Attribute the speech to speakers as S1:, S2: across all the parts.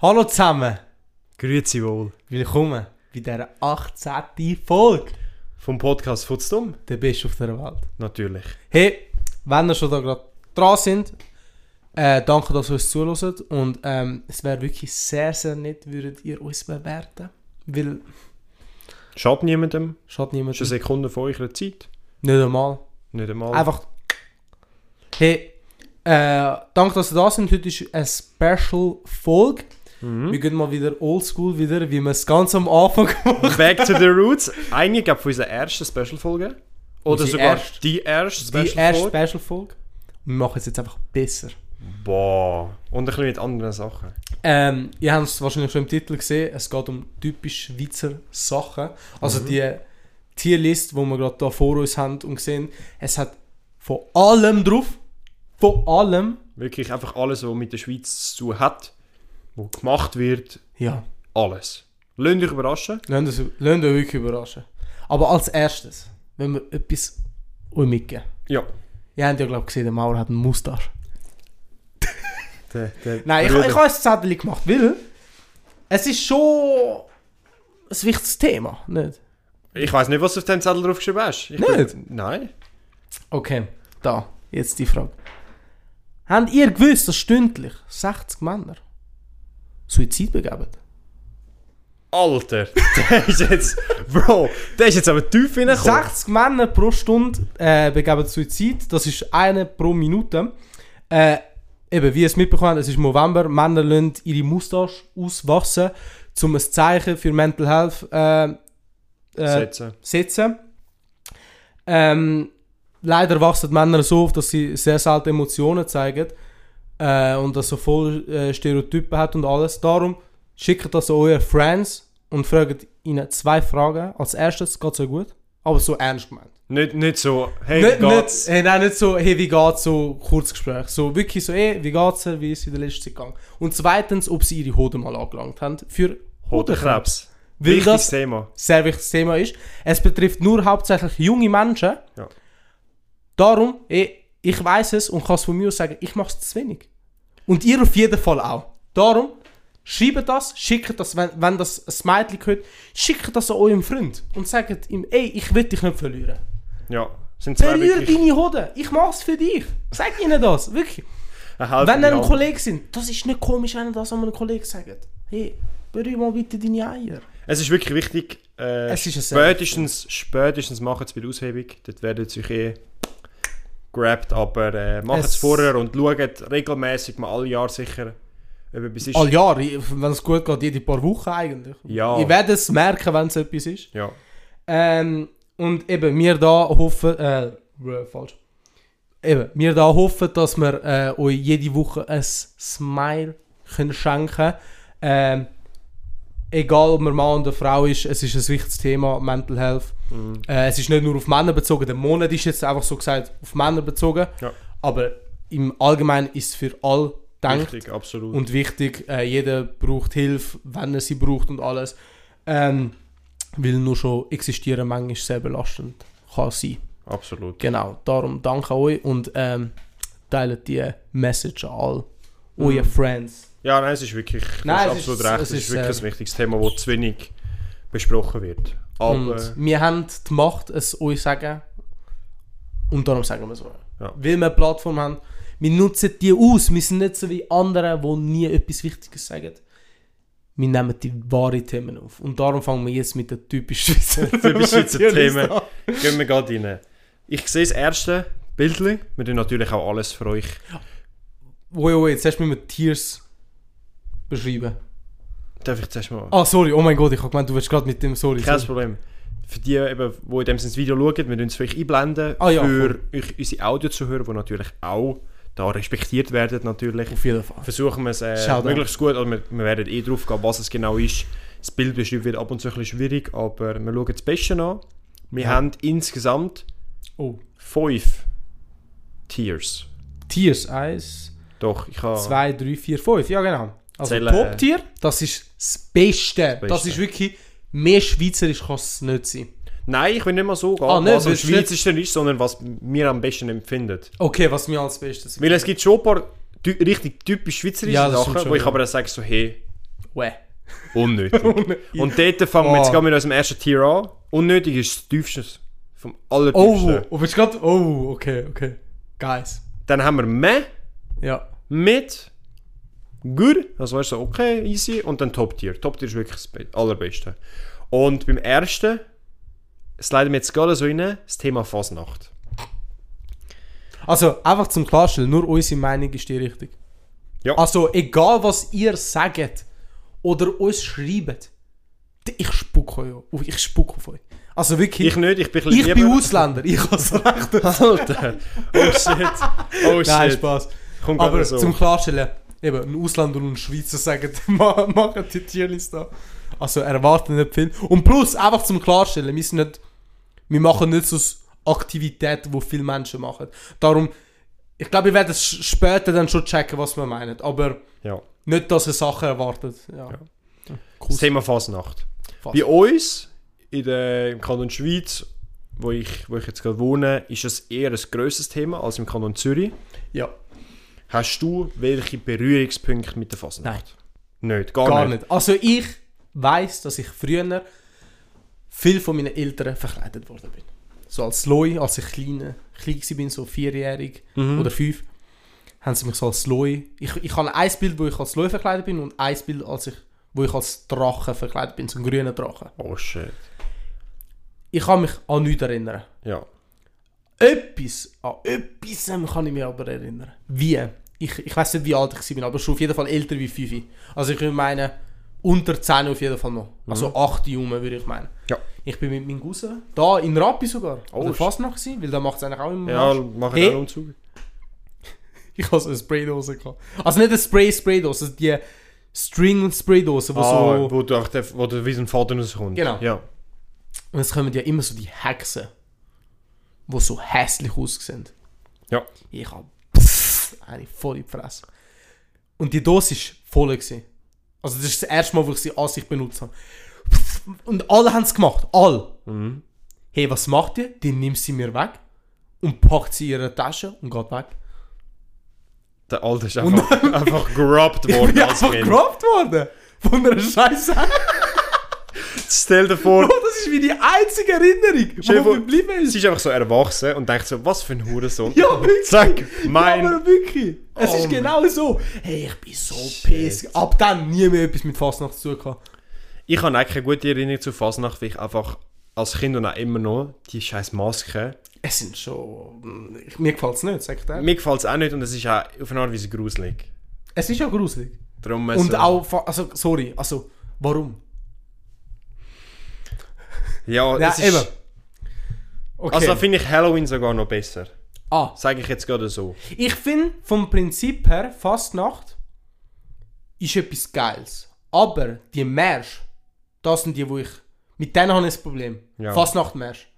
S1: Hallo zusammen,
S2: Grüezi wohl.
S1: willkommen bei dieser 18. Folge
S2: Vom Podcast Futzdumm?
S1: «Der Bist auf der Welt».
S2: Natürlich.
S1: Hey, wenn ihr schon da gerade dran sind, äh, danke, dass ihr uns zuhört und ähm, es wäre wirklich sehr, sehr nett, würdet ihr uns bewerten, weil
S2: Schadet niemandem.
S1: schadet
S2: Das
S1: niemand.
S2: ist eine Sekunde von eurer Zeit.
S1: Nicht einmal.
S2: Nicht einmal.
S1: Einfach. Hey, äh, danke, dass ihr da sind. Heute ist eine Special-Folge.
S2: Mhm.
S1: Wir gehen mal wieder oldschool wieder, wie wir es ganz am Anfang gemacht haben.
S2: Back to the Roots. Eine gab von unserer ersten Special-Folge. Oder
S1: Unsere
S2: sogar
S1: erste.
S2: die erste
S1: Die erste
S2: Special-Folge.
S1: Special-Folge. Und wir machen es jetzt einfach besser.
S2: Boah. Und ein bisschen mit anderen Sachen.
S1: Ähm, ihr habt es wahrscheinlich schon im Titel gesehen, es geht um typisch Schweizer Sachen. Also die Tierlist, die wir gerade da vor uns haben und sehen, es hat von allem drauf. Von allem.
S2: Wirklich einfach alles, was mit der Schweiz zu tun hat. Wo gemacht wird.
S1: Ja.
S2: Alles. Lasst euch überraschen.
S1: Lasst uns- lasst euch wirklich überraschen. Aber als erstes, wenn wir etwas euch mitgeben.
S2: Ja.
S1: Ihr habt ja, glaube ich, gesehen, der Maurer hat einen Mustache.
S2: Der, der
S1: Nein, ich,
S2: Bruder.
S1: ich habe ein Zettel gemacht, weil es ist schon ein wichtiges Thema, nicht?
S2: Ich weiss nicht, was du auf dem Zettel draufgeschrieben hast. Ich
S1: Nicht?
S2: Bin, nein.
S1: Okay, da, jetzt die Frage. Habt ihr gewusst, dass stündlich 60 Männer Suizid begeben?
S2: Alter, der ist jetzt. Bro, der ist jetzt aber tief reingekommen.
S1: 60 Männer pro Stunde äh, begeben Suizid, das ist eine pro Minute. Äh, eben, wie ihr es mitbekommen habt, es ist November, Männer lassen ihre Mustache auswachsen, um ein Zeichen für Mental Health äh, äh,
S2: Setzen.
S1: setzen. Ähm, leider wachsen die Männer so auf, dass sie sehr selten Emotionen zeigen äh, und das so voll äh, Stereotypen hat und alles. Darum schickt das an eure Friends und fragt ihnen zwei Fragen. Als erstes, geht's so gut? Aber so ernst gemeint.
S2: Nicht, nicht so, hey,
S1: Nicht,
S2: wie
S1: nicht,
S2: geht's?
S1: hey, nein, nicht so, hey, wie geht's, so Kurzgespräch. So wirklich so, hey, wie geht's dir, wie ist in der letzten Zeit gegangen? Und zweitens, ob sie ihre Hoden mal angelangt haben für Hodenkrebs.
S2: Hodenkrebs.
S1: Weil
S2: Wichtiges
S1: das-
S2: Thema.
S1: sehr wichtiges Thema ist. Es betrifft nur hauptsächlich junge Menschen.
S2: Ja.
S1: Darum, ich, ich weiß es und kann es von mir aus sagen, ich mache es zu wenig. Und ihr auf jeden Fall auch. Darum, schreibt das, schickt das, wenn, wenn das ein Mädchen hört, schickt das an euren Freund und sagt ihm, ey, ich will dich nicht verlieren.
S2: Ja, sind zwei
S1: Verliere
S2: wirklich.
S1: deine Hoden, ich mache es für dich. Sag ihnen das, wirklich.
S2: eine helfende
S1: Wenn ihr ein
S2: Hand.
S1: Kollege sind, das ist nicht komisch, wenn ihr das an einem Kollegen sagt. Hey, berühr mal bitte deine Eier.
S2: Es ist wirklich wichtig, äh,
S1: Es ist ein sehr
S2: spätestens, spätestens machen es bei der Aushebung. Dort werden sie euch eh grabbed, aber äh, macht es
S1: Es-
S2: vorher und schaut regelmäßig mal alle Jahre sicher, ob etwas ist.
S1: All Jahr, wenn es gut geht, jede paar Wochen eigentlich.
S2: Ja.
S1: Ich werde es merken, wenn es etwas ist.
S2: Ja.
S1: Ähm, und eben, wir da hoffen, äh, äh, falsch. Eben, wir da hoffen, dass wir äh, euch jede Woche ein Smile können schenken ähm, Egal, ob man Mann oder Frau ist, es ist ein wichtiges Thema, Mental Health.
S2: mm,
S1: Äh, es ist nicht nur auf Männer bezogen, der Monat ist jetzt einfach so gesagt auf Männer bezogen,
S2: Ja.
S1: aber im Allgemeinen ist es für alle gedacht
S2: Wichtig, absolut.
S1: und wichtig. Äh, jeder braucht Hilfe, wenn er sie braucht und alles. Ähm, weil nur schon existieren manchmal sehr belastend kann sein.
S2: absolut.
S1: Genau, darum danke euch und ähm, teilt die Message an all eure Friends.
S2: Ja, nein, es ist wirklich, du
S1: Nein,
S2: hast
S1: es ist-
S2: absolut recht,
S1: es
S2: es
S1: ist,
S2: ist wirklich
S1: äh,
S2: ein wichtiges Thema, das zu wenig besprochen wird. Aber
S1: Und wir haben die Macht, es euch zu sagen. Und darum sagen wir es euch.
S2: Ja.
S1: Weil wir eine Plattform haben. Wir nutzen die aus. Wir sind nicht so wie andere, die nie etwas Wichtiges sagen. Wir nehmen die wahren Themen auf. Und darum fangen wir jetzt mit den typisch Schweizer
S2: Typisch Schweizer
S1: Tierliste
S2: Themen.
S1: an.
S2: gehen wir gerade rein. Ich sehe das erste Bildchen. Wir tun natürlich auch alles für euch.
S1: Wait, wait, jetzt hast du mich mit Tiers beschrieben.
S2: Darf ich zuerst mal?
S1: Ah, sorry, oh mein Gott, ich habe gemeint, du willst gerade mit dem, sorry.
S2: Kein
S1: sorry.
S2: Problem. Für die, eben, die in dem Sinne das Video schauen, wir tun es für euch einblenden.
S1: Ah ja,
S2: für euch, unsere Audiozuhörer, die natürlich auch da respektiert werden. Natürlich.
S1: Auf jeden Fall.
S2: Versuchen wir es äh,
S1: Shoutout.
S2: möglichst gut. Also wir, wir werden eh drauf gehen, was es genau ist. Das Bild beschreiben wird ab und zu ein bisschen schwierig, aber wir schauen das Beste an. Wir
S1: Ja.
S2: haben insgesamt
S1: Oh.
S2: fünf Tiers.
S1: Tiers 1,
S2: Doch, ich habe...
S1: 2, 3, 4, 5. Ja, genau. Also
S2: Zählen. äh,
S1: Top-Tier, das ist das Beste.
S2: Beste.
S1: Das ist wirklich, mehr Schweizerisch kann es nicht sein.
S2: Nein, ich will nicht mal so gehen,
S1: Ah, nicht,
S2: was am
S1: willst du nicht-
S2: schweizischsten ist, sondern was wir am besten empfinden.
S1: Okay, was mir als Bestes
S2: Weil es gibt schon ein paar ty richtig typisch schweizerische
S1: Ja, das stimmt
S2: Sachen,
S1: schon,
S2: wo ich
S1: ja.
S2: aber dann sage so, hey,
S1: Wäh.
S2: Unnötig. Und dort fangen
S1: Ah.
S2: wir jetzt gerade mit unserem ersten Tier an. Unnötig ist das tiefste vom
S1: Oh,
S2: allertiefsten.
S1: oh, bist du grad- oh, okay, okay. Guys.
S2: Dann haben wir Meh
S1: Ja.
S2: mit Gut. Also weißt du, so, okay, easy. Und dann Top Tier. Top Tier ist wirklich das Be- Allerbeste. Und beim ersten sliden wir jetzt gerade so rein, das Thema Fasnacht.
S1: Also, einfach zum Klarstellen, nur unsere Meinung ist die richtig.
S2: Ja.
S1: Also, egal was ihr sagt oder uns schreibt, d- ich spucke euch. an. Ich spucke auf euch. Also wirklich,
S2: Ich
S1: ich,
S2: nicht, ich bin ein
S1: ich
S2: bisschen
S1: bin Ausländer, ich habe so recht.
S2: Alter. Oh shit. Oh shit.
S1: Nein, Spaß.
S2: Kommt
S1: Aber
S2: gerade so.
S1: zum Klarstellen, eben, ein Ausländer und ein Schweizer sagen, ma- machen die Tierliste an. Also erwarten nicht viel. Und plus, einfach zum Klarstellen, wir, sind nicht, wir machen nicht so s- Aktivitäten, die viele Menschen machen. Darum, ich glaube, ich werde es sch- später dann schon checken, was wir meinen. Aber
S2: ja.
S1: nicht, dass ihr Sachen erwartet. Ja.
S2: Ja.
S1: Cool.
S2: Das Thema Fasnacht.
S1: Fast.
S2: Bei uns in der, im Kanton Schweiz, wo ich, wo ich jetzt gerade wohne, ist es eher ein grösseres Thema als im Kanton Zürich.
S1: Ja,
S2: Hast du welche Berührungspunkte mit der Fasnacht? Nein. Nicht, gar,
S1: gar
S2: nicht.
S1: nicht. Also ich weiß, dass ich früher viel von meinen Eltern verkleidet worden bin. So als Loi, als ich kleine, klein war, so vierjährig oder fünf, haben sie mich so als Loi. Ich, ich habe ein Bild, wo ich als Loi verkleidet bin und ein Bild, als ich, wo ich als Drache verkleidet bin, so einen grünen Drachen.
S2: Oh shit.
S1: Ich kann mich an nichts erinnern.
S2: Ja.
S1: Etwas, an etwas kann ich mich aber erinnern. Wie? Ich, ich weiß nicht, wie alt ich war, aber schon auf jeden Fall älter wie 5. Also ich würde meinen, unter 10 auf jeden Fall noch. Also 8 rum würde ich meinen.
S2: Mhm. Ja.
S1: Ich bin mit meinem Cousin, da in Rapi sogar,
S2: Oh,
S1: oder
S2: shit.
S1: fast noch gewesen, weil da macht es eigentlich auch immer
S2: Ja,
S1: Marsch.
S2: mach
S1: Hey.
S2: ich auch Umzug.
S1: Ich habe so eine Spraydose gehabt. Also nicht eine Spray-Spraydose, die String-Spraydose, wo
S2: Ah,
S1: so...
S2: wo du, auch der, wo du wie so ein Faden rauskommt.
S1: Genau.
S2: Ja.
S1: Und es kommen ja immer so die Hexen, die so hässlich aussehen.
S2: Ja.
S1: Ich hab pff, eine volle Fresse. Und die Dose war voll. Gewesen. Also das ist das erste Mal, wo ich sie an sich benutzt habe. Und alle haben es gemacht. Alle.
S2: Mhm.
S1: Hey, was macht ihr? Die nimmt sie mir weg und packt sie in ihre Tasche und geht weg.
S2: Der Alte ist einfach, einfach gerubbt
S1: Ich
S2: worden
S1: bin
S2: als
S1: einfach
S2: Kind.
S1: gerobbt worden. Von einer Scheiße.
S2: Stell dir vor,
S1: Das ist wie die einzige Erinnerung, die
S2: Stell dir vor,
S1: mir geblieben ist.
S2: sie ist einfach so erwachsen und denkt so, was für ein Hurensohn.
S1: Ja, wirklich.
S2: Zack, mein...
S1: Ja, aber wirklich. Es
S2: Oh
S1: ist
S2: mein-
S1: genau so. Hey, ich bin so
S2: Shit.
S1: pissed. Ab dann nie mehr etwas mit Fastnacht zu tun gehabt.
S2: Ich habe eigentlich keine gute Erinnerung zu Fasnacht, weil ich einfach als Kind und auch immer noch die scheiß Maske.
S1: Es sind schon... Mir gefällt es nicht, sagt er.
S2: Mir gefällt es auch nicht und es ist auch auf eine Art und Weise gruselig.
S1: Es ist ja gruselig.
S2: Darum
S1: Und
S2: so-
S1: auch... fa- Also, sorry. Also, warum?
S2: Ja,
S1: Ja,
S2: es ist,
S1: eben. Okay.
S2: Also da finde ich Halloween sogar noch besser.
S1: ah,
S2: Sage ich jetzt gerade so.
S1: ich finde, vom Prinzip her, Fastnacht ist etwas Geiles. Aber die Märsch, das sind die, wo ich... Mit denen habe ich ein Problem.
S2: Ja.
S1: Fastnacht-Märsch.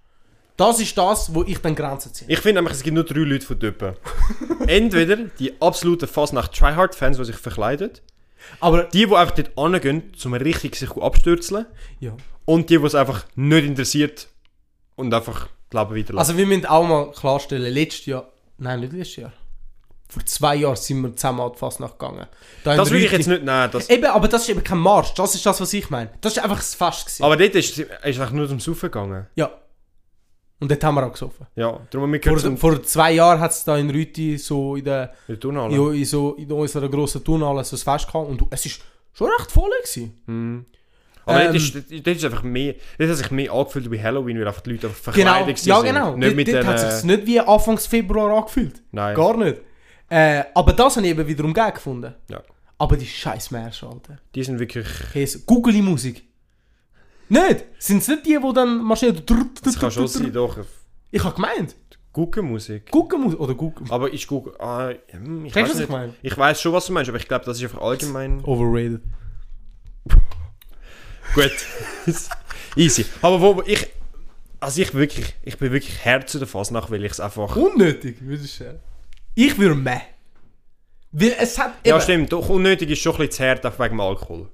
S1: Das ist das, wo ich dann Grenzen ziehe.
S2: Ich finde nämlich, es gibt nur drei Leute von Typen. Entweder die absoluten Fasnacht-Tryhard-Fans, die sich verkleiden.
S1: Aber...
S2: Die, die einfach dort angehen, um richtig sich abstürzen.
S1: Ja.
S2: Und die, die es einfach nicht interessiert und einfach das Leben weiterlassen.
S1: Also wir müssen auch mal klarstellen, letztes Jahr, nein, nicht letztes Jahr, vor zwei Jahren sind wir zusammen an die Fasnacht gegangen. Da in
S2: das will ich
S1: Rüti-
S2: jetzt nicht nehmen. Das,
S1: Eben, aber das ist eben kein Marsch, das ist das, was ich meine. Das ist einfach das Fest gewesen.
S2: aber dort ist ist es eigentlich nur zum Saufen gegangen.
S1: Ja. Und dort haben wir auch gesoffen.
S2: Ja, darum wir
S1: Vor,
S2: gehört zum
S1: vor zwei Jahren hat es da in Rüti so in, der,
S2: der Turnhalle.
S1: in, in, so, in unserer grossen Turnhalle so ein Fest gehabt und es ist schon recht voll gewesen.
S2: Aber
S1: ähm,
S2: dort, ist, dort ist einfach mehr, dort hat sich mehr angefühlt wie Halloween, weil einfach die Leute einfach
S1: Genau,
S2: verkleidet
S1: ja
S2: sind.
S1: genau.
S2: Nicht
S1: Dort,
S2: mit
S1: dort
S2: den,
S1: hat
S2: äh,
S1: es sich nicht wie Anfangs Februar angefühlt.
S2: Nein.
S1: Gar nicht. Äh, aber das habe ich eben wiederum geil gefunden.
S2: ja.
S1: Aber die scheiß Märsch, Alter.
S2: Die sind wirklich,
S1: Käse. Googly Musik. Nicht? Sind es nicht die, die dann mal schnell.
S2: das kann schon sein, doch,
S1: Ich habe gemeint.
S2: Guggenmusik.
S1: Guggenmusik. Oder Guggen.
S2: Aber ist Guggen, ah, hm, ich
S1: Weißt du, was
S2: weiß
S1: ich
S2: nicht.
S1: meine?
S2: Ich weiß schon, was du meinst, aber ich glaube, das ist einfach allgemein
S1: Overrated.
S2: gut. Easy. Aber wo ich, also ich wirklich, ich bin wirklich Herz zu der Fasnacht, weil ich es einfach...
S1: Unnötig, würdest du sagen. Ich würde mehr. Weil es hat.
S2: Ja
S1: eben-
S2: stimmt, doch unnötig ist schon ein bisschen zu hart, einfach wegen dem Alkohol.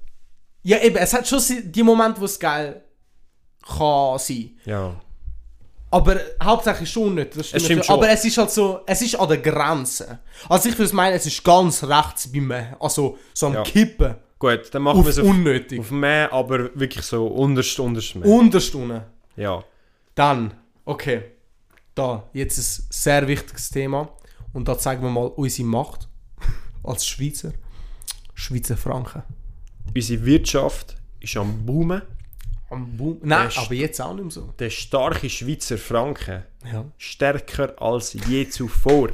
S1: ja, eben. Es hat schon si- die Momente, wo es geil kann sein.
S2: Ja.
S1: Aber hauptsächlich schon nicht. Das
S2: Es stimmt
S1: natürlich.
S2: schon.
S1: Aber es ist halt so, es ist an der Grenze. Also ich würde meinen, es ist ganz rechts bei mir. Also so am
S2: Ja.
S1: Kippen.
S2: Gut, dann machen wir
S1: Auf
S2: es auf,
S1: unnötig.
S2: auf mehr, aber wirklich so unterst, unterst mehr.
S1: Unterst unten.
S2: ja.
S1: Dann, okay. Da, jetzt ein sehr wichtiges Thema. Und da zeigen wir mal unsere Macht als Schweizer. Schweizer Franken.
S2: Unsere Wirtschaft ist am Boomen.
S1: Am Boom. Nein,
S2: Das-
S1: aber jetzt auch nicht mehr so.
S2: Der starke Schweizer Franken
S1: Ja.
S2: stärker als je zuvor.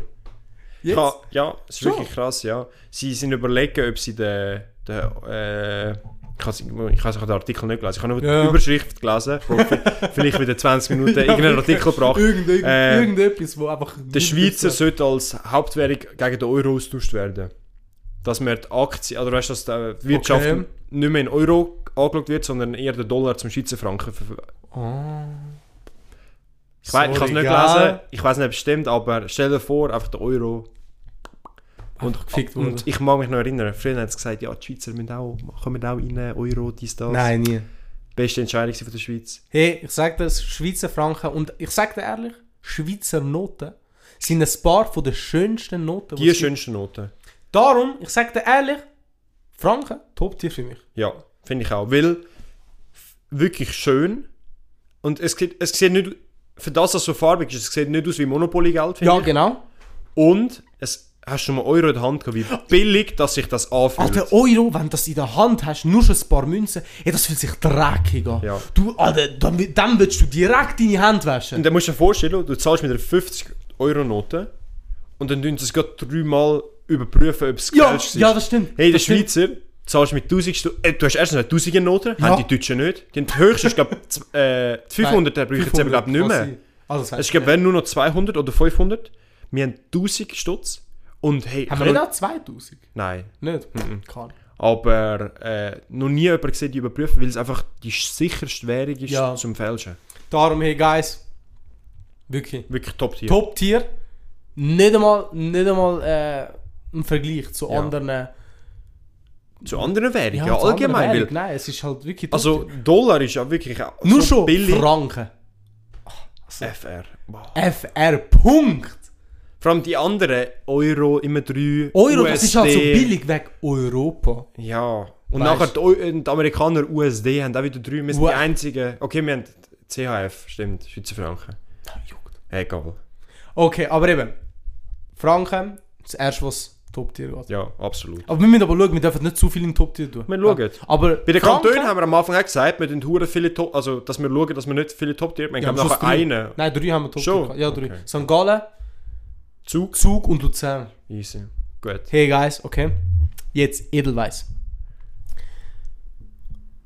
S1: Jetzt?
S2: Ja, ja, es ist
S1: Schon?
S2: wirklich krass, ja. Sie sind überlegen, ob sie den... den äh, ich habe ich habe den Artikel nicht gelesen, ich habe nur
S1: Ja.
S2: die Überschrift gelesen, wo vi- vielleicht wieder 20 Minuten irgendeinen Artikel gebracht.
S1: Irgend, irgend,
S2: Äh,
S1: irgendetwas, wo einfach...
S2: Der Schweizer sollte als Hauptwährung gegen den Euro austauscht werden. Dass man die Aktie, oder weißt du, dass die Wirtschaft
S1: Okay.
S2: nicht mehr in Euro angeschaut wird, sondern eher den Dollar zum Schweizer Franken. ver-
S1: Ah.
S2: Ich, weiß- ich habe es nicht gelesen, ich weiß nicht bestimmt, aber stell dir vor, einfach den Euro
S1: Und gefickt
S2: Und ich mag mich noch erinnern, früher hat es gesagt, ja, die Schweizer müssen auch, kommen auch rein, Euro, dies, das.
S1: Nein, nie.
S2: Beste Entscheidung gewesen von der Schweiz.
S1: Hey, ich sag dir, das, Schweizer Franken und ich sag dir ehrlich, Schweizer Noten sind ein paar von den schönsten Noten.
S2: Die
S1: es gibt.
S2: schönsten Noten.
S1: Darum, ich sag dir ehrlich, Franken, Top-Tier für mich.
S2: Ja, finde ich auch. Weil, f- wirklich schön. Und es sieht, es sieht nicht, für das, dass es so farbig ist, es sieht nicht aus wie Monopoly-Geld, finde
S1: Ja,
S2: ich.
S1: genau.
S2: Und, es, hast du schon mal Euro in der Hand gehabt, wie billig, dass sich das anfühlt.
S1: Alter, Euro, wenn du das in der Hand hast, nur schon ein paar Münzen, hey, das fühlt sich dreckig an.
S2: Ja.
S1: Du, Alter, dann, dann willst du direkt deine Hand waschen.
S2: Und dann musst du dir vorstellen, du zahlst mit einer 50-Euro-Note und dann tun sie es gerade dreimal überprüfen, ob es
S1: Ja,
S2: gefälscht
S1: ja, das stimmt.
S2: Hey, der
S1: Das stimmt.
S2: Schweizer zahlst mit 1000 Stu äh, Du hast erstens eine 1000er Note,
S1: Ja.
S2: haben die Deutschen nicht. Die haben die höchste, ist, glaub, z- äh, die 500 er brauchen sie aber glaub, nicht mehr.
S1: Also, das
S2: Es ist,
S1: heißt,
S2: glaub, wenn nur noch 200 oder 500. Wir haben 1000 Stutz. Und hey,
S1: haben wir
S2: ich
S1: nicht
S2: hab noch-
S1: auch 2000?
S2: Nein.
S1: Nicht?
S2: Mhm.
S1: Keine.
S2: Aber äh, noch nie jemand gesehen, die überprüfen, weil es einfach die sicherste Währung ist
S1: Ja.
S2: zum Fälschen.
S1: Darum, hey, Guys, wirklich.
S2: Wirklich top-tier.
S1: Top-Tier. Nicht einmal, nicht einmal äh, im Vergleich zu
S2: Ja.
S1: anderen.
S2: Zu anderen Währungen, ja,
S1: zu anderen
S2: allgemein. Weil
S1: Währungen. Nein, es ist halt wirklich. Also
S2: Also
S1: Top-Tier.
S2: Dollar ist ja wirklich auch
S1: nur
S2: so
S1: schon
S2: billig.
S1: Franken.
S2: FR. Wow.
S1: FR. Punkt.
S2: Vor allem die anderen Euro immer 3
S1: Euro, das ist halt so billig weg Europa.
S2: Ja. Und
S1: Weißt.
S2: nachher die, Eu- äh, die Amerikaner USD haben auch wieder 3. Wir sind
S1: Ua-
S2: die einzigen. Okay, wir haben CHF, stimmt. Schweizer Franken. Egal.
S1: Okay, aber eben. Franken, das erste, was Top-Tier geht.
S2: Ja, absolut.
S1: Aber wir müssen aber schauen, wir dürfen nicht zu viel im Top-Tier tun.
S2: Wir schauen.
S1: Aber
S2: Bei den
S1: Franken-
S2: Kantonen haben wir am Anfang auch gesagt, wir tun hure viele Top, also dass wir schauen, dass wir nicht viele Top-Tier haben. Wir
S1: Ja,
S2: haben
S1: aber
S2: nachher
S1: sonst drei.
S2: einen.
S1: Nein, drei haben wir Top-Tier.
S2: Schon?
S1: gehabt. Ja, drei.
S2: Okay.
S1: St. Gallen,
S2: Zug.
S1: Zug und Luzern.
S2: Easy. Gut.
S1: Hey guys, okay. Jetzt Edelweiß.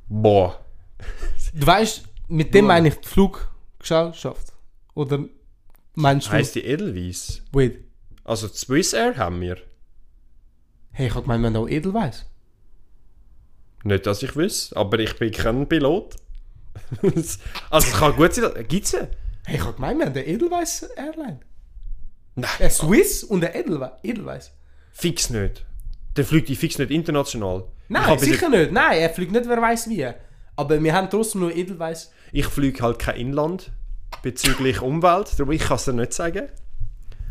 S2: Boah.
S1: Du weißt, mit dem meine ich die Fluggesellschaft. Oder meinst du?
S2: Heißt die Edelweiss?
S1: Wait.
S2: Also Swiss Air haben wir.
S1: Hey, ich hab gemeint, wir haben auch Edelweiß.
S2: Nicht, dass ich wüsste, aber ich bin kein Pilot. also es kann gut sein, gibt es
S1: Hey, ich hab gemeint, wir haben eine Edelweiß Airline.
S2: Nein,
S1: Eine Swiss und eine Edelwe Edelweiß.
S2: fix nicht. Dann fliegt die fix nicht international. ich
S1: Nein,
S2: hab bis
S1: sicher nicht. Nein, er fliegt nicht, wer weiß wie. Aber wir haben trotzdem nur Edelweiß.
S2: jetzt- Ich fliege halt kein Inland bezüglich Umwelt, darum ich kann es dir nicht sagen.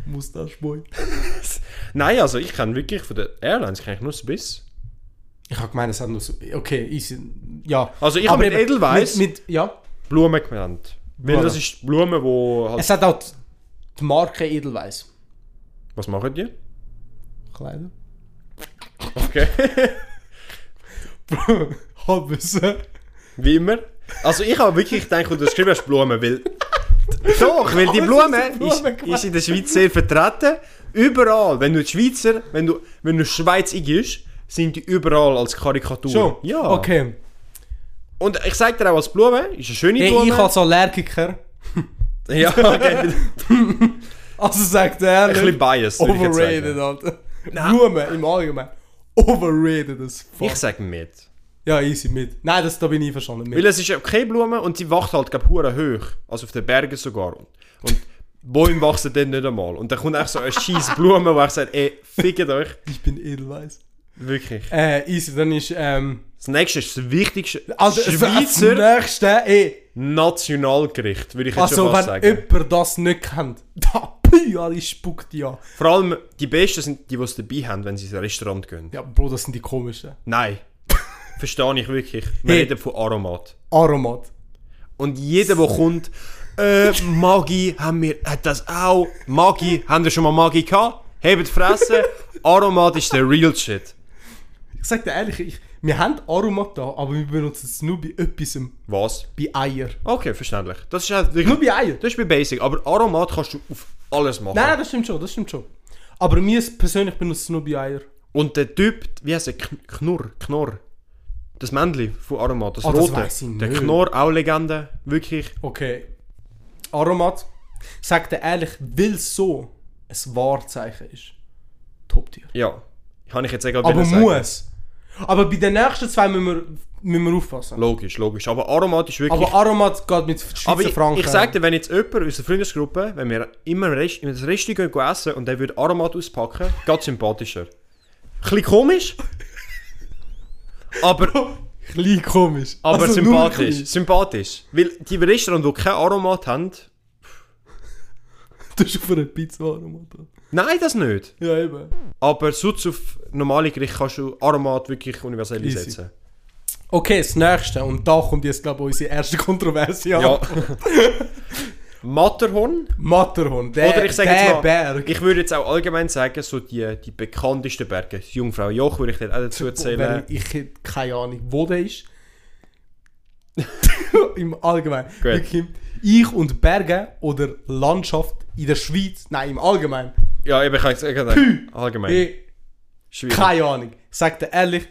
S1: Mustache-Boy.
S2: Nein, also ich kann wirklich von den Airlines kenne ich nur Swiss.
S1: Ich hab gemeint, es hat nur so. Okay, easy. Ja.
S2: Also ich
S1: Aber
S2: habe mit
S1: eben,
S2: Edelweiss
S1: Mit, mit, ja.
S2: Blumen genannt. Weil
S1: Blumen.
S2: das ist die Blume, wo halt...
S1: Es hat auch die- die Marke Edelweiß.
S2: Was machen die?
S1: Kleider.
S2: Okay.
S1: Haben sie.
S2: Wie immer. Also ich habe wirklich gedacht, als du geschrieben hast, Blumen, weil... Doch, weil die
S1: Aber
S2: Blume
S1: es ist eine
S2: ist,
S1: Blume,
S2: ist in der Schweiz sehr vertreten. Überall. Wenn du die Schweizer, wenn du, wenn du Schweizig bist, sind die überall als Karikatur.
S1: Schon?
S2: Ja.
S1: Okay.
S2: Und ich sage dir auch, als Blume ist eine schöne
S1: Hey,
S2: Blume.
S1: ich als Allergiker,
S2: ja, okay.
S1: also sagt
S2: Ein
S1: er,
S2: bisschen biased, würde ich jetzt
S1: overrated,
S2: sagen.
S1: Alter. Blumen im Allgemeinen. Overrated as fuck.
S2: Ich sage mit.
S1: Ja, easy mit. Nein, das, da bin ich verstanden mit.
S2: Weil es ist okay Blume und sie wacht halt, glaube ich, hoch. Also auf den Bergen sogar. Und, und Bäume wachsen dann nicht einmal. Und dann kommt echt so eine scheiß Blume, wo ich sage, ey, fickt euch.
S1: Ich bin edelweiß.
S2: Wirklich.
S1: Äh, easy, dann ist, ähm...
S2: Das nächste ist das wichtigste
S1: Also, das
S2: Schweizer
S1: nächste, ey...
S2: Nationalgericht, würde ich jetzt schon
S1: Also,
S2: fast
S1: wenn
S2: sagen.
S1: jemand das nicht kennt, da, pü, alle spuckt ja.
S2: Vor allem die Besten sind die, die es dabei haben, wenn sie ins Restaurant gehen.
S1: Ja, Bro, das sind die komischsten.
S2: Nein. verstehe ich wirklich. Wir
S1: Hey.
S2: reden von Aromat.
S1: Aromat.
S2: Und jeder, der kommt, äh, Magi haben wir, hat das auch. Magi, haben wir schon mal Magi gehabt? Hebt die Fresse. Aromat ist der real shit.
S1: Ich sag dir ehrlich, ich, wir haben Aromat da, aber wir benutzen es nur bei etwas,
S2: Was?
S1: bei Eier.
S2: Okay, verständlich. Das ist halt wirklich-
S1: Nur bei Eier.
S2: Das ist bei Basic, aber Aromat kannst du auf alles machen.
S1: Nein, nein, das stimmt schon, das stimmt schon. Aber mir persönlich benutzt es nur bei Eier.
S2: Und der Typ, wie heißt er? Kn- Knurr, Knorr. Das Männli von Aromat, das
S1: Ah, das
S2: rote.
S1: weiss ich
S2: Der
S1: nicht.
S2: Knorr, auch Legende, wirklich.
S1: Okay. Aromat, sag dir ehrlich, weil so ein Wahrzeichen ist. Top-Tier.
S2: Ja, habe ich jetzt egal
S1: Aber
S2: sagen.
S1: muss. Aber bei den nächsten zwei müssen wir, müssen wir aufpassen.
S2: Logisch, logisch. Aber Aromat ist wirklich.
S1: Aber Aromat geht mit Schweizer
S2: Aber ich,
S1: Franken.
S2: ich sag dir, wenn jetzt jemand aus der Freundesgruppe, wenn wir immer Rest, in das Resti gehen essen und der würde Aromat auspacken, ganz sympathischer. Chli komisch. Aber,
S1: Klein komisch.
S2: aber
S1: Also nur
S2: sympathisch. Sympathisch. Weil die Restaurants, die kein Aromat haben.
S1: klein. Du hast auf eine Pizza Aromat. an.
S2: Nein, das nicht.
S1: Ja, eben.
S2: Aber sonst auf normale Gerichte kannst du Aromat wirklich universell
S1: Easy.
S2: einsetzen.
S1: Okay, das nächste. Und da kommt jetzt, glaube ich, unsere erste Kontroverse an.
S2: Ja. Matterhorn.
S1: Matterhorn. Der,
S2: Oder ich sage
S1: der
S2: jetzt mal,
S1: Berg.
S2: ich würde jetzt auch allgemein sagen, so die, die bekanntesten Berge. Die Jungfrau Joch würde ich dort auch dazu erzählen.
S1: Weil ich hätte keine Ahnung, wo der ist. Im Allgemeinen. Wirklich, ich und Berge oder Landschaft in der Schweiz, nein, im Allgemeinen.
S2: Ja, eben, ich kann es sagen. Allgemein.
S1: Ich,
S2: Schwierig.
S1: keine Ahnung. Ich sag dir ehrlich,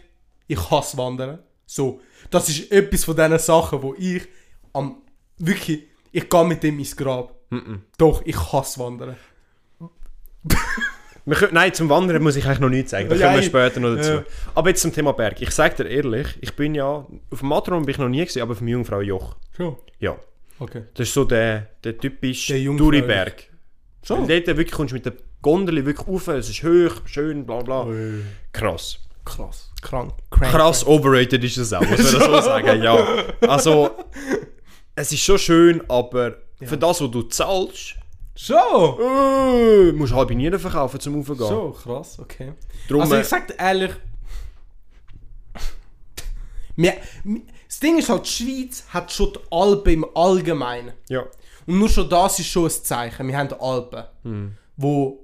S1: ich hasse Wandern. So, das ist etwas von diesen Sachen, wo ich am. Wirklich, ich gehe mit dem ins Grab. Doch, ich hasse Wandern.
S2: Wir können, nein, zum Wandern muss ich eigentlich noch nichts sagen. Da
S1: Ja,
S2: kommen wir
S1: ich-
S2: später noch dazu.
S1: ja.
S2: Aber jetzt zum Thema Berg. Ich sage dir ehrlich, ich bin ja... Auf dem Matterhorn bin ich noch nie gewesen, aber auf dem Jungfrau Joch.
S1: Schon.
S2: Ja.
S1: Okay.
S2: Das ist so der, der typische
S1: Der Jungfrau
S2: Duriberg.
S1: Schon.
S2: Weil dort eh, wirklich kommst du mit der Gondel wirklich eh, rauf, es ist hoch, schön, bla bla. Krass.
S1: Krass. Krank. Crank.
S2: Äh. Krass overrated ist das auch, muss man das so sagen, ja. Also, es ist schon schön, aber für das, was du zahlst,
S1: Schon.
S2: äh, musst du halb in jeden verkaufen, zum Aufgehen.
S1: So, krass, okay.
S2: Drum,
S1: also
S2: äh,
S1: ich sag dir ehrlich, mir, mir, das Ding ist halt, die Schweiz hat schon die Alpen im Allgemeinen.
S2: Ja.
S1: Und nur schon das ist schon ein Zeichen. Wir haben die Alpen,
S2: Hm.
S1: wo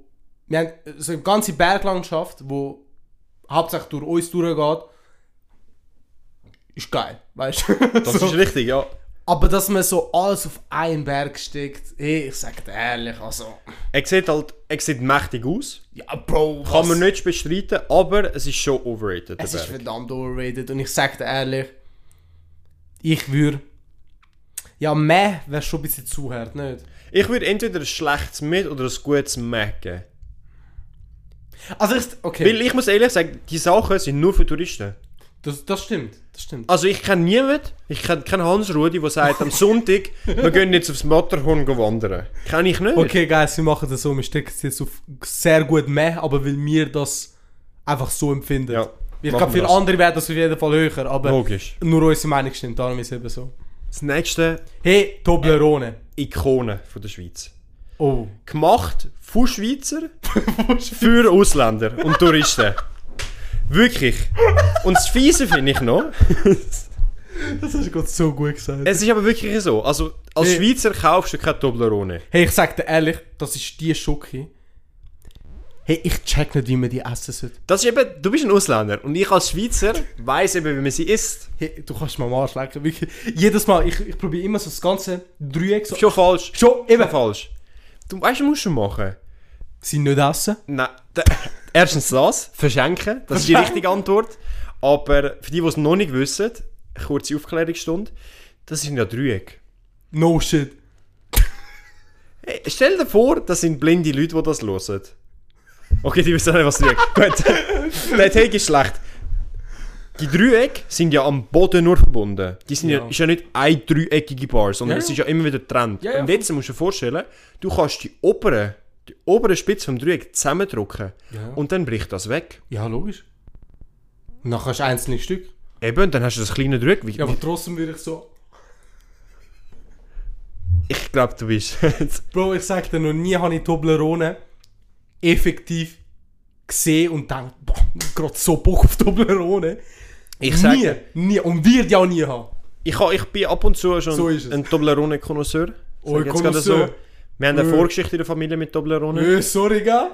S1: wir haben so eine ganze Berglandschaft, wo hauptsächlich durch uns durchgeht, ist geil, weißt du?
S2: Das
S1: so.
S2: ist richtig, ja.
S1: Aber dass man so alles auf einen Berg steckt, hey, ich sag dir ehrlich, also,
S2: Er sieht halt, er sieht mächtig aus.
S1: ja, Bro, was?
S2: Kann man nicht bestreiten, aber es ist schon overrated, der
S1: Es ist
S2: Berg.
S1: verdammt overrated und ich sag dir ehrlich, ich würde. Ja, meh wäre schon ein bisschen zu hart, nicht?
S2: Ich würde entweder ein schlechtes mit oder ein gutes mecken.
S1: Also ich. Okay,
S2: Weil ich muss ehrlich sagen, die Sachen sind nur für Touristen.
S1: das, das stimmt, das stimmt.
S2: Also ich kenne niemanden, ich kenne keinen Hans Rudi, der sagt, am Sonntag, wir gehen jetzt aufs Matterhorn wandern. Kenne ich nicht.
S1: Okay, guys, wir machen das so, wir stecken es jetzt auf sehr gut meh, aber weil wir das einfach so empfinden.
S2: Ja,
S1: ich
S2: machen
S1: glaube,
S2: wir
S1: für
S2: das.
S1: andere wäre das auf jeden Fall höher, aber
S2: Logisch.
S1: nur unsere Meinung stimmt, darum ist es eben so.
S2: Das nächste
S1: Hey, Toblerone.
S2: Ikone von der Schweiz.
S1: Oh.
S2: Gemacht von Schweizer für Ausländer und Touristen. Wirklich. Und das Fiese finde ich noch.
S1: Das hast du gerade so gut gesagt.
S2: Es ist aber wirklich so. Also als
S1: Nee.
S2: Schweizer kaufst du keine Toblerone.
S1: Hey, ich sag dir ehrlich, das ist die Schoki. Hey, ich check nicht, wie man die essen sollte.
S2: Das ist eben, du bist ein Ausländer und ich als Schweizer weiß eben, wie man sie isst.
S1: Hey, du kannst mir mal schlecken. Wirklich. Jedes Mal, ich, ich probiere immer so das ganze Dreieck so.
S2: Schon falsch.
S1: Schon, eben.
S2: Schon falsch. Du weißt, du musst schon machen.
S1: Sie nicht essen.
S2: Nein. d- Erstens das, verschenken, das ist die richtige Antwort. Aber für die, die es noch nicht wissen, kurze Aufklärungsstunde, das sind ja Dreiecke.
S1: No shit.
S2: Hey, Äh, stell dir vor, das sind blinde Leute, die das hören. Okay, die wissen nicht, was Dreieck Gut. Der Take ist schlecht. Die Dreiecke sind ja am Boden nur verbunden. Die sind ja.
S1: Ja.
S2: ist ja nicht eine dreieckige Bar, sondern
S1: Ja,
S2: es
S1: ja.
S2: ist ja immer wieder Trend.
S1: Ja, ja,
S2: Und jetzt musst du dir vorstellen, du kannst die obere, die obere Spitze vom Dreieck zusammendrücken
S1: Ja.
S2: und dann bricht das weg.
S1: Ja, logisch. Und dann kannst du einzelne Stück.
S2: Eben, dann hast du das kleine Dreieck. Wie,
S1: Ja, aber trotzdem würde ich so.
S2: Ich glaube, du bist.
S1: Bro, ich sag dir, noch nie habe ich Toblerone effektiv gesehen und gedacht, boah, gerade so Bock auf Toblerone.
S2: Ich sage,
S1: nie, nie. Und wird ja auch nie haben.
S2: ich, ha- ich bin ab und zu schon
S1: So ist es.
S2: ein Toblerone-Konnoisseur.
S1: Oh,
S2: Sag jetzt gerade
S1: Connoisseur.
S2: Wir haben eine
S1: Nö.
S2: Vorgeschichte in der Familie mit Toblerone.
S1: Nö, Äh, sorry, gell?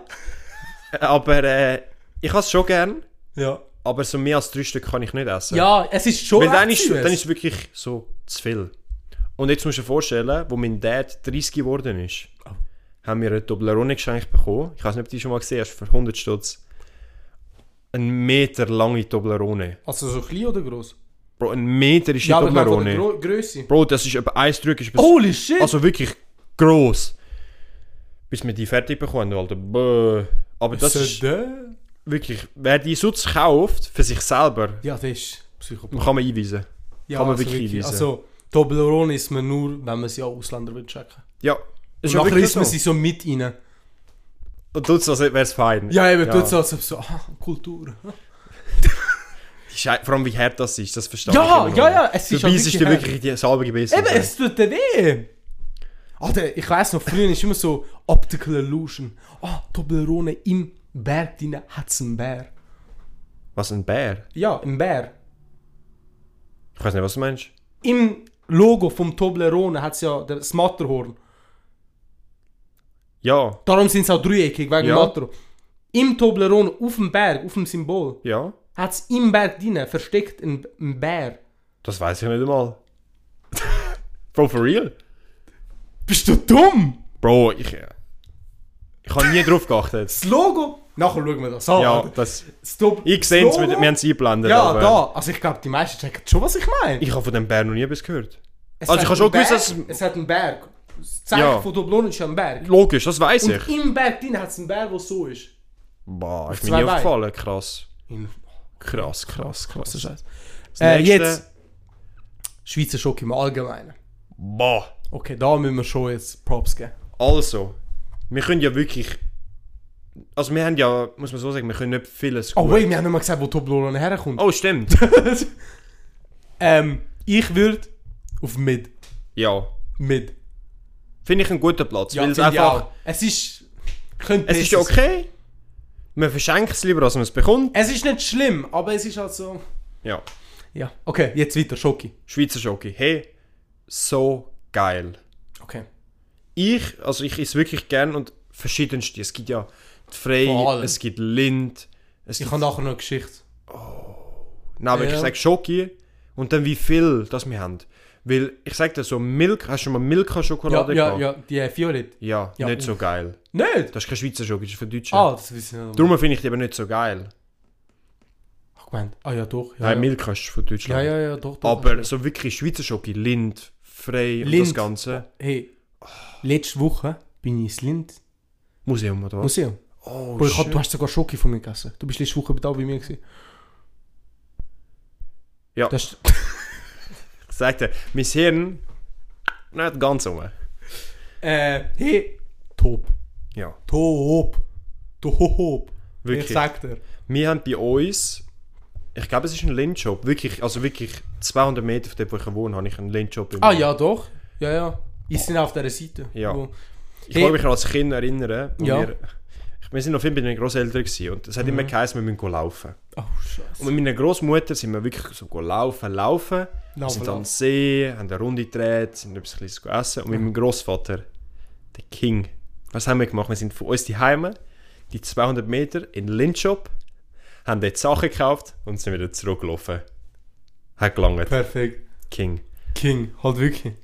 S2: Aber äh, ich has schon gern,
S1: Ja.
S2: aber so mehr als drei Stück kann ich nicht essen.
S1: Ja, es ist schon
S2: Weil dann
S1: echt
S2: ist,
S1: süß.
S2: dann ist es wirklich so zu viel. Und jetzt musst du dir vorstellen, wo mein Dad 30 geworden ist,
S1: Oh.
S2: haben wir eine Toblerone geschenkt bekommen. Ich weiß nicht, ob du die schon mal gesehen hast, für 100 Stutz. Ein Meter lange Toblerone.
S1: Also so klein oder gross?
S2: Bro, ein Meter ist die
S1: Ja, aber ich meine von der Oh,
S2: Toblerone.
S1: Gro Grösse.
S2: Bro, das ist etwa 1 Drück. Ist bis-
S1: Holy shit!
S2: Also wirklich gross. Bis wir die fertig bekommen, Alter. Bäh. Aber das
S1: So
S2: ist
S1: der-
S2: wirklich... Wer die Sutz kauft, für sich selber,
S1: Ja, das ist Psychopath.
S2: kann man einweisen.
S1: Ja,
S2: Kann man
S1: also
S2: wirklich einweisen.
S1: Also, Toblerone ist man nur, wenn man sie auch Ausländer will checken.
S2: Ja.
S1: Und
S2: Ist ja
S1: nachher
S2: wirklich
S1: isst man
S2: so.
S1: sie so mit rein.
S2: Und tut's, als wäre es fein.
S1: Ja, eben, tut so, als ob so, ah, Kultur.
S2: Schei- Vor allem, wie hart das ist, das verstehe
S1: Ja,
S2: ich immer noch
S1: ja, ja,
S2: nicht.
S1: es ist
S2: du
S1: halt
S2: beißt
S1: wirklich
S2: dir
S1: hart.
S2: wirklich die Salbe gebissen.
S1: Eben, es tut dir weh. Alter, ich weiss noch, früher ist immer so Optical Illusion. Ah, Toblerone im Berg drin hat es einen Bär.
S2: Was, ein Bär?
S1: Ja, im Bär.
S2: Ich weiß nicht, was du meinst.
S1: Im Logo vom Toblerone hat es ja das Matterhorn.
S2: Ja,
S1: Darum sind es auch dreieckig, wegen
S2: Ja.
S1: Matterhorn. Im Toblerone, auf dem Berg, auf dem Symbol,
S2: ja.
S1: hat es im Berg drin versteckt einen einen Bär.
S2: Das weiß ich nicht einmal. Bro, for real?
S1: Bist du dumm?
S2: Bro, ich... Ich habe nie drauf geachtet.
S1: Das Logo? Nachher schauen wir das an.
S2: Ja,
S1: Oh, Alter.
S2: das...
S1: Das Tob-
S2: Ich sehe es,
S1: Logo?
S2: wir wir haben es eingeblendet.
S1: Ja,
S2: aber
S1: da. Also ich glaube, die meisten checken schon, was ich meine.
S2: Ich habe von dem Bär noch nie etwas gehört.
S1: Es
S2: also
S1: hat
S2: ich habe
S1: einen
S2: schon gewusst,
S1: Berg,
S2: dass...
S1: Es hat einen Berg. Das Zeichen
S2: Ja.
S1: von Doblon ist ja ein Berg.
S2: Logisch, das weiß ich.
S1: Und im Berg drin hat es einen Berg, der so ist.
S2: Boah, ist
S1: zwei
S2: mir nie
S1: Beinen.
S2: aufgefallen. Krass. Krass, krass, krass.
S1: Scheiß.
S2: Das
S1: Äh,
S2: nächste-
S1: jetzt. Schweizer Schock im Allgemeinen.
S2: Boah.
S1: Okay, da müssen wir schon jetzt Props geben.
S2: Also, wir können ja wirklich. Also, wir haben ja, muss man so sagen, wir können nicht vieles.
S1: Oh,
S2: gut-
S1: wait, wir haben nicht mal gesagt, wo Toblerone herkommt.
S2: oh stimmt.
S1: ähm, ich würde auf Mid.
S2: ja.
S1: Mid.
S2: Finde ich einen guten Platz. weil es
S1: find ich
S2: einfach.
S1: auch. Es ist... Könnte
S2: Es ist
S1: besser sein.
S2: okay. Man verschenkt es lieber, als man es bekommt.
S1: Es ist nicht schlimm, aber es ist halt so...
S2: Ja.
S1: Ja. Okay, jetzt weiter, Schoki.
S2: Schweizer Schoki. Hey, so geil.
S1: Okay.
S2: Ich, also ich esse wirklich gern und verschiedenste. Es gibt ja
S1: Vor
S2: die Frey,
S1: allem.
S2: es gibt Lind. Es
S1: Ich
S2: gibt,
S1: habe nachher noch eine Geschichte.
S2: nein, aber ich
S1: Ja.
S2: sage Schoki und dann wie viel das wir haben. Weil ich sage dir so, Milk, hast du schon mal
S1: Ja,
S2: Milka-Schokolade
S1: ja, ja, die äh, Violet.
S2: Ja,
S1: Ja,
S2: nicht
S1: uff.
S2: so geil.
S1: Nicht?
S2: Das ist kein Schweizer Schoki, das ist für Deutsche.
S1: Ah, das wissen wir.
S2: Darum finde ich die aber nicht so geil.
S1: Ach, gemeint. Ah ja, doch. Ja,
S2: Nein,
S1: ja.
S2: Milka ist von
S1: ja,
S2: Deutschland.
S1: ja, ja, doch, doch.
S2: Aber so wirklich Schweizer Schoki, Lind, Frey und
S1: Lind.
S2: das Ganze.
S1: Hey, letzte Woche bin ich ins Lind
S2: Museum oder was?
S1: Museum.
S2: Oh,
S1: Bro, ich hab,
S2: shit.
S1: du hast sogar Schoki von mir gegessen. Du bist letzte Woche da bei mir gewesen.
S2: Ja.
S1: Das ist,
S2: Ich sag dir, mein Hirn nicht ganz um.
S1: äh, hey. Top.
S2: Ja.
S1: Top. Top.
S2: Wirklich.
S1: Ich sag dir.
S2: Wir haben bei uns, ich glaube, es ist ein Lindshop, wirklich, also wirklich 200 Meter von dort, wo ich wohne, habe ich einen Lindshop. im-
S1: Ah ja, doch. Ja, ja. Ich sind auf dieser Seite.
S2: Oh. Ja.
S1: Wo-
S2: Ich kann mich noch als Kind erinnern, wo
S1: Ja. Mhm.
S2: wir, wir sind noch viel bei den Großeltern gewesen und es hat immer geheißen, wir müssen go laufen.
S1: Oh, scheiße.
S2: Und mit meiner Großmutter sind wir wirklich so go laufen, laufen. Wir
S1: Laufen,
S2: sind am
S1: laufen.
S2: See, haben eine Runde gedreht, sind etwas Kleines gegessen. Und mit meinem Großvater, der King, was haben wir gemacht? Wir sind von uns die Heime, die 200 Meter in den Lindshop, haben dort Sachen gekauft und sind wieder zurückgelaufen. Hat gelangt.
S1: Perfekt.
S2: King.
S1: King, halt wirklich.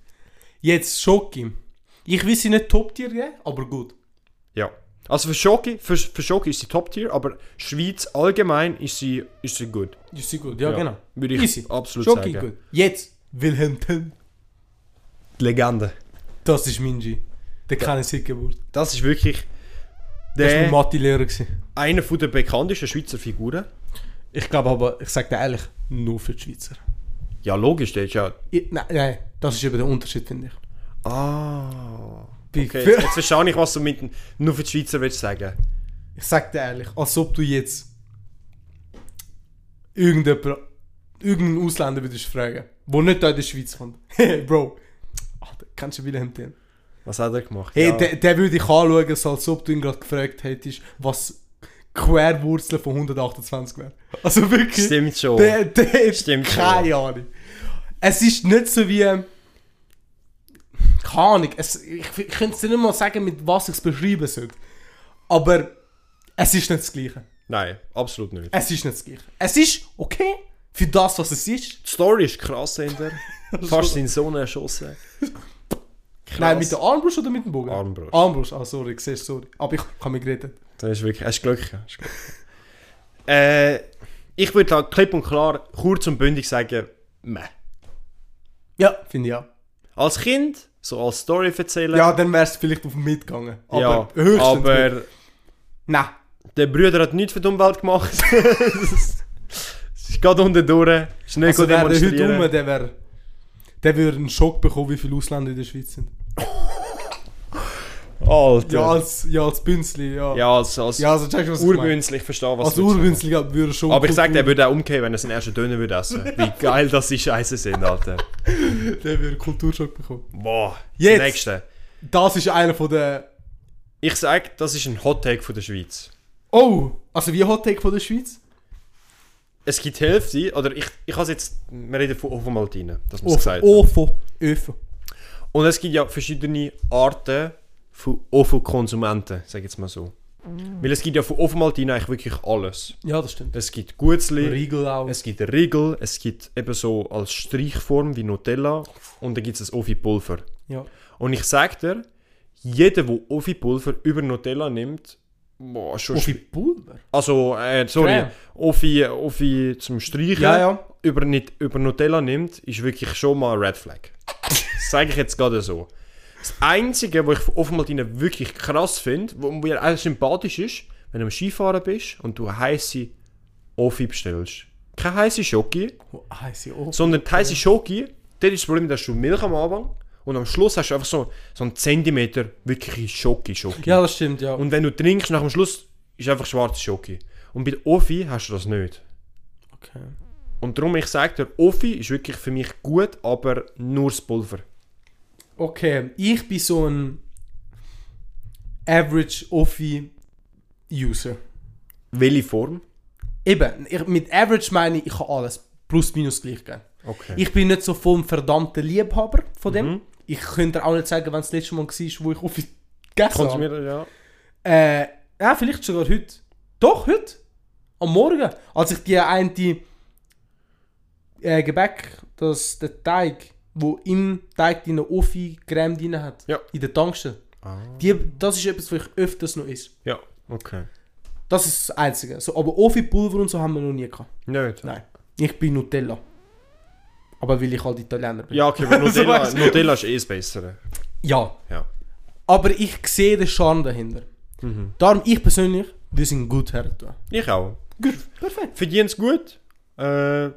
S1: Jetzt Schoki. Ich will sie nicht Top-Tier geben, aber gut.
S2: Ja. Also für Schoki, für, für Schoki ist sie Top-Tier, aber Schweiz allgemein ist sie, ist sie gut.
S1: Ist sie gut, ja,
S2: Ja,
S1: genau.
S2: würde ich
S1: Easy.
S2: absolut
S1: Schoki
S2: sagen.
S1: gut. Jetzt Wilhelm Tell.
S2: Die Legende.
S1: Das ist mein G. Der keine Sickgeburt.
S2: Das ist wirklich
S1: Das war mein
S2: der,
S1: Mathe-Lehrer. gewesen.
S2: einer von der bekanntesten Schweizer Figuren.
S1: Ich glaube aber, ich sage dir ehrlich, nur für die Schweizer.
S2: Ja, logisch, der ist ja.
S1: Ich, nein, ne- nein, das ist eben der Unterschied, finde ich.
S2: Ah.
S1: Bei
S2: Okay,
S1: für-
S2: jetzt verstehe ich, was du mit nur für die Schweizer willst sagen.
S1: Ich sag dir ehrlich, als ob du jetzt irgendjemand, irgendeinen Ausländer würdest fragen, der nicht aus der Schweiz kommt. Hey, Bro, Alter, kennst du Wilhelm Tell?
S2: Was hat er gemacht?
S1: Hey,
S2: ja.
S1: der, der würde dich anschauen, so als ob du ihn gerade gefragt hättest, was Querwurzel von 128 wäre. Also wirklich.
S2: Stimmt schon.
S1: Der, der ist
S2: Stimmt
S1: keine Ahnung. Es ist nicht so wie. Keine Ahnung. Es, ich ich könnte es dir nicht mal sagen, mit was ich es beschreiben sollte. Aber es ist nicht das Gleiche.
S2: Nein, absolut nicht.
S1: Es ist nicht das Gleiche. Es ist okay für das, was es ist.
S2: Die Story ist krass hinter. Fast seinen Sohn erschossen.
S1: Nein, mit der Armbrust oder mit dem Bogen?
S2: Armbrust.
S1: Armbrust, ah, sorry, siehst du, sorry. Aber ich habe mich gerettet.
S2: Das ist wirklich, hast Glück. gehabt, Hast Glück. gehabt. äh, ich würde halt klipp und klar, kurz und bündig sagen, meh.
S1: Ja, finde ich ja.
S2: Als Kind, so als Story erzählen.
S1: Ja, dann wärst du vielleicht auf mitgegangen. Aber
S2: ja,
S1: höchstens. mit-
S2: aber
S1: Nein.
S2: der Bruder hat nichts für die Umwelt gemacht. Es ist gerade unten durch. Ist nicht
S1: Also
S2: also
S1: wäre der heute
S2: demonstrieren.
S1: rum, der wäre... Der würde einen Schock bekommen, wie viele Ausländer in der Schweiz sind.
S2: Alter.
S1: Ja,
S2: Ja, als,
S1: als, ja, als Bünzli, ja.
S2: ja, als, als
S1: Ja, also checkst du, was ich meine. Also
S2: Urbünzli, ich verstehe, was
S1: Als
S2: du willst sagen.
S1: Urbünzli glaub, würde schon...
S2: Aber ich sag, der würde auch umgehen, wenn er seinen ersten Döner würde essen. Wie geil das die Scheiße sind, Alter.
S1: Der würde Kulturschock bekommen.
S2: Boah.
S1: Jetzt.
S2: Nächste.
S1: Das ist einer von der...
S2: Ich sag, das ist ein Hot Take von der Schweiz.
S1: Oh! Also wie Hot Take von der Schweiz?
S2: Es gibt die Hälfte, oder ich, ich has jetzt, wir reden von Ovomaltine, dass man es
S1: Ofo.
S2: gesagt hat.
S1: Ofo. Öfo.
S2: Und es gibt ja verschiedene Arten von Ovo-Konsumenten, sag ich jetzt mal so. Weil es gibt ja von Ovomaltine eigentlich wirklich alles.
S1: Ja, das stimmt.
S2: Es gibt Gutzli,
S1: Riegel auch.
S2: es gibt Riegel, es gibt eben so als Strichform wie Nutella und dann gibt es das Ovi-Pulver.
S1: Ja.
S2: Und ich sag dir, jeder, der Ovi-Pulver über Nutella nimmt, boah, schon
S1: Offi
S2: schwierig.
S1: Pulver?
S2: Also, äh, sorry,
S1: Creme.
S2: Offi, Offi zum Streichen
S1: Ja, ja.
S2: Über, nicht, über Nutella nimmt, ist wirklich schon mal Red Flag. das sage ich jetzt gerade so. Das Einzige, was ich oftmals wirklich krass finde, wo mir auch sympathisch ist, wenn du am Skifahren bist und du heiße Offi bestellst. Keine heiße Schoki,
S1: Oh, heiße Ofo.
S2: sondern die heiße Schoki, dort ist das Problem, dass du Milch am Anfang und am Schluss hast du einfach so, so einen Zentimeter wirkliche Schoki-Schoki.
S1: Ja, das stimmt, ja.
S2: Und wenn du trinkst, nach dem Schluss ist einfach schwarze Schoki. Und bei der Offi hast du das nicht.
S1: okay.
S2: Und darum, ich sage dir, Offi ist wirklich für mich gut, aber nur das Pulver.
S1: Okay, ich bin so ein Average Offi User.
S2: Welche Form?
S1: Eben, ich, mit Average meine ich, ich kann alles plus minus gleich geben.
S2: Okay.
S1: Ich bin nicht so vom verdammten Liebhaber von dem. Ich könnte dir auch nicht sagen, wenn es das letzte Mal war, wo ich Offi gegessen habe.
S2: Konsumiere, ja.
S1: Äh, ja, vielleicht sogar heute. Doch, heute. Am Morgen. Als ich die eine äh, Gebäck, das, der Teig, wo im Teig deine Offi Creme drin hat,
S2: Ja.
S1: in der Tankstelle.
S2: Ah.
S1: Die, das ist etwas, was ich öfters noch esse.
S2: Ja, okay.
S1: Das ist das Einzige. So, aber Offi-Pulver und so haben wir noch nie gehabt.
S2: Nicht?
S1: Nein. Ich bin Nutella. Aber weil ich halt Italiener bin.
S2: Ja, okay, aber
S1: So
S2: Nutella,
S1: weißt du.
S2: Nutella ist eh das Bessere.
S1: Ja.
S2: Ja.
S1: Aber ich sehe den Charme dahinter.
S2: Mhm.
S1: Darum, ich persönlich, wir sind gut her.
S2: Ich auch.
S1: Gut, perfekt.
S2: Verdienen es gut? Äh, ja.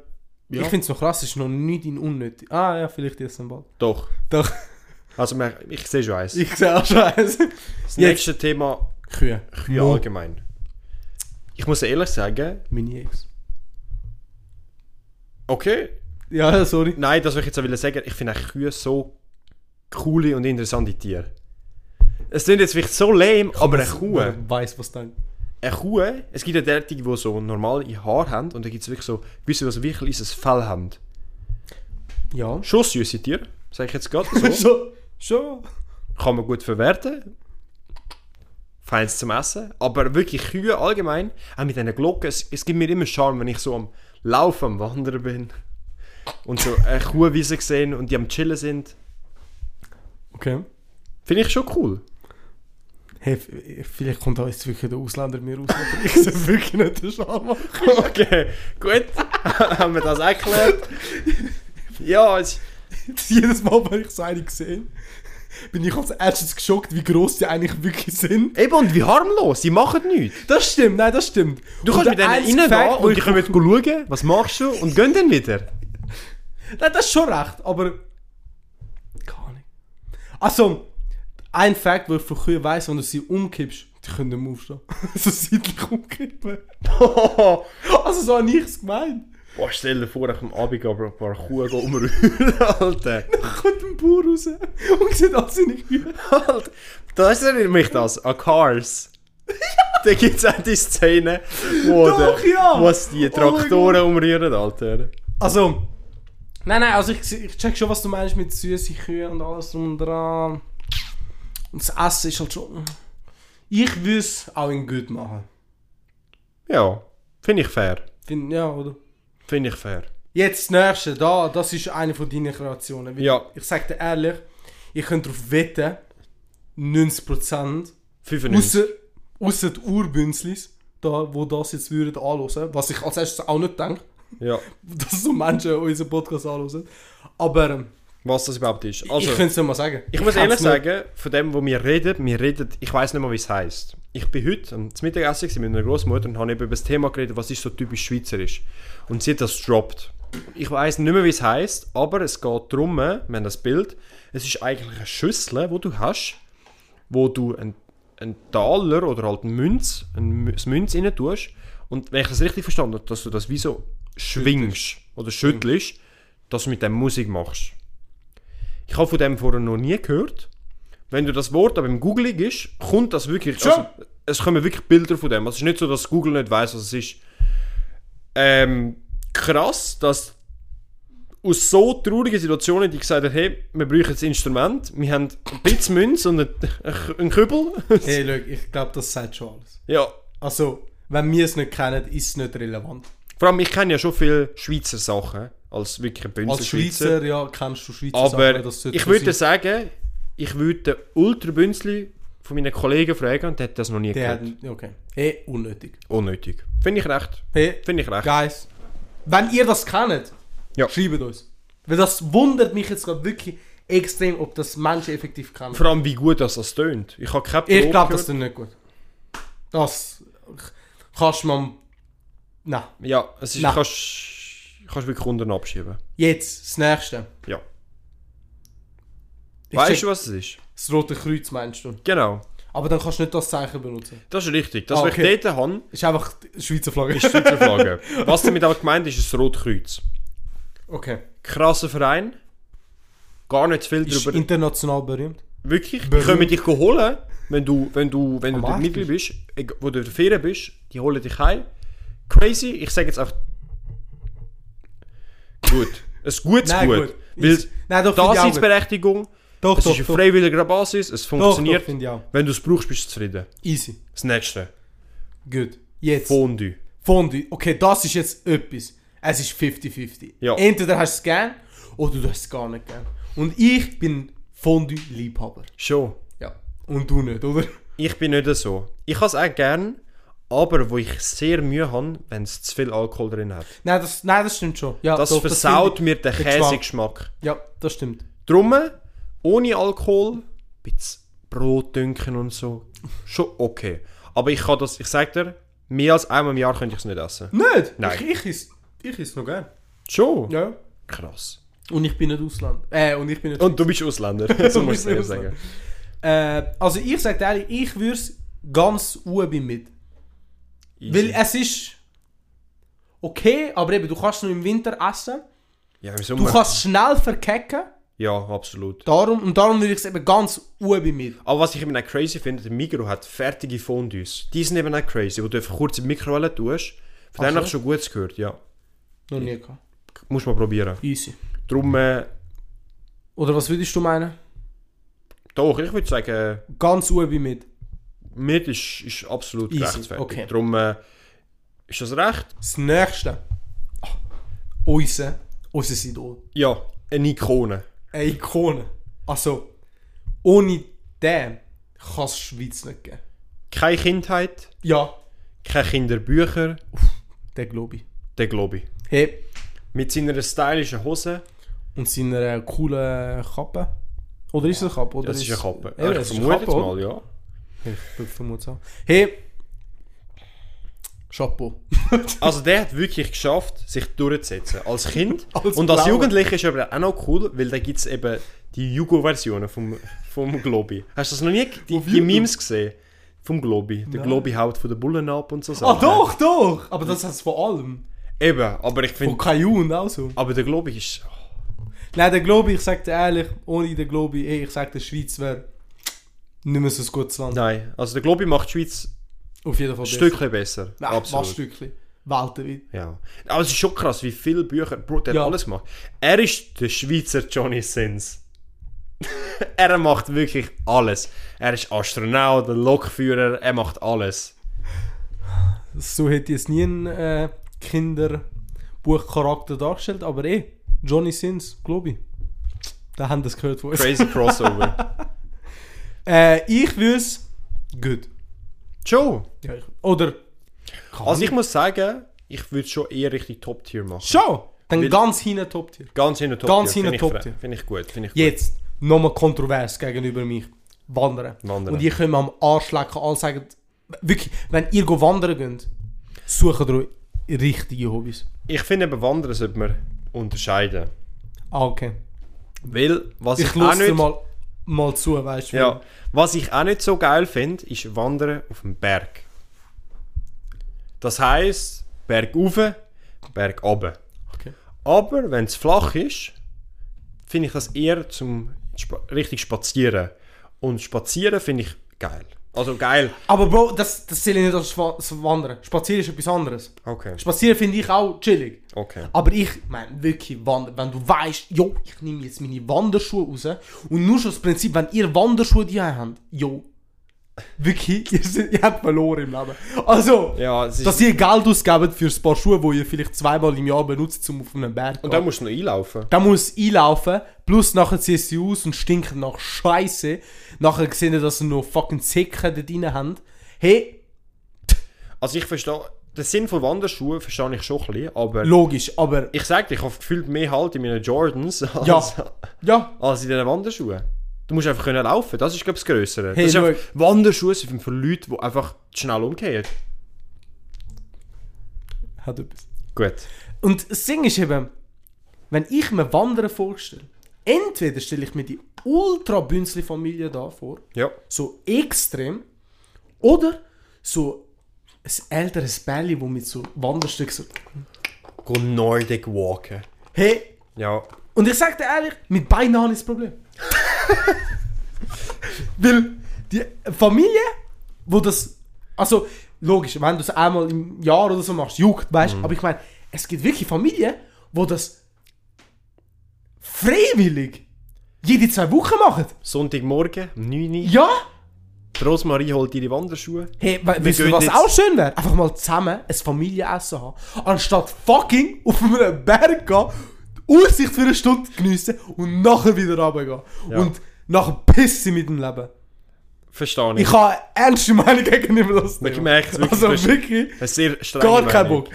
S1: Ich finde es noch krass, es ist noch nicht in unnötig. Ah ja, vielleicht jetzt dann bald.
S2: Doch.
S1: Doch,
S2: Also, man- ich sehe schon eins.
S1: ich sehe auch schon eins.
S2: Das
S1: Jetzt.
S2: nächste Thema,
S1: Kühe.
S2: Kühe
S1: Mo-
S2: allgemein. Ich muss ehrlich sagen,
S1: Meine Ex.
S2: okay,
S1: Ja, sorry.
S2: Nein, das will ich jetzt auch wollen sagen. Ich finde eigentlich Kühe so coole und interessante Tiere. Es klingt jetzt vielleicht so lame, aber eine Kuh, eine
S1: Ich weiss, was dann.
S2: Kuh, es gibt ja derartige, die so normale Haare haben und dann gibt es wirklich so gewisse, die so wirklich ein kleines Fell haben.
S1: Ja.
S2: Schon süße Tiere, sage ich jetzt gerade so.
S1: Schon. Schon.
S2: Kann man gut verwerten. Feins zum Essen. Aber wirklich Kühe allgemein, auch mit einer Glocke, es, es gibt mir immer Charme, wenn ich so am Laufen, am Wandern bin und so eine Kuhwiese gesehen und die am Chillen sind.
S1: Okay.
S2: Finde ich schon cool.
S1: Hey, f- vielleicht kommt da jetzt wirklich der Ausländer mir raus, aber ich sehe wirklich nicht den Charme.
S2: Okay, gut. Haben wir das erklärt? Ja, es,
S1: Jedes Mal, wenn ich so eine sehe, bin ich als erstes geschockt, wie gross die eigentlich wirklich sind.
S2: eben, und wie harmlos. Sie machen nichts.
S1: Das stimmt, nein, das stimmt.
S2: Du kannst mit denen reingehen und die können schauen, was machst du, und gehen dann wieder.
S1: Nein, das ist schon recht, aber... Keine Ahnung. Also, ein Fakt, wo ich von Kühen weiss, wenn du sie umkippst, die können nicht mehr aufstehen. so seitlich umkippen. Also so habe ich es gemeint.
S2: Boah, stell dir vor, ich am Abend aber ein paar Kuh umrühren, Alter.
S1: Da kommt ein Bauer raus und sieht all seine Kühe.
S2: Alter. Das erinnert mich das an Cars. da gibt es auch die Szene, wo,
S1: Doch,
S2: der,
S1: ja.
S2: wo es
S1: Oh mein
S2: die Traktoren umrühren, Alter.
S1: Also, nein, nein, also ich, ich check schon, was du meinst mit süße Kühe und alles drum und dran. Und das Essen ist halt schon. Ich würde es auch in gut machen.
S2: Ja, finde ich fair.
S1: Find, ja, oder?
S2: Finde ich fair.
S1: Jetzt das nächste, da, das ist eine von deinen Kreationen. Weil
S2: Ja.
S1: Ich sag dir ehrlich, ich könnte darauf wetten, 90%
S2: 95.
S1: außer, außer die Urbünzlis, da, wo das jetzt würden anhören, was ich als erstes auch nicht denke,
S2: Ja,
S1: dass so Menschen unseren Podcast anhören. Aber ähm,
S2: was das überhaupt ist.
S1: ich
S2: Also,
S1: könnte es ja mal sagen.
S2: Ich muss
S1: kann's
S2: ehrlich
S1: nicht.
S2: sagen, von dem, wo wir reden, wir reden, ich weiß nicht mal, wie es heißt. Ich bin heute am Mittagessen gewesen mit meiner Großmutter und habe eben über das Thema geredet, was ist so typisch schweizerisch. Und sie hat das gedroppt. Ich weiß nicht mehr, wie es heißt, aber es geht darum, wir haben das Bild, es ist eigentlich eine Schüssel, wo du hast, wo du einen, einen Taler oder halt eine Münz, ein Münz rein tust. Und wenn ich das richtig verstanden habe, dass du das wie so schwingst oder schüttelst, dass du mit dem Musik machst. Ich habe von dem vorher noch nie gehört. Wenn du das Wort aber im Googling ist, kommt das wirklich.
S1: Schon.
S2: Also, es kommen wirklich Bilder von dem. Also es ist nicht so, dass Google nicht weiß, was es ist. Ähm, krass, dass aus so traurigen Situationen, die gesagt haben, hey, wir brauchen das Instrument, wir haben ein bisschen Münze und einen- einen Kübel.
S1: Hey, look, ich glaube, das sagt schon alles.
S2: ja,
S1: Also, wenn wir es nicht kennen, ist es nicht relevant.
S2: vor allem, ich kenne ja schon viele Schweizer Sachen als wirklich ein Bünzler
S1: Als Schweizer, ja, kennst du Schweizer
S2: Aber
S1: Sachen, das sollte
S2: ich
S1: so
S2: würde
S1: sein.
S2: sagen, ich würde den Ultrabünzli von meinen Kollegen fragen und der hat das noch nie
S1: Der hat,
S2: gehört.
S1: okay. Hey, unnötig.
S2: Unnötig. Finde ich recht.
S1: Hey,
S2: Finde ich recht.
S1: Guys, wenn ihr das kennt,
S2: Ja.
S1: schreibt uns. Weil das wundert mich jetzt gerade wirklich extrem, ob das Menschen effektiv kennen.
S2: Vor allem, wie gut das, das tönt. Ich habe keine
S1: ich
S2: Probe
S1: glaube, das
S2: gehört.
S1: tut nicht gut. Das kannst man... Nein.
S2: Ja, es ist,
S1: Nein.
S2: kannst, kannst wirklich Kunden abschieben.
S1: Jetzt, das Nächste.
S2: Ja.
S1: Ich
S2: weißt
S1: check-
S2: du, was es ist?
S1: Das Rote Kreuz meinst du.
S2: Genau.
S1: Aber dann kannst du nicht das Zeichen benutzen.
S2: Das ist richtig. Das,
S1: Ah,
S2: was
S1: okay.
S2: ich dort habe,
S1: Ist einfach die Schweizer Flagge.
S2: ist die Schweizer Flagge. was damit aber gemeint ist, ist das Rotkreuz.
S1: Okay.
S2: Krasser Verein. Gar nicht viel
S1: Ist
S2: darüber.
S1: international berühmt.
S2: Wirklich? Die
S1: Berühmt.
S2: können dich holen, wenn du, wenn du, wenn du
S1: Am
S2: dort
S1: Arsch
S2: Mitglied bist, eg- wo du in der Ferien bist, die holen dich heim. Crazy, ich sage jetzt auch. Gut. Ein gutes Gut. Weil
S1: Ist- Nein, doch, finde ich auch gut.
S2: Daseinsberechtigung,
S1: Doch,
S2: es
S1: doch,
S2: ist auf
S1: doch.
S2: freiwilliger Basis, es
S1: Doch, doch,
S2: funktioniert.
S1: finde ich auch.
S2: wenn du es brauchst, bist du zufrieden.
S1: Easy.
S2: Das nächste.
S1: Gut. Jetzt.
S2: Fondue.
S1: Fondue. Okay, das ist jetzt etwas. Es ist 50-50.
S2: Ja.
S1: Entweder hast du es gern oder du hast es gar nicht gern. Und ich bin Fondue-Liebhaber.
S2: Schon.
S1: Ja. Und du nicht, oder?
S2: Ich bin nicht so. Ich habe es auch gern, aber wo ich sehr Mühe habe, wenn es zu viel Alkohol drin hat.
S1: Nein, das, nein, das stimmt schon. Ja,
S2: Das
S1: doch,
S2: versaut
S1: finde
S2: mir
S1: den
S2: den
S1: Geschmack.
S2: Käsegeschmack.
S1: ich- Ja, das stimmt.
S2: Drum, ohne Alkohol, bisschen Brot dünken und so, schon okay. Aber ich kann das, ich sag dir, mehr als einmal im Jahr könnte ich es nicht essen.
S1: Nicht?
S2: Nein.
S1: Ich, ich esse ich esse noch gern.
S2: Schon?
S1: Ja.
S2: Krass.
S1: Und ich bin nicht Ausland. Äh, und ich bin nicht
S2: Und du bist Ausländer, so
S1: Du
S2: musst
S1: bist
S2: du es eher sagen.
S1: Äh, also ich sage ehrlich, ich würde es ganz oben mit. Weil
S2: Easy.
S1: es ist okay, aber eben, du kannst es nur im Winter essen.
S2: ja, im
S1: Du
S2: Sommer.
S1: kannst schnell verkecken.
S2: Ja, absolut.
S1: Darum, und darum würde ich es eben ganz oben mit.
S2: Aber was ich eben auch crazy finde, der Migro hat fertige Fondues. Die sind eben auch crazy, wo du einfach kurz in die Mikrowelle tust. Von
S1: Ach
S2: denen
S1: so.
S2: habe ich schon Gutes gehört, ja.
S1: Noch nie gehabt.
S2: Muss mal probieren.
S1: Easy.
S2: Drum, äh,
S1: Oder was würdest du meinen?
S2: doch, ich würde sagen,
S1: Ganz oben mit.
S2: Mit ist, ist absolut
S1: Easy,
S2: gerechtfertigt.
S1: okay.
S2: Darum äh, ist das recht?
S1: Das nächste. Oh, unser, unser Idol.
S2: Ja, eine Ikone.
S1: Eine Ikone. Also, ohne den kann es Schweiz nicht geben.
S2: Keine Kindheit,
S1: Ja,
S2: keine Kinderbücher,
S1: der glaube ich.
S2: der glaube ich.
S1: Hey,
S2: Mit seiner stylischen Hose,
S1: Und seiner coolen Kappe. Oder ist es eine Kappe? Oder
S2: das ist eine Kappe.
S1: Ja,
S2: ich
S1: das ist eine
S2: vermute
S1: Kappe,
S2: jetzt
S1: oder?
S2: mal, ja.
S1: Ich vermute es auch. Hey! Chapeau.
S2: Also der hat wirklich geschafft, sich durchzusetzen. Als Kind
S1: Als
S2: und als
S1: Blauer.
S2: Jugendlicher ist aber auch noch cool, weil da gibt es eben die Jugo-Versionen vom, vom Globi. Hast du das noch nie g- die,
S1: Auf
S2: die
S1: YouTube?
S2: Memes gesehen? Vom Globi. Der
S1: Nein.
S2: Globi haut von den Bullen ab und so
S1: Ah,
S2: Sachen.
S1: doch, doch! Aber das heißt vor allem.
S2: Eben, aber ich
S1: Von
S2: finde...
S1: Kajun auch so.
S2: Aber der Globi ist...
S1: Nein, der Globi, ich sag dir ehrlich, ohne den Globi, ey, ich sag dir, Schweiz wäre nicht mehr so ein gutes Land.
S2: Nein, also der Globi macht die Schweiz
S1: Auf jeden Fall
S2: Ein
S1: besser.
S2: Stückchen besser.
S1: Nein,
S2: Absolut.
S1: was Stückchen. Weltweit.
S2: Ja. Aber es ist schon krass, wie viele Bücher. Bro, der
S1: Ja.
S2: hat alles gemacht. Er ist der Schweizer Johnny Sins. er macht wirklich alles. Er ist Astronaut, Lokführer, er macht alles.
S1: So hätte ich es nie einen äh, Kinderbuchcharakter dargestellt, aber eh, Johnny Sins, glaube ich. Da haben das gehört von uns.
S2: Crazy Crossover.
S1: Äh, ich würde es gut.
S2: Joe,
S1: Ja, ich, oder
S2: also ich muss sagen, ich würde schon eher richtig Top-Tier machen.
S1: schon, dann
S2: Weil-
S1: ganz hinten Top-Tier.
S2: Ganz hinter Top-Tier.
S1: Ganz hinten
S2: Finde ich
S1: Top-Tier.
S2: fre- Finde ich gut. Finde ich gut.
S1: Jetzt, nochmal kontrovers gegenüber mich. Wandern.
S2: Wandern.
S1: Und ihr könnt mir am Arsch lecken, alle sagen, wirklich, wenn ihr go wandern geht, sucht ihr euch richtige Hobbys.
S2: Ich finde, bei Wandern sollte man unterscheiden.
S1: Ah, okay.
S2: Weil, was ich,
S1: Ich
S2: auch
S1: lasse dir
S2: nicht...
S1: mal, mal zu, weißt du.
S2: Ja, was ich auch nicht so geil finde, ist Wandern auf dem Berg. Das heisst, Berg rauf, Berg runter.
S1: Okay.
S2: Aber wenn es flach ist, finde ich das eher zum spa richtig spazieren. Und spazieren finde ich geil. Also geil.
S1: Aber Bro, das, das zähle ich nicht als Schwa- als Wandern. Spazieren ist etwas anderes.
S2: Okay.
S1: Spazieren finde ich auch chillig.
S2: Okay.
S1: Aber ich meine wirklich wandern. Wenn du weißt, jo, ich nehme jetzt meine Wanderschuhe raus und nur schon das Prinzip, wenn ihr Wanderschuhe die habt, jo, wirklich, ihr, seid, ihr habt verloren im Leben. Also,
S2: Ja, es ist,
S1: dass ihr Geld ausgebt für ein paar Schuhe, die ihr vielleicht zweimal im Jahr benutzt, um auf einen Berg zu
S2: und dann
S1: gehen.
S2: musst du noch einlaufen.
S1: Dann muss es einlaufen, plus nachher ziehst du sie aus und stinken nach Scheiße. Nachher sehen ihr, dass ihr noch fucking Zicken da drin habt. Hey,
S2: Also ich verstehe, den Sinn von Wanderschuhen verstehe ich schon ein bisschen, aber
S1: logisch, aber
S2: ich sage dir, ich habe gefühlt mehr Halt in meinen Jordans als,
S1: Ja. ja,
S2: als in diesen Wanderschuhen. Du musst einfach können laufen, das ist glaube ich das Grössere.
S1: Hey,
S2: das ist
S1: schau.
S2: einfach, Wanderschuhe sind für Leute, die einfach schnell umgehen.
S1: hat etwas.
S2: Gut.
S1: Und das Ding ist eben, wenn ich mir Wandern vorstelle, entweder stelle ich mir die ultra bünzli familie da vor,
S2: Ja.
S1: so extrem, oder so ein älteres Bärli, wo mit so Wanderstück so,
S2: Go Nordic walken.
S1: hey,
S2: Ja.
S1: und ich sag dir ehrlich, mit beiden habe ich das Problem. Weil die Familie, wo das, also logisch, wenn du es einmal im Jahr oder so machst, juckt, weißt du, aber ich meine, es gibt wirklich Familien, wo das freiwillig jede zwei Wochen machen.
S2: Sonntagmorgen, um 9 Uhr.
S1: Ja!
S2: Die Rosmarie holt ihre Wanderschuhe.
S1: Hey, we wisst ihr,
S2: gehen
S1: was
S2: jetzt-
S1: auch schön wäre? Einfach mal zusammen ein Familienessen haben. Anstatt fucking auf einem Berg gehen, die Aussicht für eine Stunde geniessen und nachher wieder runtergehen.
S2: Ja.
S1: Und nachher pissen mit dem Leben.
S2: Verstehe ich.
S1: Ich habe eine ernste Meinung gegenüber das Thema.
S2: Ich merke es wirklich.
S1: Also wirklich,
S2: Eine sehr strenge
S1: gar kein
S2: Meinung.
S1: Bock.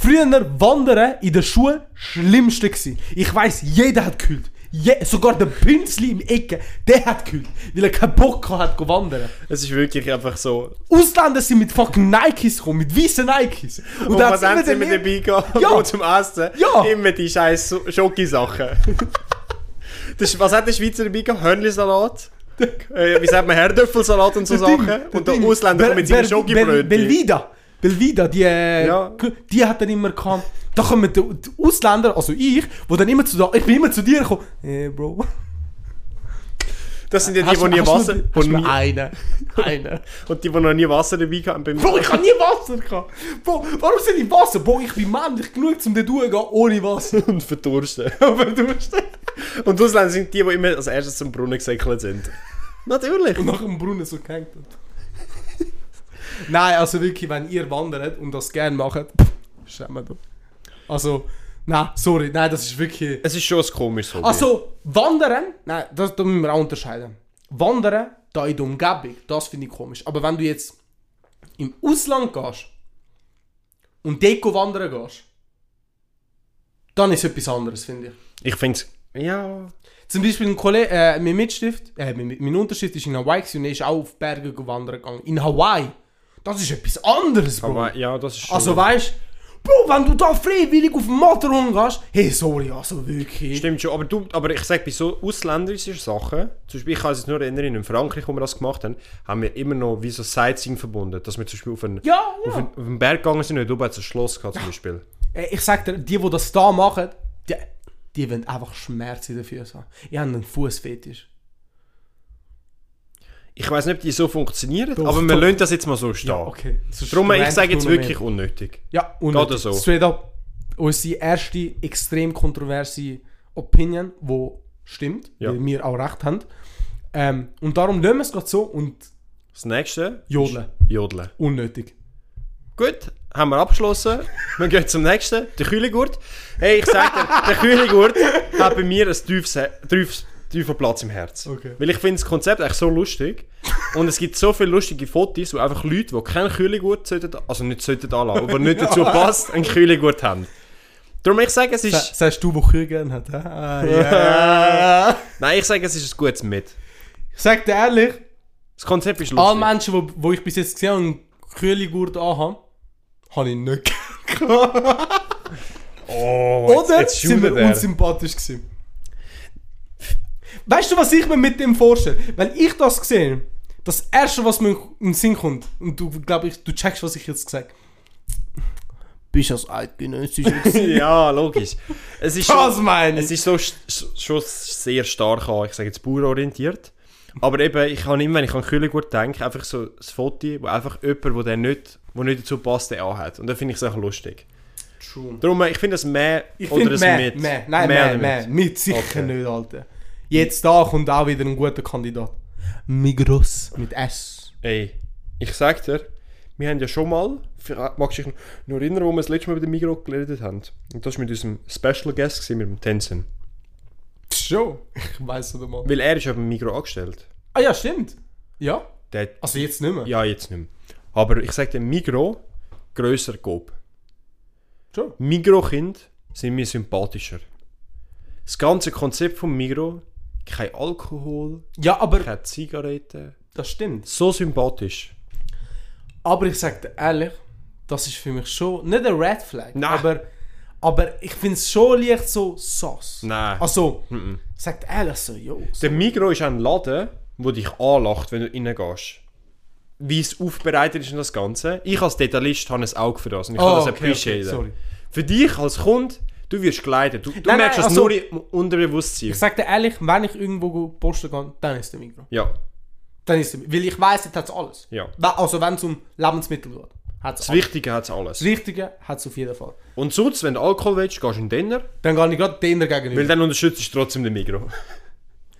S1: Früher Wandern in der Schule, schlimmste gsi. Ich weiß, jeder hat gekühlt. Je sogar der Pünzli im Ecke, der hat gekühlt, weil er keinen Bock hat zu wandern.
S2: Es ist wirklich einfach so.
S1: Ausländer sind mit fucking Nikes gekommen, mit weißen Nikes. Und,
S2: Und
S1: da
S2: was
S1: hat's
S2: haben sie
S1: immer den-
S2: mit dabei gehabt?
S1: Ja.
S2: Und zum Essen?
S1: Ja.
S2: Immer die scheiß So- Schokisachen. Das- was hat der Schweizer dabei gehabt? Hörnlisalat? Äh, wie sagt man? Herdöpfelsalat und so
S1: Das Ding,
S2: Sachen.
S1: das
S2: und der
S1: Ding.
S2: Ausländer kommt mit seinen
S1: Bel- Bel-
S2: Schokibrötchen.
S1: Belvida. Belvida, die, äh,
S2: Ja.
S1: die hat dann immer gehabt. Da kommen die, die Ausländer, also ich, wo dann immer zu da, ich bin immer zu dir gekommen. Äh, Bro.
S2: Das sind ja die,
S1: Hast
S2: die
S1: du-
S2: nie
S1: hast du-
S2: Wasser...
S1: Hast
S2: die
S1: du mir
S2: nie-
S1: einen. Einen.
S2: Und die, die noch nie Wasser dabei gehabt haben.
S1: Bro, ich hab nie Wasser gehabt. Bro, warum sind ich Wasser? Bro, ich bin männlich genug, um dort gehen ohne Wasser.
S2: Und verdursten.
S1: Aber du musst
S2: Und die Ausländer sind die, die immer als erstes zum Brunnen gesäckelt sind. Natürlich.
S1: nach dem Brunnen so gehängt hat. nein, also wirklich, wenn ihr wandert und das gerne macht, schämen wir Also, nein, sorry, nein, das ist wirklich...
S2: Es ist schon ein komisches Hobby.
S1: Also, Wandern, nein, das, da müssen wir auch unterscheiden. Wandern, da in der Umgebung, das finde ich komisch. Aber wenn du jetzt im Ausland gehst und Deko wandern gehst, dann ist etwas anderes, finde ich.
S2: Ich finde es... Ja...
S1: Zum Beispiel ein Kollege, äh, mein Mitstift, äh, mein, mein Unterstift ist in Hawaii gewesen und er ist auch auf Berge wandern gegangen. In Hawaii. Das ist etwas anderes, Bro.
S2: Aber ja, das ist schon...
S1: Also weißt Bro, wenn du da freiwillig auf den Motorhome gehst, hey, sorry, also wirklich.
S2: Stimmt schon, aber, du, aber ich sage, bei so ausländischen Sachen, zum Beispiel, ich kann es jetzt nur erinnern, in Frankreich, wo wir das gemacht haben, haben wir immer noch wie so Sightseeing verbunden, dass wir zum Beispiel auf einen,
S1: Ja,
S2: auf einen,
S1: ja.
S2: auf einen Berg gegangen sind und oben hat es ein Schloss gehabt zum Beispiel.
S1: Äh, ich sag dir, die, die das da machen, die, die wollen einfach Schmerzen in den Füßen haben. Ich habe einen Fußfetisch.
S2: Ich weiß nicht, ob die so funktionieren,
S1: Doch,
S2: aber wir
S1: doch.
S2: lassen das jetzt mal so stehen.
S1: Ja, okay. Sonst
S2: Darum, ich
S1: rennt
S2: sage jetzt
S1: nur noch mehr.
S2: wirklich unnötig.
S1: Ja, und
S2: Geht so.
S1: straight up. Unsere erste extrem kontroverse Opinion, wo stimmt,
S2: Ja.
S1: weil wir auch recht haben. Ähm, und darum lassen wir es gerade so und
S2: Das nächste?
S1: jodeln.
S2: Jodeln.
S1: Unnötig.
S2: Gut, haben wir abgeschlossen. Wir gehen zum nächsten. Der Kühlegurt. Hey, ich sage dir, der Kühlegurt hat bei mir einen tiefes, He- tiefes, tiefen Platz im Herzen.
S1: Okay.
S2: Weil ich finde das Konzept echt so lustig. Und es gibt so viele lustige Fotos, wo einfach Leute, die keinen Kühlegurt sollten, also nicht sollten anlassen, aber nicht dazu passt, einen Kühlegurt haben. Darum, ich sage, es ist... Äh.
S1: Sa- Sagst du, wo Kühe gerne hat? hä? Ah, ja.
S2: Nein, ich sage, es ist ein gutes Mit.
S1: ich sag dir ehrlich,
S2: Das Konzept ist lustig.
S1: alle Menschen, die wo, wo ich bis jetzt gesehen habe und Kühligurt anhaben, habe ich nicht gern
S2: oh, jetzt-
S1: Oder
S2: jetzt
S1: sind wir
S2: schuldet er.
S1: unsympathisch gewesen? Weißt du, was ich mir mit dem vorstelle? Wenn ich das sehe, das Erste, was mir in den Sinn kommt, und du, glaube ich, du checkst, was ich jetzt gesagt bist als Eidgenössischer gewesen.
S2: ja, logisch. Es ist
S1: Das
S2: schon-
S1: meine ich.
S2: Es ist so sch- sch- schon sehr stark an, ich sage jetzt bauerorientiert. Aber eben, ich kann immer, wenn ich an Kühlegurt denke, einfach so ein Foto, wo einfach jemand, wo der nicht, wo nicht dazu passt, der anhat. Und da finde ich es auch lustig.
S1: True.
S2: Darum, äh, ich finde das mehr
S1: Ich
S2: oder
S1: finde
S2: das
S1: mehr,
S2: mit.
S1: mehr. Nein,
S2: Mehr
S1: mehr,
S2: oder
S1: mehr. Mit sicher
S2: Okay.
S1: nicht, Alter. Jetzt da kommt auch wieder ein guter Kandidat. Migros mit S.
S2: Ey, ich sag dir, wir haben ja schon mal, vielleicht magst du dich noch erinnern, wo wir das letzte Mal bei dem Migro geredet haben. Und das war mit unserem Special Guest, gewesen, mit dem Tenzin.
S1: Schon. Ich weiß nicht mal.
S2: Weil er ist ja beim Migro angestellt.
S1: Ah ja, stimmt. Ja.
S2: Der hat
S1: Also jetzt nicht mehr.
S2: Ja, jetzt nicht mehr. Aber ich sage dir, Migro, grösser Coop.
S1: Schon.
S2: Migro-Kind sind mir sympathischer. Das ganze Konzept von Migro, kein Alkohol,
S1: Ja, aber
S2: keine Zigaretten,
S1: das stimmt.
S2: so sympathisch.
S1: Aber ich sag dir ehrlich, das ist für mich schon nicht ein Red Flag,
S2: Nein.
S1: aber aber ich finde es schon leicht so sauce.
S2: Nein.
S1: Also, sagt ehrlich so, jo. So.
S2: Der Migro ist ein Laden, wo dich anlacht, wenn du reingehst. Wie es aufbereitet ist und das Ganze. Ich als Detailist habe ein Auge für das und ich
S1: Oh,
S2: kann das
S1: okay,
S2: appreciaten.
S1: okay, sorry.
S2: Für dich als Kunde, du wirst geleitet. Du, du
S1: Nein,
S2: merkst
S1: nein,
S2: das
S1: also-
S2: nur im Unterbewusstsein.
S1: Ich sag dir ehrlich, wenn ich irgendwo posten kann, dann ist der Migros.
S2: Ja,
S1: Dann ist der, weil ich weiß, dort hat alles.
S2: Ja.
S1: Wa- Also wenn es um Lebensmittel geht, hat es
S2: das
S1: alles.
S2: Wichtige hat es alles.
S1: Das Richtige hat es auf jeden Fall.
S2: Und sonst, wenn du Alkohol willst, gehst du in den Denner,
S1: Dann gehe ich gerade denen gegenüber.
S2: weil dann unterstützt du trotzdem den Also, Migro.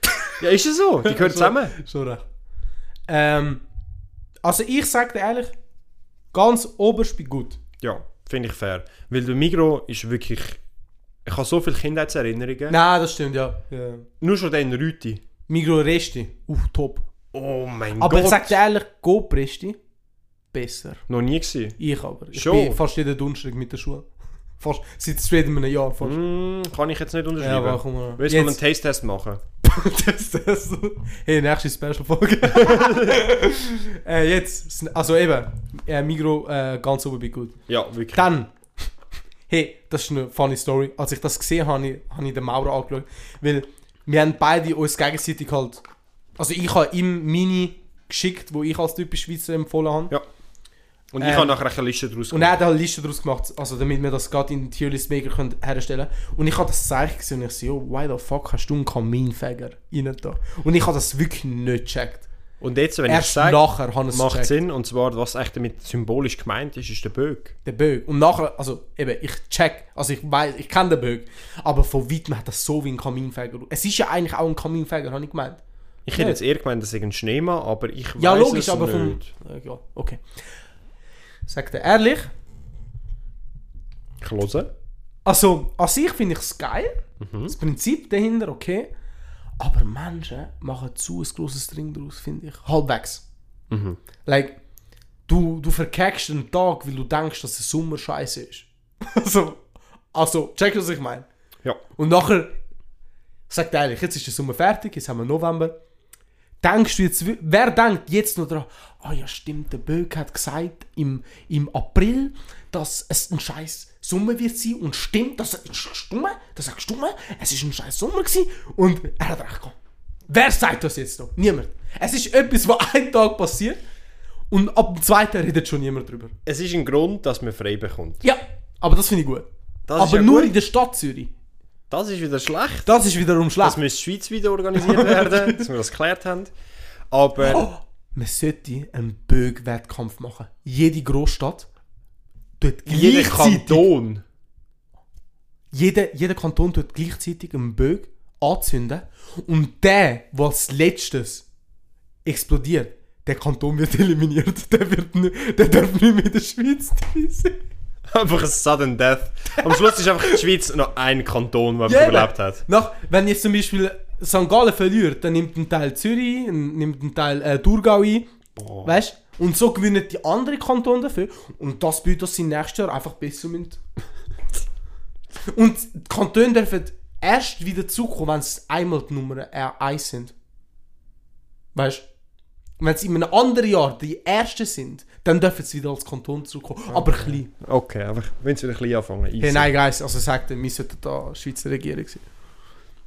S2: ja, ist es so? Die gehören zusammen.
S1: Schon recht. Ähm, also ich sag dir ehrlich, ganz oberst bin gut.
S2: Ja, finde ich fair. Weil der Migro ist wirklich... Ich habe so viele Kindheitserinnerungen.
S1: Nein, das stimmt, ja. ja.
S2: Nur schon den Rüti.
S1: Migros Resti, uff, top.
S2: Oh mein
S1: Aber
S2: Gott.
S1: ich sag dir ehrlich, Coop Resti, besser.
S2: Noch nie gesehen.
S1: Ich aber. Ich
S2: Schon.
S1: bin fast jeden Donnerstag mit der Schule. Fast, seit seit einem Jahr fast.
S2: Hm, kann ich jetzt nicht
S1: Ja,
S2: unterschreiben.
S1: aber komm mal.
S2: Willst du mal einen Taste-Test machen?
S1: das, das. Hey, nächste Special-Folge. äh, jetzt, also eben, äh, Migro äh, ganz oben bin gut.
S2: Ja, wirklich.
S1: Dann, hey, das ist eine funny Story. Als ich das gesehen habe, habe ich, habe ich den Maurer angeschaut. Weil wir haben beide uns gegenseitig halt. Also ich habe ihm Mini geschickt, wo ich als typisch Schweizer empfohlen habe.
S2: Ja. Und ich
S1: Ähm,
S2: habe nachher eine Liste draus
S1: Und er
S2: gemacht.
S1: hat halt eine Liste daraus gemacht, also damit wir das gerade in den Tierlist-Maker können herstellen können. Und ich habe das Zeichen gesehen und ich so, yo, why the fuck hast du einen Kaminfeger rein da? Und ich habe das wirklich nicht gecheckt.
S2: Und jetzt, wenn ich
S1: Erst
S2: sage,
S1: nachher habe ich es
S2: macht
S1: gecheckt.
S2: Sinn. Und zwar, was echt damit symbolisch gemeint ist, ist der Böck.
S1: Der Bög. Und nachher, also eben, ich check, also ich weiß, ich kenne den Bög, aber von weitem hat das so wie ein Kaminfeger. Es ist ja eigentlich auch ein Kaminfeger, habe ich gemeint.
S2: Ich hätte
S1: Ja.
S2: jetzt eher gemeint, das ist ein Schneemann, aber ich weiß
S1: Ja, logisch,
S2: es
S1: aber vom.
S2: nicht.
S1: Äh, ja, okay. Sagt er ehrlich,
S2: Ich höre.
S1: Also, an sich finde ich es geil. Das Prinzip dahinter, okay. Aber Menschen machen zu ein grosses Ding daraus, finde ich. Halbwegs. Like, du, du verkackst einen Tag, weil du denkst, dass der Sommer scheiße ist. also, also, check, was ich meine.
S2: Ja.
S1: Und nachher sagt ehrlich, jetzt ist der Sommer fertig, jetzt haben wir November. Denkst du jetzt, wi- wer denkt jetzt noch daran, ah ja stimmt, der Böck hat gesagt im, im April, dass es ein scheiß Sommer wird sein und stimmt, das ist stumm, das sagst du, es ist ein scheiß Sommer gewesen und er hat recht gehabt. Wer sagt das jetzt noch? Niemand. Es ist etwas, was einen Tag passiert und ab dem zweiten redet schon niemand drüber.
S2: Es ist ein Grund, dass man frei bekommt.
S1: Ja, aber das finde ich gut.
S2: Das ist
S1: aber
S2: ja
S1: nur
S2: gut.
S1: in der Stadt Zürich.
S2: Das ist wieder schlecht.
S1: Das ist wiederum schlecht.
S2: Das müsste schweizweit organisiert werden, dass wir das geklärt haben. Aber
S1: Oh, man sollte einen Bög-Wettkampf machen. Jede Großstadt tut
S2: jeder
S1: gleichzeitig-
S2: Kanton.
S1: Jeder, jeder Kanton tut gleichzeitig einen Bög anzünden und der, der als letztes explodiert, der Kanton wird eliminiert. Der, wird nicht, der darf nicht mehr in der Schweiz dabei sein.
S2: Einfach ein sudden death. Am Schluss ist einfach die Schweiz noch ein Kanton, der
S1: Ja,
S2: überlebt
S1: eben.
S2: hat.
S1: Nach, wenn jetzt zum Beispiel St. Gallen verliert, dann nimmt ein Teil Zürich, ein- nimmt ein Teil äh, Thurgau ein. Weißt Und so gewinnen die anderen Kantone dafür. Und das bedeutet, dass sie nächstes Jahr einfach besser müssen. Und die Kantone dürfen erst wieder zukommen, wenn es einmal die Nummer 1 sind. Weißt Wenn sie in einem anderen Jahr die Ersten sind, dann dürfen sie wieder als Kanton zukommen. Aber klein.
S2: Ah, Okay, einfach, wenn sie wieder ein bisschen anfangen. easy.
S1: Hey, nein, Guys, also sagt er, wir sollten da Schweizer Regierung sein.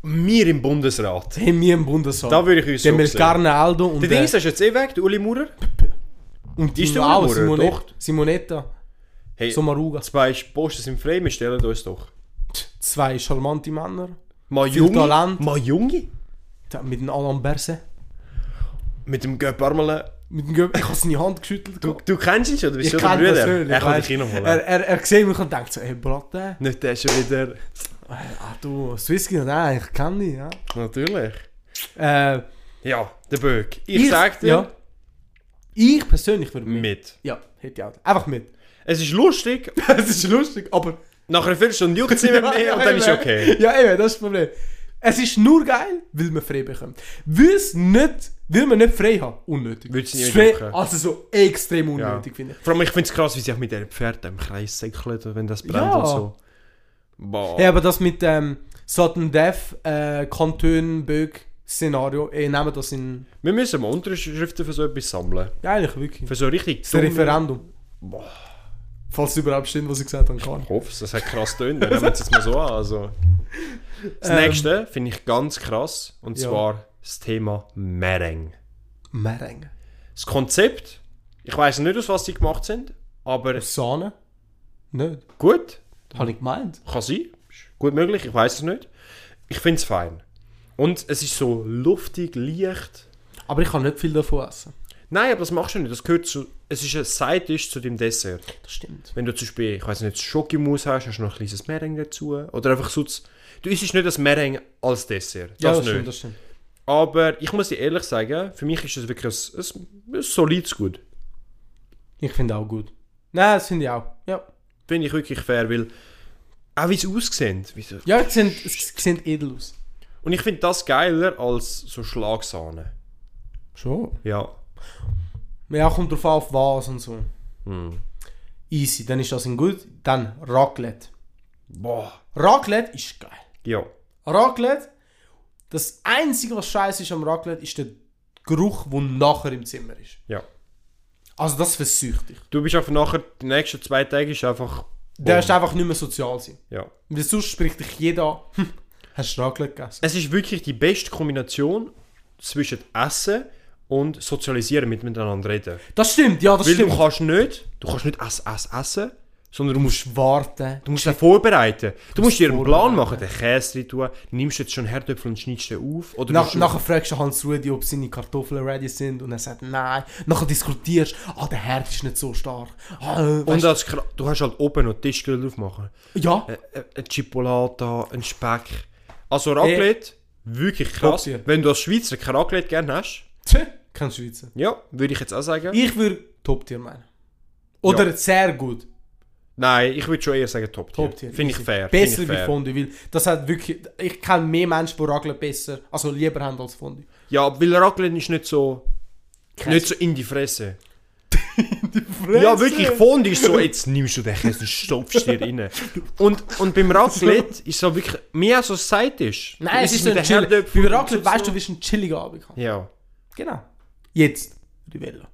S2: Wir im Bundesrat.
S1: nou- Hey, wir im Bundesrat.
S2: Da würde ich uns
S1: Der
S2: so sehen.
S1: Melkarne Aldo und
S2: Der
S1: äh,
S2: Dings ist jetzt eh weg, der Uli Maurer.
S1: und
S2: ist
S1: die
S2: der
S1: Wow,
S2: Urmurer,
S1: Simone,
S2: doch.
S1: Simonetta,
S2: Hey,
S1: Sommaruga.
S2: zwei Posten sind frei, wir stellen uns doch.
S1: Zwei charmante Männer.
S2: Mal
S1: Viel
S2: Junge.
S1: Talent.
S2: Mal Junge.
S1: Da- Mit dem Alain Berset.
S2: Mit dem Göpp Armelen.
S1: Mit dem Gö ich habe seine Hand geschüttelt.
S2: Du, du kennst ihn schon, du bist
S1: ich
S2: schon der
S1: kenne ihn
S2: Bruder.
S1: persönlich.
S2: er kann
S1: weißt.
S2: dich reinholen.
S1: er, er, er sieht mich und denkt so, hey Bratte,
S2: Nicht der schon wieder.
S1: ah, du, Swisskin, nein, ich kenne dich. Ja.
S2: Natürlich.
S1: Äh,
S2: Ja, der Böck. Ich, sag dir,
S1: ja. Ich persönlich würde mit.
S2: mit.
S1: Ja, hätte ich auch. Einfach mit.
S2: Es ist lustig,
S1: Es ist lustig, aber...
S2: nach einer Viertelstunde juckt es nicht mehr, und dann ist
S1: eben.
S2: okay.
S1: Ja, eben, das ist das Problem. Es ist nur geil, weil man frei bekommt. Weil es nicht, weil man nicht frei hat, unnötig.
S2: Würd's nicht
S1: Es ist frei-
S2: jucken.
S1: Also so extrem
S2: Ja.
S1: unnötig, finde ich.
S2: Vor allem, ich finde es krass, wie sich mit diesen Pferden im Kreis säckelt, wenn das brennt
S1: Ja.
S2: und so. Boah.
S1: Ja, aber das mit ähm, Sudden Death, äh, Kanton, Böck, Szenario, ich nehme das in...
S2: Wir müssen mal Unterschriften für so etwas sammeln.
S1: Ja, eigentlich wirklich.
S2: Für so richtig
S1: Das
S2: dumme-
S1: Referendum.
S2: Boah.
S1: Falls überhaupt stimmt, was ich gesagt habe, kann.
S2: Ich hoffe es, das hat krass tönt. Dann nehmen wir es jetzt mal so an. Also. Das
S1: Ähm.
S2: nächste finde ich ganz krass. Und
S1: Ja.
S2: zwar das Thema Mering.
S1: Ähm, Meringue.
S2: Das Konzept, ich weiß nicht, aus was sie gemacht sind, aber
S1: Sahne? Nicht.
S2: gut,
S1: Habe ich gemeint.
S2: kann sein. Ist Gut möglich, ich weiß es nicht. Ich finde es fein. Und es ist so luftig, leicht.
S1: Aber ich kann nicht viel davon essen.
S2: Nein, aber das machst du nicht. Das gehört zu. Es ist ein Side-Dish zu dem Dessert.
S1: Das stimmt.
S2: Wenn du zum Beispiel, ich weiß nicht, Schokimus hast, hast du noch ein kleines Mering dazu. Oder einfach sonst. Du isst nicht das Mering als Dessert. Das,
S1: Ja, das,
S2: nicht.
S1: stimmt, das stimmt.
S2: Aber ich muss dir ehrlich sagen, für mich ist es wirklich ein, ein, ein solides Gut.
S1: Ich finde auch gut. Nein, das finde ich auch. Ja.
S2: Finde ich wirklich fair, weil auch wie es aussieht. Wie so.
S1: Ja, es sieht, es sieht edel aus.
S2: Und ich finde das geiler als so Schlagsahne.
S1: Schon.
S2: Ja.
S1: Ja, kommt drauf an, auf was und so. Hm. Easy, dann ist das ein gut. Dann Raclette.
S2: Boah.
S1: Raclette ist geil.
S2: Ja.
S1: Raclette, das einzige, was scheiße ist am Raclette, ist der Geruch, der nachher im Zimmer ist.
S2: Ja.
S1: Also das versücht dich.
S2: Du bist einfach nachher, die nächsten zwei Tage ist einfach.
S1: Der
S2: Boom.
S1: ist einfach nicht mehr sozial sein.
S2: Ja.
S1: Weil sonst spricht dich jeder an. Hm, hast du Raclette gegessen?
S2: Es ist wirklich die beste Kombination zwischen Essen und Sozialisieren mit miteinander reden.
S1: Das stimmt, ja, das
S2: Weil du
S1: stimmt.
S2: kannst nicht, du kannst nicht essen, essen, essen, sondern du musst
S1: Warten.
S2: Du musst den vorbereiten. Du musst dir einen
S1: vorbereiten.
S2: Plan machen, den Käse rein tun, nimmst jetzt schon Herdöpfel und schneidest den auf. Oder
S1: Nach,
S2: du-
S1: nachher fragst du Hans Rudi, ob seine Kartoffeln ready sind und er sagt nein. Nachher diskutierst du, ah, der Herd ist nicht so stark. Ah, äh,
S2: und
S1: weißt,
S2: das, Kra- du hast halt oben noch die Tischgrill drauf machen.
S1: ja,
S2: Ä- ä- Eine Chipolata, ein Speck. Also
S1: Eh.
S2: Raclette, wirklich krass.
S1: Top-tier.
S2: Wenn du als Schweizer kein Raclette gerne hast,
S1: tsch, kein Schweizer.
S2: ja, würde ich jetzt auch sagen.
S1: Ich würde Top-Tier meinen. Oder sehr gut.
S2: Nein, ich würde schon eher sagen Top-Tier.
S1: Top-Tier.
S2: Finde ich
S1: easy.
S2: fair. finde
S1: Besser
S2: ich
S1: wie
S2: fair.
S1: Fondue, weil das hat wirklich... Ich kenne mehr Menschen, die Raclette besser, also lieber haben als Fondue.
S2: Ja, weil Raclette ist nicht so,
S1: Käse.
S2: nicht so in die Fresse. Ja, wirklich, Fondue ist so, jetzt nimmst du den Käse und stopfst dir rein. Und, und beim Raclette ist so wirklich mehr so ein Side-Dish. Du
S1: Nein, es ist
S2: isst
S1: so
S2: mit
S1: ein
S2: den
S1: Chill.
S2: Herdöpfeln
S1: Bei
S2: und
S1: Raclette
S2: so.
S1: weißt du, wie es ein chilliger Abend kann.
S2: Ja.
S1: Genau. Jetzt, Rivella.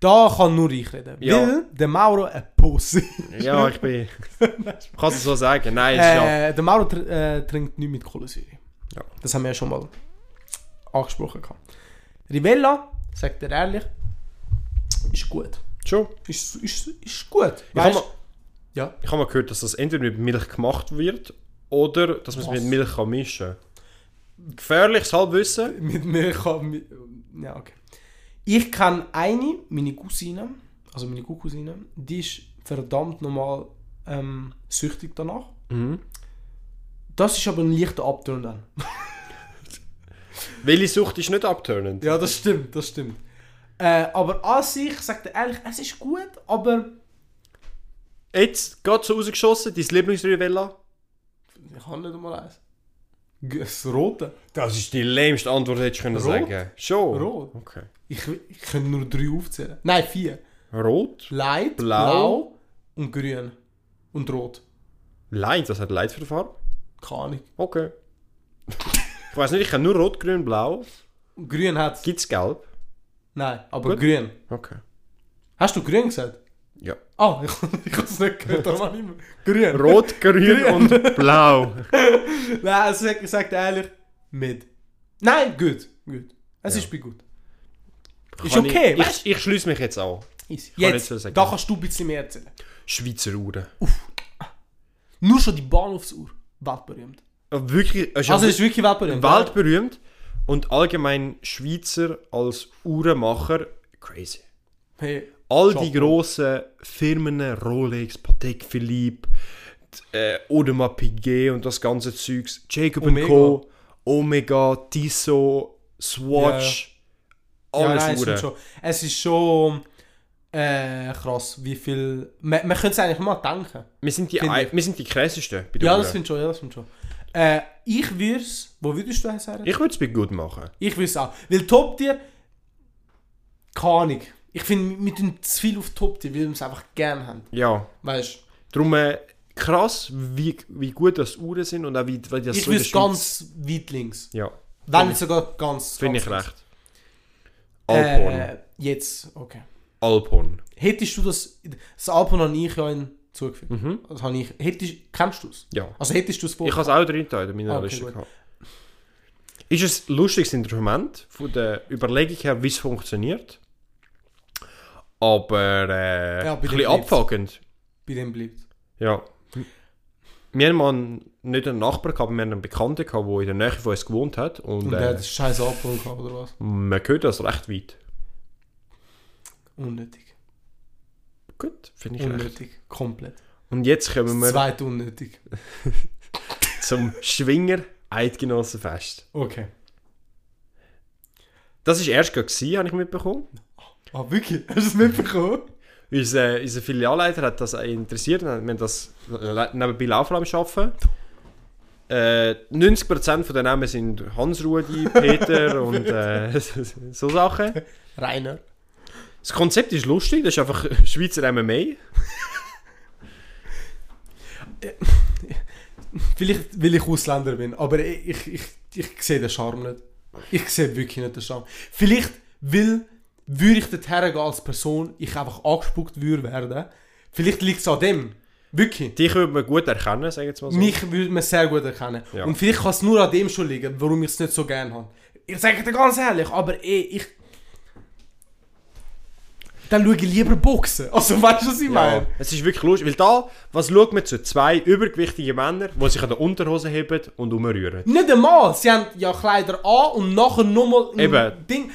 S1: Da kann nur ich reden.
S2: Ja.
S1: Weil der Mauro ein Pussy ist.
S2: ja, ich bin... Kannst du so sagen? Nein, ist ja...
S1: Äh, der Mauro tr äh, trinkt nicht mit Kohlensäure.
S2: Ja.
S1: Das haben wir ja schon mal angesprochen. Gehabt. Rivella, sagt er ehrlich, ist gut.
S2: Schon.
S1: Ist, ist, ist gut.
S2: Ich
S1: Weißt,
S2: habe mal,
S1: ja.
S2: ich hab mal gehört, dass das entweder mit Milch gemacht wird oder dass man es
S1: Was?
S2: mit Milch kann mischen kann. Gefährliches Halbwissen.
S1: Mit mir kann. mit- Ja, okay. Ich kann eine, meine Cousine, also meine Cousine, die ist verdammt normal ähm, süchtig danach.
S2: Mhm.
S1: Das ist aber ein leichter Abturn dann.
S2: Welche Sucht ist nicht abtönend?
S1: Ja, das stimmt, das stimmt. Äh, aber an sich, sagt er ehrlich, es ist gut, aber
S2: Jetzt, gerade so rausgeschossen, dein Lieblingsrivella?
S1: ich habe nicht einmal eins. G- Das Rote.
S2: Das ist die lämste Antwort, hättest du können
S1: Rot.
S2: sagen. Schon?
S1: Rot.
S2: Okay.
S1: Ich, ich kann nur drei aufzählen. Nein, vier.
S2: Rot?
S1: Light,
S2: Blau.
S1: Blau, und Grün. Und Rot.
S2: Leid, das hat Leid für die Farbe.
S1: Keine Ahnung.
S2: Okay. ich weiß nicht, ich kann nur Rot, Grün, Blau.
S1: Und Grün hat's.
S2: Gibt's Gelb?
S1: Nein, aber
S2: Gut.
S1: Grün.
S2: Okay.
S1: Hast du Grün gesagt?
S2: Ja.
S1: Ah, ich, ich habe es nicht gehört, darum habe ich nicht mehr. Grün.
S2: Rot, Grün und Blau.
S1: Nein, also es sagt, sagt ehrlich, mit. Nein, gut. gut. Es ist bei gut. Ist
S2: Kann
S1: okay,
S2: Ich,
S1: weißt
S2: ich, ich schließe mich jetzt an.
S1: Easy.
S2: kann
S1: Jetzt,
S2: nicht so sagen.
S1: da kannst du ein bisschen mehr erzählen.
S2: Schweizer Uhren.
S1: Uh. Nur schon die Bahnhofsuhr. Weltberühmt.
S2: Ja, Äh, Wirklich, es ist
S1: Also
S2: ja
S1: es ist wirklich weltberühmt. oder?
S2: weltberühmt. Und allgemein Schweizer als Uhrenmacher, crazy.
S1: Hey,
S2: All die
S1: Chapeau.
S2: grossen Firmen, Rolex, Patek Philippe, d- äh, Audemars Piguet und das ganze Zeugs, Jacob
S1: Omega.
S2: Co., Omega, Tissot, Swatch,
S1: ja,
S2: alles
S1: nein, es,
S2: Uhren.
S1: sind schon, es ist schon äh, krass, wie viel... Man, man könnte es eigentlich mal denken.
S2: Wir sind die,
S1: Finde
S2: ei- wir sind die krassesten bei den
S1: Ja,
S2: Uhren.
S1: das finde ich schon, ja, das finde ich schon. Äh, ich würde es... Wo würdest du es sagen?
S2: Ich würde es bei gut machen.
S1: Ich will es auch. Weil Top Tier. Keine Ahnung. Ich finde, wir tun zu viel auf Top Tier, weil wir es einfach gerne haben.
S2: Ja.
S1: Weißt du?
S2: Darum äh, krass, wie, wie gut das Uhren sind und auch wie, wie das
S1: Ich
S2: in
S1: will
S2: der
S1: es
S2: Schweiz-
S1: ganz weit links.
S2: Ja,
S1: Wenn
S2: ich-
S1: nicht sogar ganz.
S2: finde
S1: ganz
S2: ich
S1: links.
S2: recht. Alporn.
S1: Äh, jetzt, okay.
S2: Alporn.
S1: Hättest du das. Das Alpon habe ich ja in zugefügt. Das habe ich. Hättest, kennst du es?
S2: Ja.
S1: Also hättest du es vor.
S2: Mhm. Ich habe es auch drin in meiner
S1: Ah, okay,
S2: Liste
S1: gut.
S2: gehabt. Ist es ein lustiges Instrument von der Überlegung her, wie es funktioniert. Aber äh,
S1: Ja, bei den
S2: ein bisschen
S1: Clips.
S2: abfuckend.
S1: Bei dem bleibt.
S2: Ja. Wir haben mal einen, nicht einen Nachbar gehabt, wir haben einen Bekannten gehabt, der in der Nähe von uns gewohnt hat. Und,
S1: Und der
S2: äh,
S1: hat scheiß Alpon gehabt oder was?
S2: man hört das also recht weit.
S1: Unnötig.
S2: Gut, finde ich recht.
S1: Unnötig. Komplett.
S2: Und jetzt kommen wir
S1: Zweit unnötig.
S2: zum Schwinger Eidgenossenfest.
S1: Okay.
S2: Das war erst gerade, habe ich mitbekommen.
S1: Ah, wirklich? Hast du es mitbekommen?
S2: Unser, unser Filialleiter hat das auch interessiert. Wir haben das le- nebenbei laufen am Arbeiten. Äh, 90% von den Namen sind Hans-Rudi, Peter und äh, so Sachen.
S1: Rainer.
S2: Das Konzept ist lustig, das ist einfach Schweizer MMA.
S1: Vielleicht, weil ich Ausländer bin, aber ich, ich, ich, ich sehe den Charme nicht. Ich sehe wirklich nicht den Charme. Vielleicht, weil, würde ich dorthin gehen als Person, ich einfach angespuckt würde werden. Vielleicht liegt es an dem. Wirklich.
S2: Dich würde man gut erkennen, sagen wir es mal so.
S1: Mich würde man sehr gut erkennen.
S2: Also- Ja.
S1: Und vielleicht kann es nur an dem schon liegen, warum ich es nicht so gerne habe. Ich sage dir ganz ehrlich, aber eh, ich... Dann schaue ich lieber Boxen. Also weißt du, was ich
S2: Ja,
S1: meine?
S2: es ist wirklich lustig, weil da, was schaut man zu? Zwei übergewichtige Männer, die sich an der Unterhose heben und umrühren.
S1: Nicht einmal. Sie haben ja Kleider an und nachher nochmal ein
S2: Eben.
S1: Ding.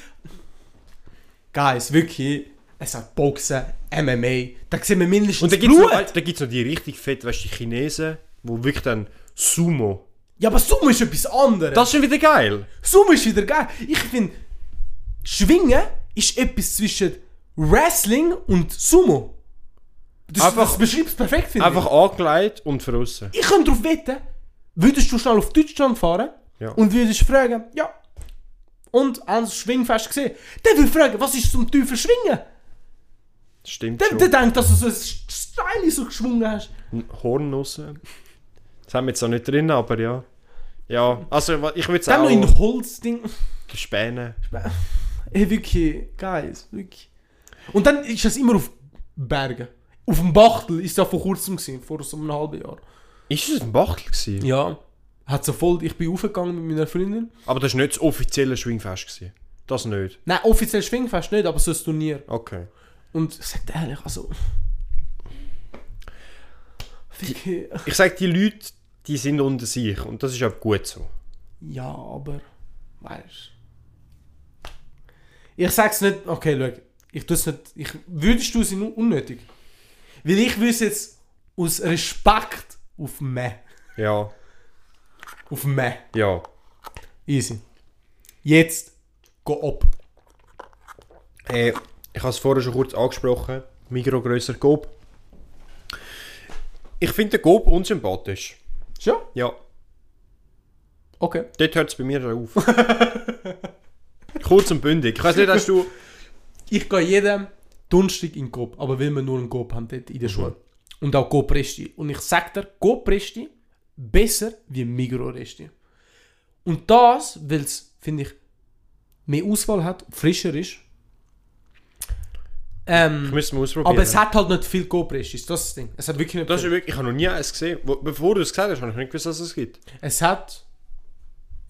S1: Guys, wirklich. Es hat Boxen, MMA. Da sehen wir mindestens
S2: Und da gibt es
S1: Blut.
S2: noch, da gibt's noch die richtig fett, weißt du, die Chinesen, wo wirklich dann Sumo.
S1: Ja, aber Sumo ist etwas anderes.
S2: Das ist schon wieder geil.
S1: Sumo ist wieder geil. Ich finde, Schwingen ist etwas zwischen Wrestling und Sumo. Das,
S2: Einfach-
S1: das beschreibt es perfekt, finde
S2: Einfach angelegt und verrissen.
S1: ich. Ich könnte darauf wetten, würdest du schnell auf Deutschland fahren
S2: Ja.
S1: und würdest fragen, ja, und ans Schwingfest gesehen, der würde fragen, was ist zum Teufel Schwingen?
S2: Stimmt
S1: Der, der
S2: schon.
S1: denkt, dass du so ein Steil so geschwungen hast.
S2: Hornnussen. Das haben wir jetzt noch nicht drin, aber ja. Ja, also wa- ich würde
S1: Dann noch
S2: sagen,
S1: in Holzding.
S2: Späne.
S1: Ey, wirklich, guys, wirklich. Und dann ist es immer auf Bergen. Auf dem Bachtel ist es ja vor kurzem gewesen, vor so einem halben Jahr.
S2: Ist das ein Bachtel gewesen?
S1: Ja. Hat so voll, ich bin aufgegangen mit meiner Freundin.
S2: Aber das war nicht das offizielle Schwingfest. Gewesen. Das nicht.
S1: Nein, offiziell Schwingfest nicht, aber so ein Turnier.
S2: Okay.
S1: Und ich sag dir ehrlich, also. Wirklich.
S2: Ich sage, die Leute, die sind unter sich und das ist auch gut so.
S1: Ja, aber. Weißt Ich sag's nicht, okay, schau, ich tu's nicht, ich, würdest du sie nur unnötig? Weil ich würde jetzt aus Respekt auf meh,
S2: Ja,
S1: auf meh,
S2: ja.
S1: easy. Jetzt, go ab.
S2: Äh, ich habe es vorher schon kurz angesprochen. Migro grösser Gob. Ich finde den Gob unsympathisch.
S1: Schon?
S2: Ja,
S1: Okay.
S2: dort hört es bei mir schon auf. kurz und bündig. Ich weiß nicht, hast du...
S1: Ich gehe jeden Donnerstag in Coop, aber will man nur einen Coop haben dort in der Schule. Und auch Coop Resti. Und ich sag dir, Coop Resti besser wie Migro Resti. Und das, weil es, finde ich, mehr Auswahl hat, frischer ist.
S2: Ich
S1: Ähm,
S2: müsste mal ausprobieren.
S1: aber es hat halt nicht viel Coop Restis, das ist das Ding. Es hat wirklich nicht
S2: Das ist
S1: viel.
S2: wirklich, ich habe noch nie eins gesehen. Wo- Bevor du es gesagt hast, habe ich nicht gewusst, dass es gibt.
S1: Es hat,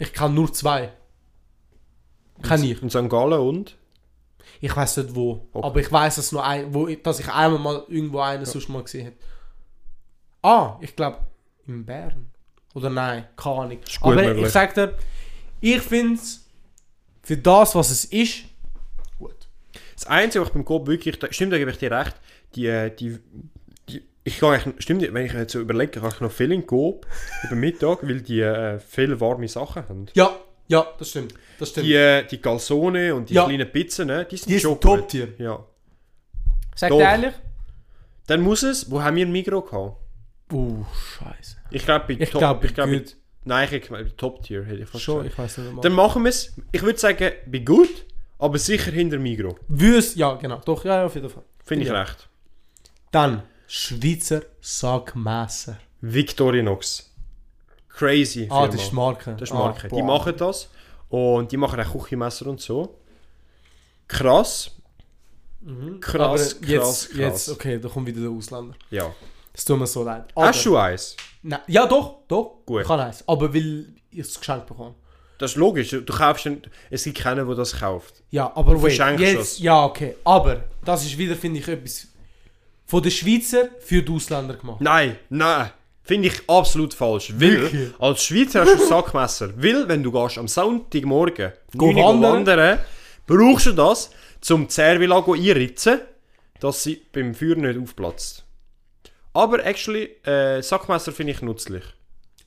S1: ich kann nur zwei. Kann ich.
S2: In St. Gallen und?
S1: Ich weiß nicht wo. Aber ich weiß, dass, nur ein, wo, dass ich einmal mal irgendwo einen sonst mal gesehen habe. Ah, ich glaube in Bern. Oder nein, keine Ahnung.
S2: gut
S1: Aber
S2: möglich.
S1: ich sag dir, ich finde es für das, was es ist, gut.
S2: Das Einzige, was ich beim Coop wirklich... da- Stimmt, da gebe ich dir recht. Die, äh, die, die ich kann eigentlich, stimmt, wenn ich jetzt so überlege, kann ich noch viel in Coop über Mittag, weil die äh, viele warme Sachen haben.
S1: Ja, ja, das stimmt. Das stimmt.
S2: Die, äh, die Calzone und die
S1: Ja.
S2: kleinen Pizzen, ne, die sind
S1: Die
S2: schon
S1: sind top
S2: gut.
S1: tier.
S2: Ja.
S1: Sag
S2: doch.
S1: dir ehrlich?
S2: Dann muss es, wo haben wir ein Migro gehabt?
S1: Uh, scheiße.
S2: Ich glaube bei
S1: Ich
S2: Top-
S1: glaube,
S2: ich glaub, bei-
S1: gut.
S2: Nein, ich glaube bei Top Tier hätte ich fast
S1: Schon,
S2: gesagt.
S1: ich weiß nicht mal.
S2: Dann machen wir es, ich würde sagen, bei gut, aber sicher hinter Migro.
S1: Würst, ja, genau. Doch, ja, ja, auf jeden Fall.
S2: Finde ich
S1: Ja.
S2: recht.
S1: Dann, Schweizer Sackmesser.
S2: Victorinox. Crazy.
S1: Ah,
S2: Firma.
S1: das ist die Marke.
S2: Das ist
S1: ah,
S2: Marke. die
S1: boah.
S2: machen das und die machen auch Küchenmesser und so. Krass. Krass,
S1: Mhm. Aber
S2: krass,
S1: jetzt,
S2: krass.
S1: Jetzt, okay, da kommt wieder der Ausländer.
S2: Ja.
S1: Das tut mir so leid.
S2: Hast du eins?
S1: Nein, ja, doch, doch.
S2: Gut.
S1: Ich kann eins. Aber weil ich es geschenkt bekomme.
S2: Das ist logisch. Du kaufst einen, es gibt keinen, der das kauft.
S1: Ja, aber wait,
S2: verschenkst
S1: jetzt,
S2: es.
S1: ja, okay. Aber das ist wieder, finde ich, etwas von den Schweizer für die Ausländer gemacht.
S2: Nein, nein. Finde ich absolut falsch. Weil,
S1: Wirklich?
S2: als Schweizer hast du ein Sackmesser. Weil, wenn du gehst am Sonntagmorgen
S1: Go
S2: 9 Uhr
S1: wandern.
S2: wandern, brauchst du das, um die Servila go einritzen, dass sie beim Feuer nicht aufplatzt. Aber actually, äh, Sackmesser finde ich nützlich.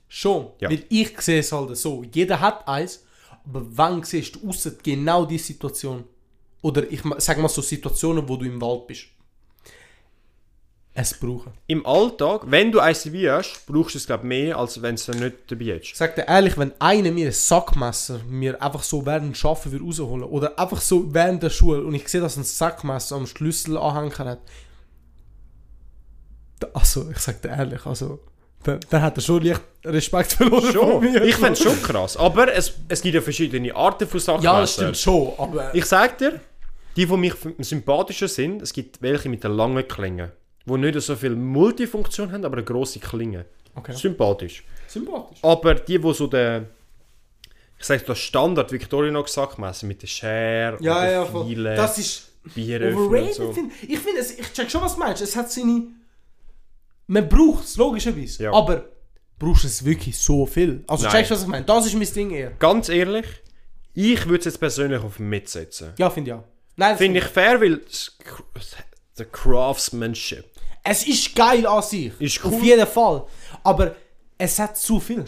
S1: Schon.
S2: Ja.
S1: Weil ich sehe es halt so. Jeder hat eins, aber wann siehst du außer genau die Situation? Oder ich ma- sag mal so Situationen, wo du im Wald bist. Es brauchen.
S2: Im Alltag, wenn du eins dabei hast, brauchst du es glaube mehr, als wenn du es dann nicht dabei
S1: Ich
S2: hast.
S1: sag dir ehrlich, wenn einer mir ein Sackmesser mir einfach so während dem Schaffen würde rausholen oder einfach so während der Schule und ich sehe, dass ein Sackmesser am Schlüsselanhänger hat. Da- Also, ich sag dir ehrlich, also, dann, dann hat er schon leicht Respekt verloren
S2: Schon.
S1: von mir.
S2: Ich finde es schon krass. Aber es, es gibt ja verschiedene Arten von Sackmesser.
S1: Ja, das stimmt schon, aber...
S2: Ich sag dir, die, die mich am sympathischer sind, es gibt welche mit der langen Klinge, die nicht so viel Multifunktion haben, aber eine grosse Klinge.
S1: Okay.
S2: Sympathisch.
S1: Sympathisch.
S2: Aber die, die so den, ich sag das Standard Victorinox Sackmesser mit der Schere
S1: Ja, ja,
S2: und
S1: voll.
S2: den Filen,
S1: Das ist
S2: Bieröffnen und
S1: overrated.
S2: so.
S1: find- Ich finde, es- ich check schon, was du meinst. Es hat seine... Man braucht es, logischerweise.
S2: Ja.
S1: Aber brauchst du es wirklich so viel? Also
S2: Nein.
S1: checkst du, was ich meine? Das ist mein Ding eher.
S2: Ganz ehrlich, ich würde es jetzt persönlich auf mitsetzen.
S1: Ja, finde ich auch. Nein, das
S2: Finde ich fair, weil das- der Craftsmanship.
S1: Es ist geil an sich.
S2: Ist
S1: Auf
S2: cool.
S1: jeden Fall. Aber es hat zu viel.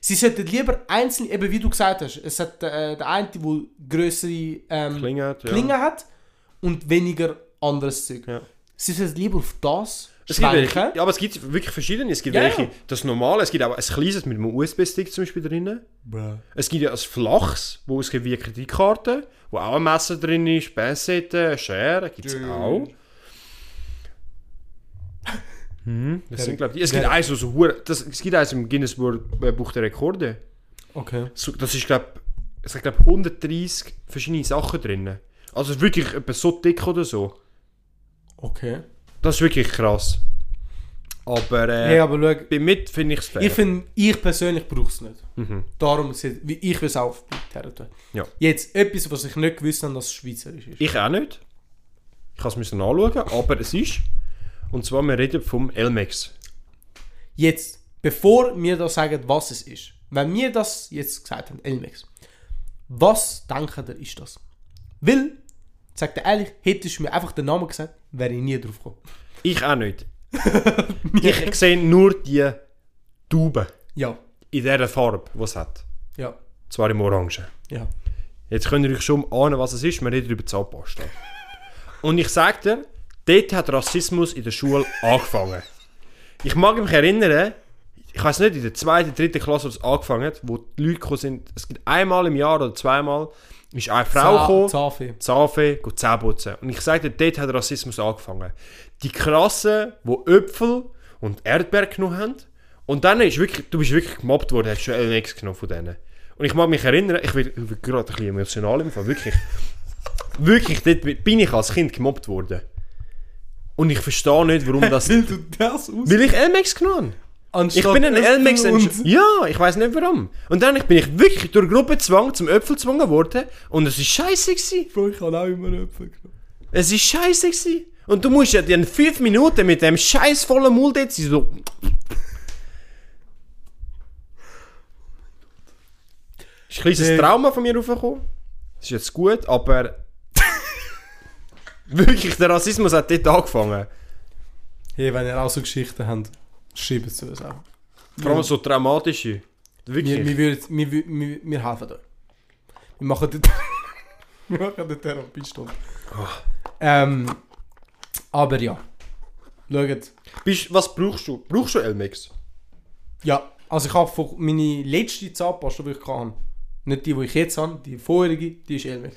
S1: Sie sollten lieber einzeln, eben wie du gesagt hast, es hat äh, der eine, der größere ähm,
S2: Klinge hat, ja.
S1: Klinge hat und weniger anderes Zeug.
S2: Ja.
S1: Sie sollten lieber auf das
S2: Es gibt welche,
S1: schwenken.
S2: ja, aber es gibt wirklich verschiedene. Es gibt
S1: Ja, ja.
S2: welche, das normale, es gibt auch ein kleines mit einem USB-Stick zum Beispiel drin.
S1: Bruh.
S2: Es gibt ja ein flaches, wo es gibt wie eine Kreditkarte, wo auch ein Messer drin ist, Bassette, Schere, gibt es
S1: Dude.
S2: auch. Hm, das sind, glaub ich, die. es
S1: der-
S2: gibt eins, wo so hure- das, es gibt eins im Guinness World äh, Buch der Rekorde.
S1: Okay.
S2: So, Das ist, glaube ich, glaub, 130 verschiedene Sachen drin. Also es ist wirklich etwa so dick oder so.
S1: Okay.
S2: Das ist wirklich krass. Aber äh,
S1: Hey, aber schau,
S2: bei mit finde ich es fair.
S1: ich finde, ich persönlich brauche es nicht. Darum, sind- wie ich will es auch auf die Terre tun.
S2: Mhm. Ja.
S1: Jetzt, etwas, was ich nicht gewusst habe, dass es schweizerisch ist.
S2: Ich auch nicht. Ich kann es müssen anschauen, aber es ist. Und zwar, wir reden vom Elmex.
S1: Jetzt, bevor wir da sagen, was es ist, wenn wir das jetzt gesagt haben, Elmex, was denken ihr, ist das? Weil, sag dir ehrlich, hättest du mir einfach den Namen gesagt, wäre ich nie drauf gekommen.
S2: Ich auch nicht. ich sehe nur die Tauben
S1: Ja,
S2: in dieser Farbe, die es hat.
S1: ja,
S2: Zwar im Orangen.
S1: ja.
S2: Jetzt könnt ihr euch schon ahnen, was es ist. Wir reden über Zahnpasta. Und ich sag dir, dort hat Rassismus in der Schule angefangen. Ich mag mich erinnern, ich weiß nicht, in der zweiten, dritten Klasse hat es angefangen, hat, wo die Leute gekommen sind. Es gibt einmal im Jahr oder zweimal, ist eine Frau gekommen.
S1: Zafi.
S2: Zahnfee, geht Zähne putzen. Und ich sage dir, dort hat Rassismus angefangen. Die Krassen, die Äpfel und Erdbeer genommen haben. Und dann ist wirklich, du bist wirklich gemobbt worden, hast schon LNX genommen von denen. Und ich mag mich erinnern, ich werde ich werde gerade ein bisschen emotional im Fall, wirklich. Wirklich, dort bin ich als Kind gemobbt worden. Und ich verstehe nicht, warum das...
S1: Will du das aus?
S2: Weil ich LMX genommen habe. Ich
S1: Anstatt
S2: bin ein
S1: Äpfel
S2: LMX
S1: und-
S2: entsch- Ja, ich weiß nicht warum. Und dann bin ich wirklich durch Gruppenzwang zum Äpfel gezwungen worden. Und es war scheiße. Gewesen.
S1: Bro, ich habe auch immer Äpfel genommen.
S2: Es war scheiße. Gewesen. Und du musst ja dann fünf Minuten mit dem scheiß vollen Mund jetzt so. Ist ein
S1: Äh.
S2: kleines Trauma von mir raufgekommen. Das ist jetzt gut, aber. Wirklich, der Rassismus hat dort angefangen.
S1: Hey, wenn ihr auch so Geschichten habt, schreibt es zu uns auch.
S2: Vor allem so traumatische.
S1: Wir,
S2: Wirklich.
S1: wir, würden, wir, wir, wir, wir helfen euch. Wir machen den, wir machen den Therapiestunde.
S2: Oh.
S1: Ähm, aber ja. Schaut.
S2: Bist, was brauchst du? Brauchst du Elmex?
S1: Ja, also ich habe von- meine letzte Zahnpasta, die ich hatte, nicht die, die ich jetzt habe, die vorherige, die ist Elmex.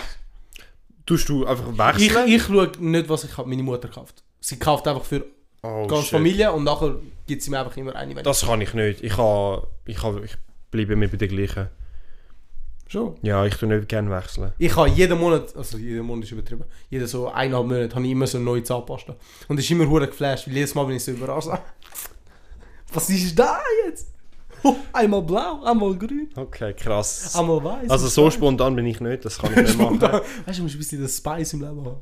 S2: Tust du einfach
S1: Ich,
S2: wechseln?
S1: ich schaue nicht, was ich habe. Meine Mutter kauft. Sie kauft einfach für
S2: oh,
S1: die ganze
S2: shit.
S1: Familie und nachher gibt sie mir einfach immer eine. wenn-
S2: Das kann ich nicht. Ich, kann, ich, kann, ich bleibe immer bei der gleichen.
S1: Schon.
S2: Ja, ich tue nicht gerne wechseln.
S1: Ich habe jeden Monat, also jeden Monat ist übertrieben, jeden so eineinhalb Monate habe ich immer so eine neue Zahnpasta. Und das ist immer hure geflasht, weil jedes Mal bin ich so überrascht. Was ist da jetzt? Oh, einmal blau, einmal grün,
S2: Okay, krass.
S1: einmal weiß.
S2: also so spontan bin ich nicht, das kann ich nicht machen.
S1: Weißt du, du musst ein bisschen den Spice im Leben haben.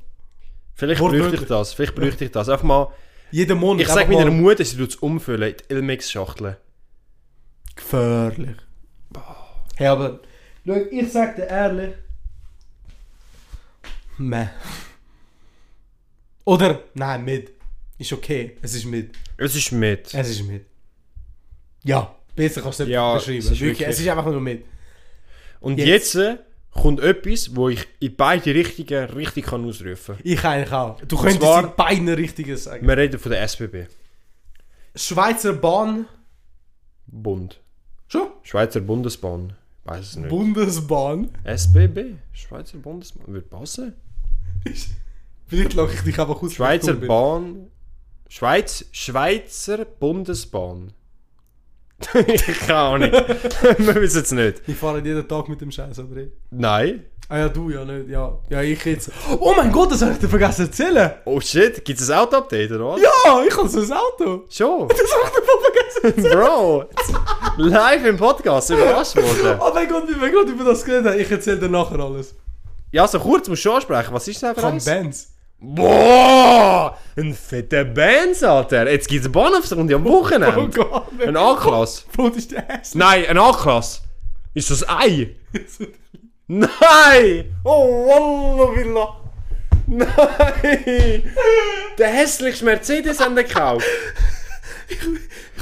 S2: Vielleicht
S1: Wortwörtlich.
S2: bräuchte ich das, vielleicht bräuchte ich das. Einfach mal,
S1: Jeden Monat.
S2: ich sage
S1: einfach
S2: meiner
S1: mal-
S2: Mutter, sie tut es umfüllen in die Elmex-Schachtel.
S1: Gefährlich. Hey, aber. Schau, ich sag dir ehrlich. Meh. Oder? Nein, mit. Ist okay. Es ist mit.
S2: Es ist mit.
S1: Es ist mit. Ja, besser kannst du nicht
S2: Ja,
S1: beschreiben.
S2: es ist
S1: wirklich,
S2: wirklich-
S1: es ist einfach nur mit.
S2: Und
S1: jetzt-
S2: jetzt, kommt etwas, wo ich in beide Richtungen richtig kann ausrufen kann.
S1: Ich eigentlich auch. Du könntest
S2: zwar-
S1: in beiden Richtungen sagen.
S2: Wir reden von der SBB.
S1: Schweizer Bahn.
S2: Bund.
S1: Schon?
S2: Schweizer Bundesbahn. Weiß es nicht.
S1: Bundesbahn.
S2: SBB? Schweizer Bundesbahn? Würde passen?
S1: Vielleicht lache ich dich einfach aus. wenn ich
S2: Schweizer
S1: dumm bin.
S2: Bahn. Schweiz, Schweizer Bundesbahn. ich kann auch nicht. Wir wissen es nicht.
S1: Wir fahren jeden Tag mit dem Scheiß, aber eh.
S2: Nein.
S1: Ah ja, du ja nicht, ja. Ja, ich jetzt. Oh mein Gott, das habe ich dir vergessen zu erzählen.
S2: Oh shit, gibt es ein Auto-Update oder was?
S1: Ja, ich habe so ein Auto.
S2: Schon.
S1: Das habe ich dir voll vergessen.
S2: Bro. Live im Podcast, überrascht worden.
S1: Oh mein Gott, wie wir gerade über das geredet haben. Ich erzähle dir nachher alles.
S2: Ja, so kurz musst du schon ansprechen. Was ist denn für
S1: Von
S2: eins?
S1: Bands.
S2: Boah! Ein fetter Benz, Alter. Jetzt gibt es eine Bahnhofsrunde am
S1: Oh
S2: Wochenende.
S1: Gott,
S2: Ein
S1: wer
S2: A-Klasse.
S1: Brot ist der Ass?
S2: Nein, ein A-Klasse. Ist das ein Ei? Nein! Oh, Wallah, Billah. Nein! Der hässlichste Mercedes haben wir gekauft.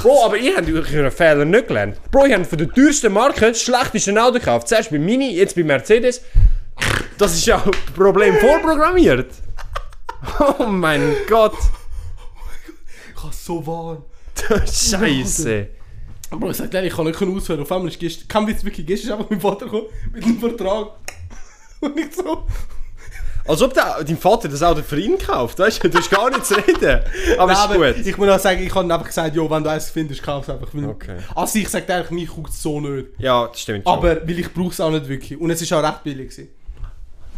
S2: Bro, aber ihr habt euren Fehler nicht gelernt. Bro, ihr habt von der teuersten Marke das schlechteste Auto gekauft. Zuerst bei Mini, jetzt bei Mercedes. Das ist ja Problem vorprogrammiert. Oh mein Gott.
S1: Ich habe so warm.
S2: Scheiße.
S1: Bro, ich sag dir, ich kann nicht auswählen. Auf einmal ist gestern, kein Witz, wirklich, gestern ist einfach mein Vater gekommen mit einem Vertrag. Und ich so...
S2: Als ob der, dein Vater das Auto für ihn gekauft, weißt du? Du hast gar nicht zu reden. Aber
S1: Nein, aber
S2: ist gut.
S1: Ich muss auch sagen, ich habe einfach gesagt, jo, wenn du eins findest, kauf es einfach. Weil-
S2: Okay.
S1: Also ich sag dir, ehrlich, mich guckt so nicht.
S2: Ja, das stimmt. schon.
S1: Aber weil ich brauche es auch nicht wirklich. Und es ist auch recht billig. Gewesen.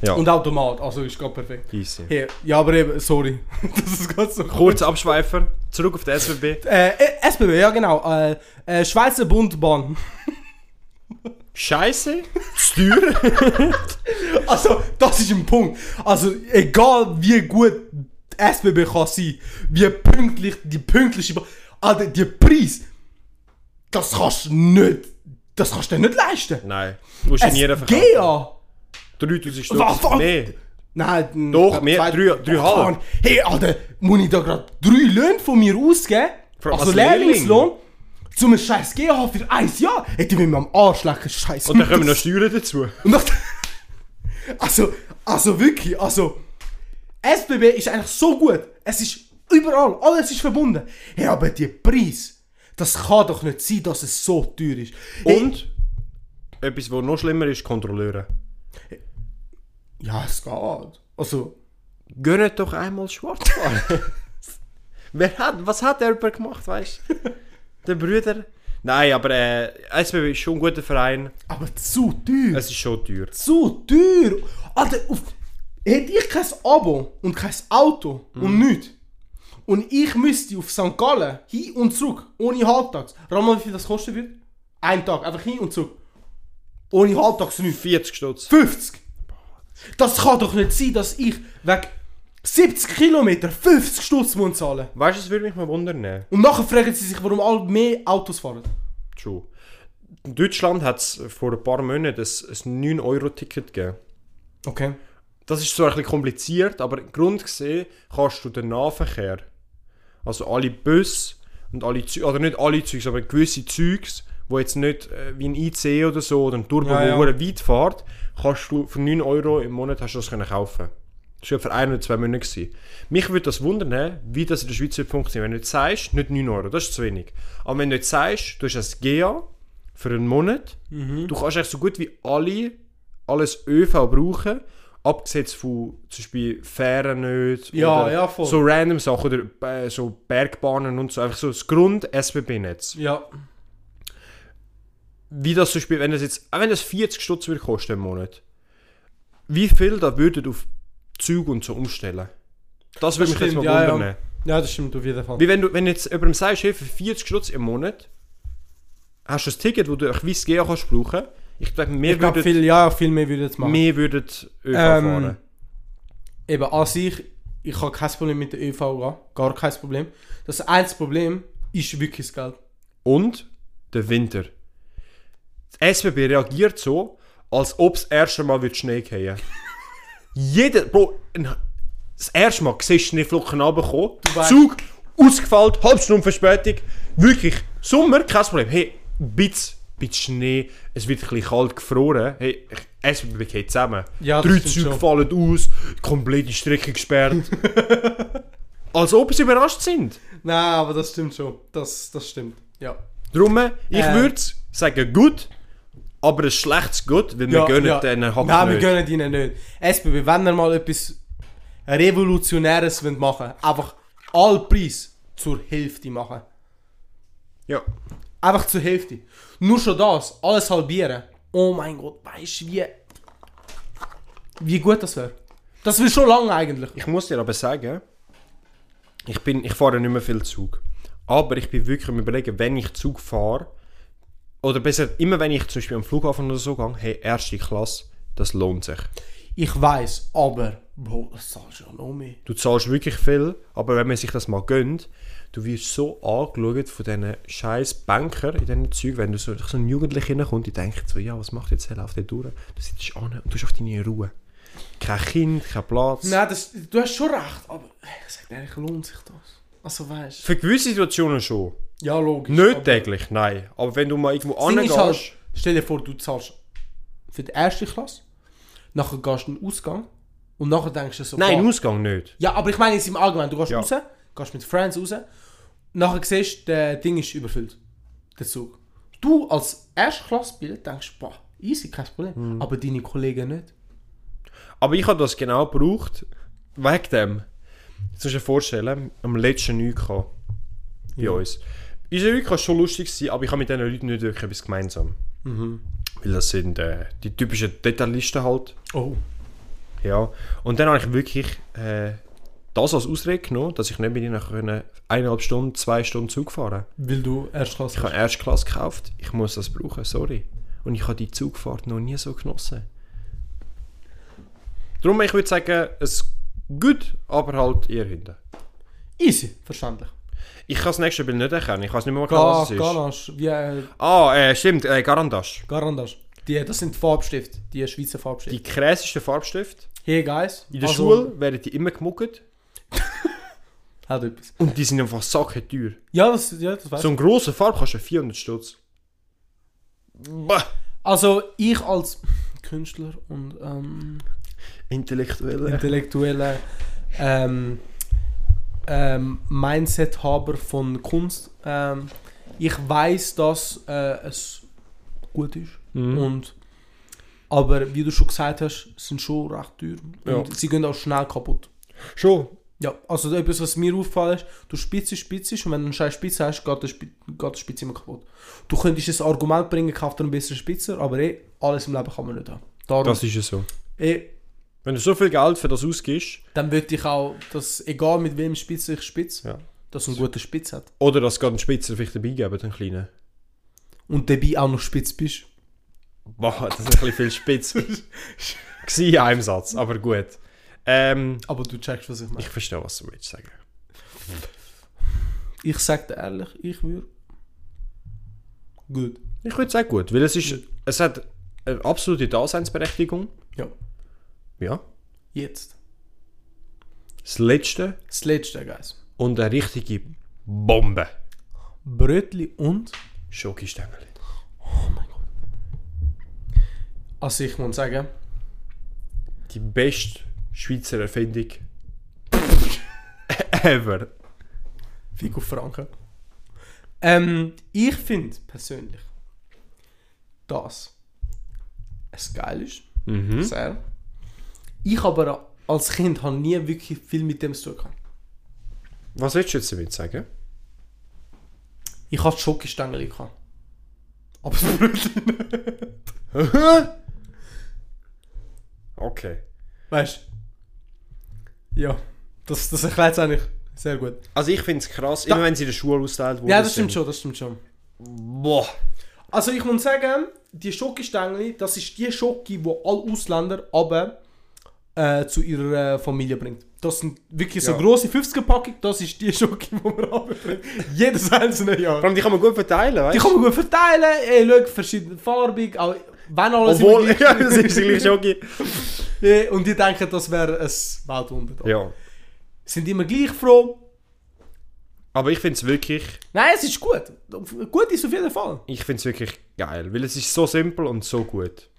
S2: Ja.
S1: Und Automat, also ist gerade perfekt.
S2: Easy.
S1: Hey, ja, aber eben, sorry. das ist gerade so cool.
S2: Kurz Abschweifer, zurück auf die SBB.
S1: Äh, äh, SBB, ja genau. Äh, äh, Schweizer Bundbahn.
S2: Scheiße, zu teuer.
S1: Also, das ist ein Punkt. Also, egal wie gut die SBB kann sein, wie pünktlich, die pünktliche... Ba- Alter, die Preis, das kannst du nicht... Das kannst du dir nicht leisten.
S2: Nein, musst du in jeder verkaufen.
S1: SGA.
S2: 3000
S1: Was,
S2: Stutz.
S1: was?
S2: Nee.
S1: Nein,
S2: Doch,
S1: ich
S2: mehr,
S1: glaub,
S2: drei- dreieinhalb.
S1: Mann, Hey, Alter, muss ich da gerade drei Löhne von mir ausgeben?
S2: Vor allem
S1: also
S2: als Lehrling.
S1: Lehrlingslohn? Zum scheiß GH für ein Jahr? Hätte ich mir am Arsch lecken, scheiß
S2: Und dann kommen noch
S1: Mythos.
S2: Steuern dazu.
S1: Und nach also, also wirklich, also SBB ist eigentlich so gut. Es ist überall, alles ist verbunden. Hey, aber die Preis, das kann doch nicht sein, dass es so teuer ist. Hey,
S2: Und etwas, was noch schlimmer ist, Kontrolleure.
S1: ja, es geht. Also,
S2: Gönnt doch einmal schwarz fahren. Wer hat, was hat der jemand gemacht, weißt du? Der Brüder? Nein, aber äh, SBB ist schon ein guter Verein.
S1: aber zu teuer.
S2: Es ist schon teuer.
S1: zu teuer. Alter, auf, hätte ich kein Abo und kein Auto und nichts. Und ich müsste auf St. Gallen hin und zurück, ohne Halbtags. Rat mal, wie viel das kosten wird? Ein Tag, einfach hin und zurück. Ohne Halbtags nichts.
S2: 40 Stutz.
S1: 50! Das kann doch nicht sein, dass ich wegen 70 Kilometer 50 Stutz muss zahlen.
S2: Weißt du, es würde mich mal wundern.
S1: Und nachher fragen sie sich, warum alle mehr Autos fahren.
S2: True. In Deutschland hat es vor ein paar Monaten ein, ein 9-Euro-Ticket gegeben.
S1: Okay.
S2: Das ist zwar ein bisschen kompliziert, aber im Grund gesehen kannst du den Nahverkehr, also alle Busse und alle Züge, oder nicht alle Züge, aber gewisse Züge, wo jetzt nicht äh, wie ein IC oder so oder ein Turbo,
S1: Ja, ja.
S2: wo ja. weit fährt, kannst du für 9 Euro im Monat hast du das können kaufen. Das war ja für ein oder zwei Monate. Gewesen. Mich würde das wundern, wie das in der Schweiz funktioniert. Wenn du jetzt sagst, nicht 9 Euro, das ist zu wenig. Aber wenn du jetzt sagst, du hast das GA für einen Monat,
S1: Mhm.
S2: du kannst eigentlich so gut wie alle, alles ÖV brauchen, abgesehen von zum Beispiel Fähren nicht,
S1: Ja,
S2: oder
S1: ja, voll.
S2: so random Sachen, oder äh, so Bergbahnen und so, einfach so das Grund-SBB-Netz.
S1: Ja.
S2: Wie das zum Beispiel, wenn das jetzt, auch wenn das 40 Stutz würde kosten im Monat, wie viel da würdet auf Züge und so umstellen? Das würde mich jetzt mal
S1: stimmt, ja, ja.
S2: wundern.
S1: Ja, das stimmt auf jeden Fall.
S2: Wie wenn du, wenn jetzt jemandem sagst, hey, für 40 Stutz im Monat hast du ein Ticket, wo du ein gewisses GA kannst brauchen. Ich glaube, mehr
S1: Ich glaube,
S2: würdet,
S1: viel, ja, viel mehr würde es machen.
S2: mehr würdet
S1: Ähm,
S2: ÖV fahren.
S1: Eben, an sich, ich habe kein Problem mit der ÖV, gehen. gar kein Problem. Das einzige Problem ist wirklich das Geld.
S2: Und der Winter. Die SBB reagiert so, als ob das erste Mal wird Schnee fallen Jeder, Bro, ein- das erste Mal siehst du Schneeflocken runterkommen,
S1: weißt-
S2: Zug ausgefallen, halbe Stunde Verspätung. Wirklich, Sommer, kein Problem. Hey, ein bisschen, bisschen Schnee, es wird ein bisschen kalt gefroren. Hey, ich- SBB geht zusammen.
S1: Ja, das
S2: Drei
S1: stimmt
S2: Züge
S1: schon.
S2: fallen aus, komplette Strecke gesperrt. als ob sie überrascht sind.
S1: Nein, aber das stimmt schon. Das, das stimmt. Ja.
S2: Drum, ich
S1: Äh.
S2: würde sagen gut, aber ein schlechtes Gut, weil wir
S1: ja,
S2: gönnen
S1: ja.
S2: denen Hack
S1: Nein, wir
S2: nicht. äh,
S1: gönnen ihnen nicht. SBB, wenn ihr mal etwas Revolutionäres wollt machen wollt, einfach all Preis zur Hälfte machen.
S2: Ja.
S1: Einfach zur Hälfte. Nur schon das, alles halbieren. Oh mein Gott, weißt du, wie, wie gut das wäre? Das will schon lange eigentlich.
S2: Ich muss dir aber sagen, ich, bin, ich fahre nicht mehr viel Zug. Aber ich bin wirklich am überlegen, wenn ich Zug fahre, oder besser, immer wenn ich zum Beispiel am Flughafen oder so gehe, hey, erste Klasse, das lohnt sich.
S1: Ich weiß, aber Bro, das zahlst du ja noch mehr.
S2: Du zahlst wirklich viel, aber wenn man sich das mal gönnt, du wirst so angeschaut von diesen scheiß Banker in diesen Zeugen, wenn du so, so ein Jugendlicher hineinkommst, die denken so, ja, was macht jetzt der auf der Tour? Du sitzt an und du hast auf deine Ruhe. Kein Kind, kein Platz.
S1: Nein, das, du hast schon recht, aber ich sag ehrlich, lohnt sich das? Also weißt
S2: Für gewisse Situationen schon.
S1: Ja, logisch.
S2: Nicht
S1: aber-
S2: täglich, nein. Aber wenn du mal irgendwo
S1: Das Ding ist
S2: angehst,
S1: halt, stell dir vor, du zahlst für die erste Klasse, nachher gehst du in den Ausgang und nachher denkst du so...
S2: nein, im
S1: boah.
S2: Ausgang nicht.
S1: Ja, aber ich meine jetzt im Allgemeinen, du gehst
S2: Ja.
S1: raus, gehst mit Friends raus, nachher siehst du, der Ding ist überfüllt, der Zug. Du als Erstklassbild denkst, boah, easy, kein Problem,
S2: Hm.
S1: aber deine Kollegen nicht.
S2: Aber ich habe das genau gebraucht, wegen dem. Jetzt musst du dir vorstellen, am letzten UK bei uns. Unser UK war schon lustig, gewesen, aber ich habe mit diesen Leuten nicht wirklich etwas gemeinsam. Weil das sind äh, die typischen Detailisten halt.
S1: Oh.
S2: Ja. Und dann habe ich wirklich äh, das als Ausrede genommen, dass ich nicht mit ihnen können eineinhalb Stunden, zwei Stunden Zug fahren
S1: Weil du Erstklasse
S2: Ich habe Erstklasse gekauft, ich muss das brauchen, sorry. Und ich habe die Zugfahrt noch nie so genossen. Darum, ich würde sagen, es gut, aber halt eher hinten.
S1: Easy, verständlich.
S2: Ich kann das nächste Bild nicht erkennen, ich weiß nicht mehr,
S1: Ga
S2: was es ist.
S1: Ganache, wie äh,
S2: Ah, äh, stimmt, äh, Garandasch.
S1: Garandasch. Die, das sind Farbstift, die Schweizer Farbstift.
S2: Die krassesten Farbstift.
S1: Hey guys.
S2: In der
S1: also-
S2: Schule werden die immer gemuckert
S1: Hat etwas.
S2: und die sind einfach sackenteuer.
S1: Ja, das, ja, das weiß
S2: So einen grossen Farb kannst du 400 Stutz. Bah.
S1: Also ich als Künstler und ähm,
S2: Intellektuelle.
S1: intellektueller ähm, ähm, Mindset-Haber von Kunst, ähm, ich weiß, dass äh, es gut ist.
S2: Mhm.
S1: Und, aber wie du schon gesagt hast, sind schon recht teuer. Und
S2: Ja.
S1: sie gehen auch schnell kaputt.
S2: Schon.
S1: Ja, also etwas, was mir aufgefallen ist, du spitze, spitze und wenn du eine scheiß Spitze hast, geht die Spi- geht die Spitze immer kaputt. Du könntest ein Argument bringen, kauf dir einen besseren Spitzer, aber eh, alles im Leben kann man nicht haben. Darum,
S2: Das ist ja so.
S1: eh,
S2: Wenn du so viel Geld für das ausgibst,
S1: dann würde ich auch, dass egal mit wem Spitze ich spitze,
S2: Ja.
S1: dass du einen guten Spitz hat.
S2: oder dass gerade einen Spitzer vielleicht dabei geben, einen kleinen.
S1: Und dabei auch noch spitz bist.
S2: Boah, das ist ein bisschen viel spitz. Gsi ja im Satz, aber gut. Ähm,
S1: Aber du checkst, was ich meine.
S2: ich verstehe, was du willst sagen.
S1: Ich sag dir ehrlich, ich würde. Gut.
S2: Ich würde sagen gut, weil es ist, es hat eine absolute Daseinsberechtigung.
S1: Ja.
S2: Ja.
S1: Jetzt.
S2: Das letzte
S1: Das letzte, Guys.
S2: und eine richtige Bombe.
S1: Brötli und.
S2: Schokistängel.
S1: Oh mein Gott. Also ich muss sagen,
S2: Die beste Schweizer Erfindung ever.
S1: Fick auf Franken. Ähm, ich finde persönlich, dass es geil ist.
S2: Mhm.
S1: Sehr. Ich aber als Kind habe nie wirklich viel mit dem zu tun gehabt.
S2: Was willst du jetzt damit sagen?
S1: Ich hatte Schokostängel. gehabt. Aber das Brötli nicht.
S2: Okay.
S1: Weißt du? Ja, das, das erklärt es eigentlich sehr gut.
S2: Also ich finde es krass, immer wenn sie in der Schule austeilt wurde.
S1: Ja, das stimmt schon, das stimmt schon.
S2: Boah.
S1: Also ich muss sagen, die Schokostängel, das ist die Schoki, wo alle Ausländer aber äh, zu ihrer äh, Familie bringt. Das sind wirklich so
S2: Ja.
S1: große 50er Packung, das ist die Schoki, die wir runterbringt. Jedes einzelne Jahr.
S2: Vor allem, die kann man gut verteilen, weißt
S1: Die kann man gut verteilen, ey, schau, verschiedene Farben, auch wenn alles
S2: Obwohl,
S1: immer gleich-
S2: ja, das ist gleich Schoki.
S1: Ey, Und die denken, das wäre ein Weltuntergang.
S2: Ja.
S1: Sind immer gleich froh.
S2: Aber ich finde es wirklich,
S1: Nein, es ist gut. Gut ist auf jeden Fall.
S2: ich find's wirklich geil, weil es ist so simpel und so gut.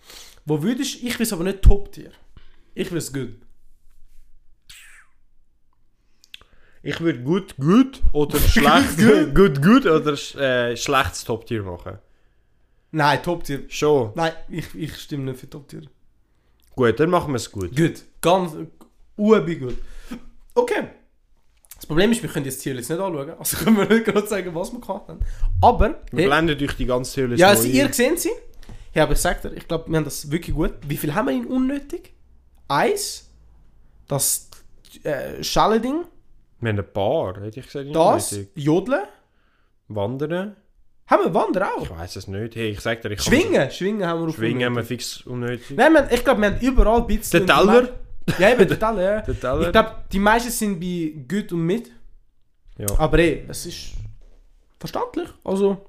S1: Wo würdest ich will es aber nicht Top-Tier. Ich will es gut.
S2: Ich würde gut, gut oder schlecht, gut, gut, oder sch- äh, schlechtes Top-Tier machen.
S1: Nein, Top-Tier.
S2: Schon.
S1: Nein, ich, ich stimme nicht für Top-Tier.
S2: Gut, dann machen wir es gut.
S1: Gut. Ganz. Ubi gut. Okay. Das Problem ist, wir können jetzt die Tier jetzt nicht anschauen. Also können wir nicht gerade sagen, was wir gemacht haben. Aber.
S2: Wir
S1: Hey,
S2: blenden euch die ganze Höhle
S1: ja,
S2: neu
S1: also ihr
S2: ein.
S1: seht sie. Ja, aber ich sag dir, ich glaube, wir haben das wirklich gut. Wie viel haben wir in unnötig? Eins. Das äh, Schallending.
S2: Wir haben ein paar, hätte ich gesagt.
S1: Das.
S2: unnötig.
S1: Jodeln.
S2: Wandern.
S1: Haben wir Wandern
S2: Ich
S1: auch?
S2: weiß es nicht. Hey, ich sag dir, ich kann-
S1: Schwingen. Schwingen haben wir auf
S2: Schwingen
S1: unnötig.
S2: haben wir fix unnötig.
S1: Nein, man, ich glaube, wir haben überall ein bisschen.
S2: Der Teller.
S1: Ja, eben, der Teller, ja.
S2: Der Teller.
S1: Ich glaube, die meisten sind bei gut und mit.
S2: Ja.
S1: Aber ey, es ist verständlich. Also,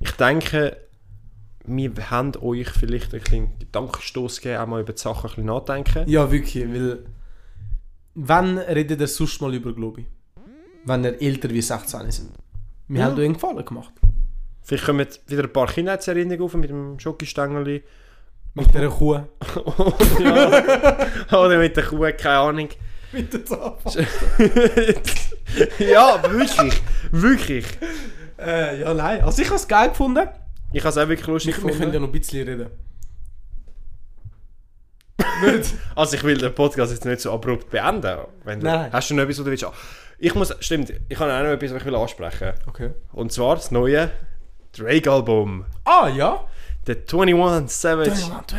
S2: Ich denke, wir haben euch vielleicht ein bisschen Gedankenstoß gegeben, auch mal über die Sachen ein bisschen nachdenken.
S1: ja, wirklich, weil. Wann redet ihr sonst mal über Globi? Wenn ihr älter wie 16 sind. Wir haben euch einen Gefallen gemacht.
S2: Vielleicht kommen wieder ein paar Kindheitserinnerungen auf mit dem Schokostängeli.
S1: Mit dieser Kuh.
S2: Oder mit der Kuh, keine Ahnung.
S1: Mit der Zahnfall.
S2: ja, wirklich. Wirklich.
S1: Äh, ja, nein. Also, ich habe es geil gefunden.
S2: Ich habe es auch wirklich lustig
S1: Wir können ja
S2: gefunden.
S1: noch ein bisschen reden.
S2: Also ich will den Podcast jetzt nicht so abrupt beenden. Wenn du,
S1: Nein.
S2: Hast du noch etwas, was du willst? Ich muss, stimmt, ich habe auch noch etwas, was ich will ansprechen
S1: Okay.
S2: Und zwar das neue Drake-Album.
S1: Ah, ja.
S2: Der 21 Savage.
S1: 21,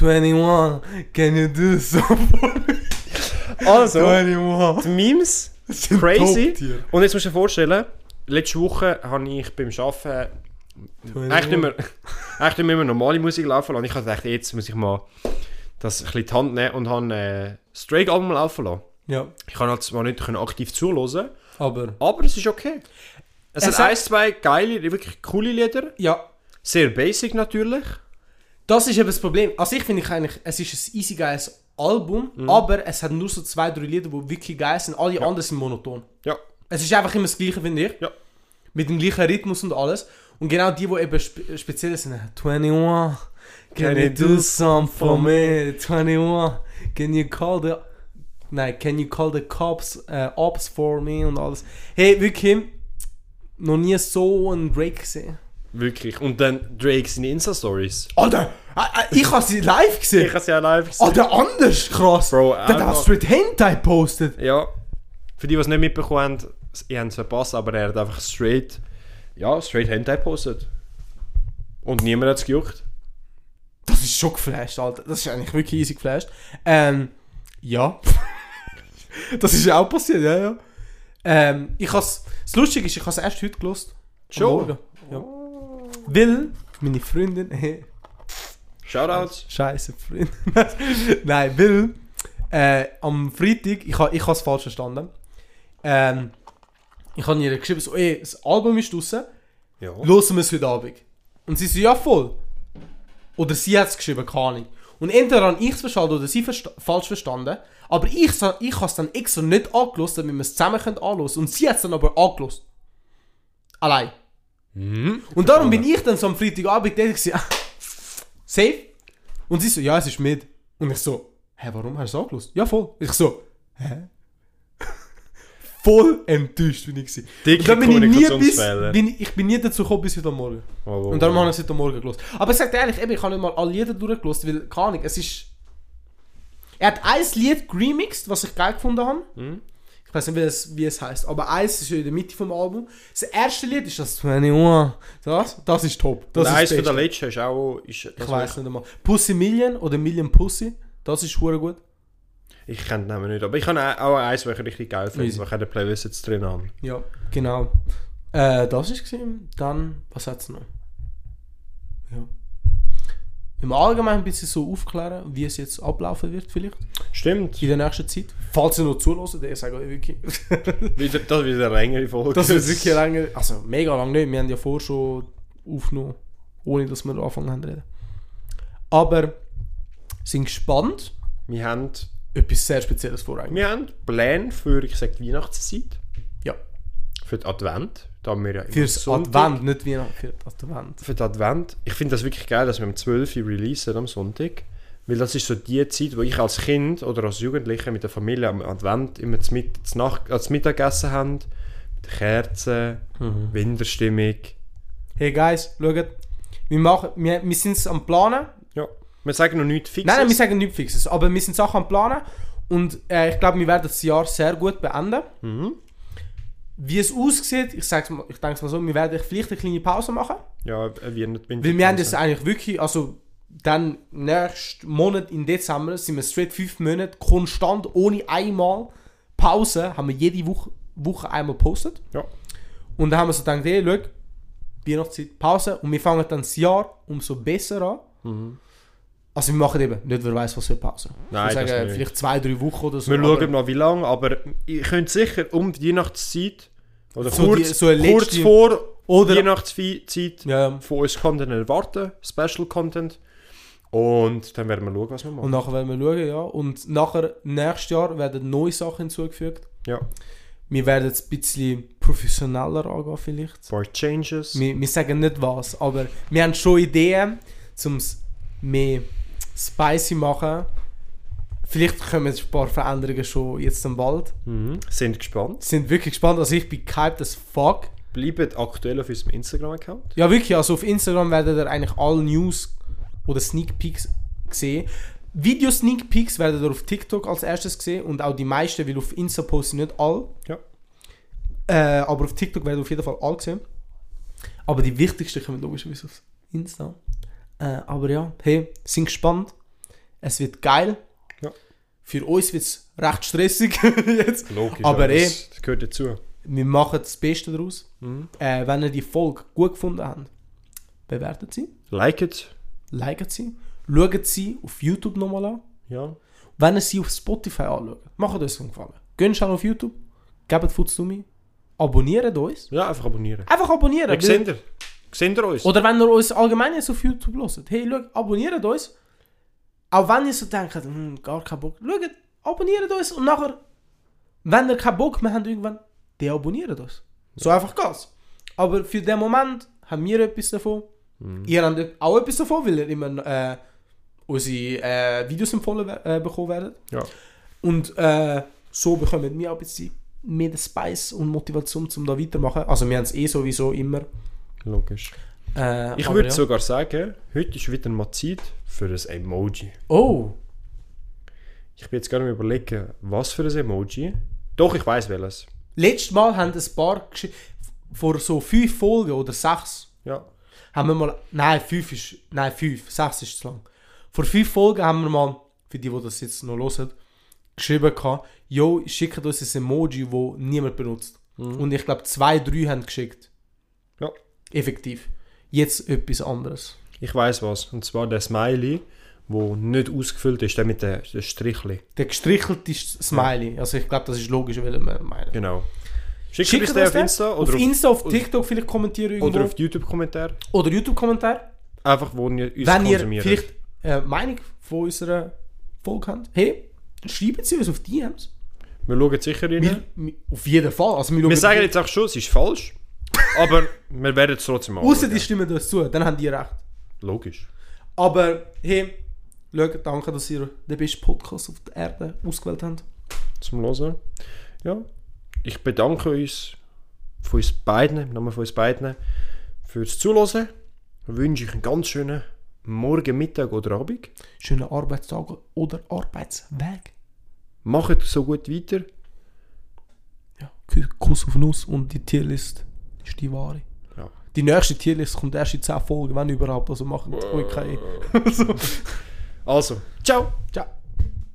S1: 21. 21, can you do something?
S2: Also,
S1: 21.
S2: die Memes,
S1: sind
S2: crazy.
S1: Top-Tier.
S2: Und jetzt musst du dir vorstellen, letzte Woche habe ich beim Arbeiten Echt nicht mehr, echt nicht mehr normale Musik laufen lassen. Ich habe gedacht, jetzt muss ich mal das ein bisschen in die Hand nehmen und habe äh, das Drake-Album laufen lassen.
S1: Ja,
S2: Ich kann halt zwar nicht können aktiv zuhören,
S1: aber.
S2: aber es ist okay. Es,
S1: Es
S2: hat
S1: hat-
S2: ein, zwei geile, wirklich coole Lieder.
S1: Ja,
S2: Sehr basic natürlich.
S1: das ist eben das Problem. Also, ich finde ich eigentlich, es ist ein easy geiles Album,
S2: Mhm.
S1: aber es hat nur so zwei, drei Lieder, die wirklich geil sind. Alle anderen sind monoton.
S2: Ja.
S1: Es ist einfach immer das Gleiche, finde ich.
S2: Ja.
S1: Mit dem gleichen Rhythmus und alles. Und genau die, die eben spe speziell sind, 21, can you do something for me? 21, can you call the... Nein, can you call the cops, äh, ops for me und alles. Hey, wirklich, noch nie so einen Drake gesehen.
S2: Wirklich. Und dann Drake seine Insta-Stories.
S1: Alter, äh, äh, ich habe sie live gesehen.
S2: Ich habe sie ja live gesehen.
S1: Alter, anders krass.
S2: Bro,
S1: der hat
S2: einfach-
S1: was straight Hentai postet.
S2: Ja. Für die, die es nicht mitbekommen haben, ich habe es verpasst, aber er hat einfach straight, ja, straight Hentai gepostet. Und niemand hat es gejuckt.
S1: Das ist schon geflasht, Alter. Das ist eigentlich wirklich easy geflasht. Ähm, ja. das ist ja auch passiert, ja, ja. Ähm, ich has, das Lustige ist, ich habe es erst heute gelost.
S2: Schon?
S1: Ja. Weil meine Freundin,
S2: Shoutouts.
S1: scheiße Freundin. Nein, weil äh, am Freitag, ich habe ich es falsch verstanden. Ähm, ich habe ihr geschrieben, so, ey, das Album ist draußen.
S2: Ja.
S1: hören wir es heute Abend. Und sie so, ja voll. Oder sie hat es geschrieben, keine Ahnung. Und entweder habe ich es verstanden oder sie versta falsch verstanden. Aber ich, sa- ich habe es dann extra nicht angelost, damit wir es zusammen können anhören. Und sie hat es dann aber angelost. Allein.
S2: Mhm.
S1: Und darum bin ich dann so am Freitagabend da gewesen, safe. Und sie so, ja, es ist mit. Und ich so, hä, warum hast du es angelost? Ja, voll. Ich so, hä? voll enttäuscht bin ich gewesen.
S2: Dicke
S1: Und dann bin ich nie bis,
S2: Kommunikationsfehler.
S1: bin ich, ich bin nie dazu gekommen bis heute Morgen.
S2: Oh, oh,
S1: Und darum
S2: oh.
S1: habe ich es heute Morgen gelost. Aber ich sage dir ehrlich, eben, ich habe nicht mal alle Lieder durchgelost, weil, keine Ahnung, es ist... Er hat ein Lied remixed, was ich geil gefunden habe.
S2: Mhm.
S1: Ich weiß nicht, wie es, wie es heißt, aber eins ist in der Mitte vom Album. Das erste Lied ist das 21. Das, das ist top. Das
S2: Nein,
S1: ist
S2: eins von der
S1: beste.
S2: letzten ist auch. Ist, das
S1: Ich weiß nicht einmal. Pussy Million oder Million Pussy, das ist hure gut.
S2: Ich kenne den Namen nicht, aber ich habe auch eins, das ich richtig geil finde,
S1: Easy.
S2: weil ich in der Playlist jetzt drin habe.
S1: Ja, genau. Äh, das ist gesehen. Dann, was hat's noch? Ja. Im Allgemeinen ein bisschen so aufklären, wie es jetzt ablaufen wird, vielleicht.
S2: Stimmt.
S1: In der nächsten Zeit. Falls ihr noch zulässt, ich sage euch wirklich.
S2: Wieder, das wird eine längere Folge.
S1: Das wird wirklich länger. Also mega lang nicht. Wir haben ja vorher schon aufgenommen, ohne dass wir angefangen haben zu reden. Aber sind gespannt.
S2: Wir haben,
S1: Etwas sehr Spezielles vor eigentlich.
S2: wir haben Pläne für, ich sage, die Weihnachtszeit.
S1: Ja.
S2: Für den Advent. Da haben wir ja immer
S1: Fürs
S2: Sonntag-
S1: Advent, nicht Weihnachten, für Advent.
S2: Für den Advent. Ich finde das wirklich geil, dass wir am 12. Uhr releasen am Sonntag. Weil das ist so die Zeit, wo ich als Kind oder als Jugendlicher mit der Familie am Advent immer zu Mitt- zu Nacht- äh, zu Mittag gegessen haben. Mit den Kerzen,
S1: Mhm.
S2: Winterstimmung.
S1: Hey guys, schaut. Wir, machen, wir, wir sind es am Planen.
S2: Ja. Wir sagen noch nichts fixes.
S1: Nein, nein, wir sagen nichts Fixes, aber wir sind Sachen am Planen und äh, ich glaube, wir werden das Jahr sehr gut beenden. Wie es aussieht, ich, sag's mal, ich denke es mal so, wir werden vielleicht eine kleine Pause machen,
S2: Ja, äh, wir nicht
S1: weil wir haben jetzt eigentlich wirklich, also dann nächsten Monat im Dezember sind wir straight fünf Monate konstant, ohne einmal Pause, haben wir jede Woche, Woche einmal gepostet.
S2: Ja.
S1: Und dann haben wir so gedacht, hey, schau, Weihnachtszeit, Pause. Und wir fangen dann das Jahr umso besser an. Also wir machen eben, nicht wer weiß was für Pause.
S2: Mhm. Nein,
S1: ich würde
S2: das
S1: sagen,
S2: nicht.
S1: vielleicht zwei, drei Wochen oder so.
S2: Wir
S1: aber
S2: schauen noch wie lange, aber ihr könnt sicher um die Weihnachtszeit oder
S1: So
S2: kurz,
S1: die- so eine
S2: kurz
S1: letzte-
S2: vor
S1: Oder-
S2: Weihnachtszeit
S1: Ja.
S2: von uns Content erwarten, Special Content. Und dann werden wir schauen, was wir machen.
S1: Und nachher werden wir schauen, ja. Und nachher, nächstes Jahr werden neue Sachen hinzugefügt.
S2: ja.
S1: Wir werden es ein bisschen professioneller angehen vielleicht.
S2: For Changes.
S1: Wir, wir sagen nicht was, aber wir haben schon Ideen, um es mehr spicy machen. Vielleicht kommen jetzt ein paar Veränderungen schon jetzt im Wald.
S2: Mhm. Sind gespannt.
S1: sind wirklich gespannt. Also ich bin gehypt as fuck.
S2: Bleibt aktuell auf unserem Instagram-Account.
S1: Ja, wirklich. Also auf Instagram werdet ihr eigentlich alle News oder Sneak Peeks sehen. Video-Sneak Peeks werdet ihr auf TikTok als erstes sehen und auch die meisten, weil auf Insta posten nicht alle.
S2: Ja.
S1: Äh, aber auf TikTok werdet ihr auf jeden Fall alle sehen. Aber die wichtigsten kommen logischerweise auf Insta. Äh, aber ja, hey, sind gespannt. Es wird geil.
S2: Ja.
S1: Für uns wird es recht stressig jetzt.
S2: Logisch.
S1: Aber eh.
S2: das das gehört dazu.
S1: Wir machen das Beste daraus. Äh, wenn ihr die Folge gut gefunden habt, bewertet sie,
S2: Liket.
S1: liket sie, schaut sie auf YouTube nochmal an.
S2: Ja.
S1: Wenn ihr sie auf Spotify anschaut, macht euch einen Gefallen. Geht schnell auf YouTube, gebt Futs zu mir, abonniert uns.
S2: Ja, einfach abonnieren.
S1: Einfach abonnieren.
S2: Ja,
S1: weil-
S2: seht ihr. Seht ihr uns?
S1: oder wenn ihr uns allgemein jetzt auf YouTube hört, hey, schaut, abonniert uns. Auch wenn ihr so denkt, hm, gar keinen Bock, schaut, abonniert uns und nachher, wenn ihr keinen Bock mehr habt, irgendwann, deabonniert uns. So einfach geht's. Aber für den Moment haben wir etwas davon.
S2: Mhm.
S1: Ihr habt auch etwas davon, weil ihr immer äh, unsere äh, Videos empfohlen wer- äh, bekommen werdet.
S2: Ja.
S1: Und äh, so bekommen wir auch ein bisschen mehr den Spice und Motivation, um da weitermachen. Also wir haben es eh sowieso immer.
S2: Logisch.
S1: Äh,
S2: Ich
S1: aber
S2: würde
S1: ja.
S2: sogar sagen, heute ist wieder mal Zeit für ein Emoji.
S1: Oh,
S2: Ich bin jetzt gerade am überlegen, was für ein Emoji. Doch, ich weiß welches.
S1: letztes Mal haben ein paar Gesch- vor so fünf Folgen oder sechs
S2: Ja.
S1: haben wir mal. Nein, fünf ist. Nein, fünf, sechs ist zu lang. Vor fünf Folgen haben wir mal, für die, die das jetzt noch hören, geschrieben gehabt, yo, schickt uns ein Emoji, wo niemand benutzt. Und ich glaube, zwei, drei haben geschickt.
S2: Mhm. Ja.
S1: Effektiv. Jetzt etwas anderes.
S2: Ich weiß was. Und zwar der Smiley, wo nicht ausgefüllt ist, der mit dem dem Strichli.
S1: Der gestrichelte Sch- Smiley. Also ich glaube, das ist logisch, weil man meinen.
S2: Genau. Schickt
S1: Schickt
S2: uns den
S1: uns
S2: auf Insta
S1: Auf
S2: oder auf,
S1: Insta, auf TikTok vielleicht kommentieren irgendwo.
S2: oder auf YouTube-Kommentar.
S1: oder YouTube-Kommentar.
S2: Einfach, wo ihr uns
S1: Wenn ihr
S2: konsumiert.
S1: vielleicht äh, Meinung von unserer Folge habt, hey, schreibt sie uns auf DMs.
S2: Wir schauen sicher rein.
S1: Wir,
S2: Wir,
S1: wir, auf jeden Fall. Also wir,
S2: sagen jetzt auch schon, es ist falsch. aber wir werden es trotzdem
S1: Außer
S2: anschauen.
S1: die stimmen uns zu, dann haben die recht.
S2: Logisch.
S1: Aber hey, schaut, danke, dass ihr den besten Podcast auf der Erde ausgewählt habt.
S2: zum Hören. Ja, ich bedanke uns von uns beiden, im Namen von uns beiden, fürs Zuhören. Wünsche ich einen ganz schönen Morgen, Mittag oder Abend.
S1: Schönen Arbeitstag oder Arbeitsweg.
S2: Macht so gut weiter.
S1: Ja, Kü- Kuss auf Nuss und die Tierlist ist die wahre.
S2: Ja.
S1: Die nächste Tierlist kommt erst in 10 Folgen, wenn überhaupt. Also macht euch keine.
S2: Also, ciao!
S1: Ciao.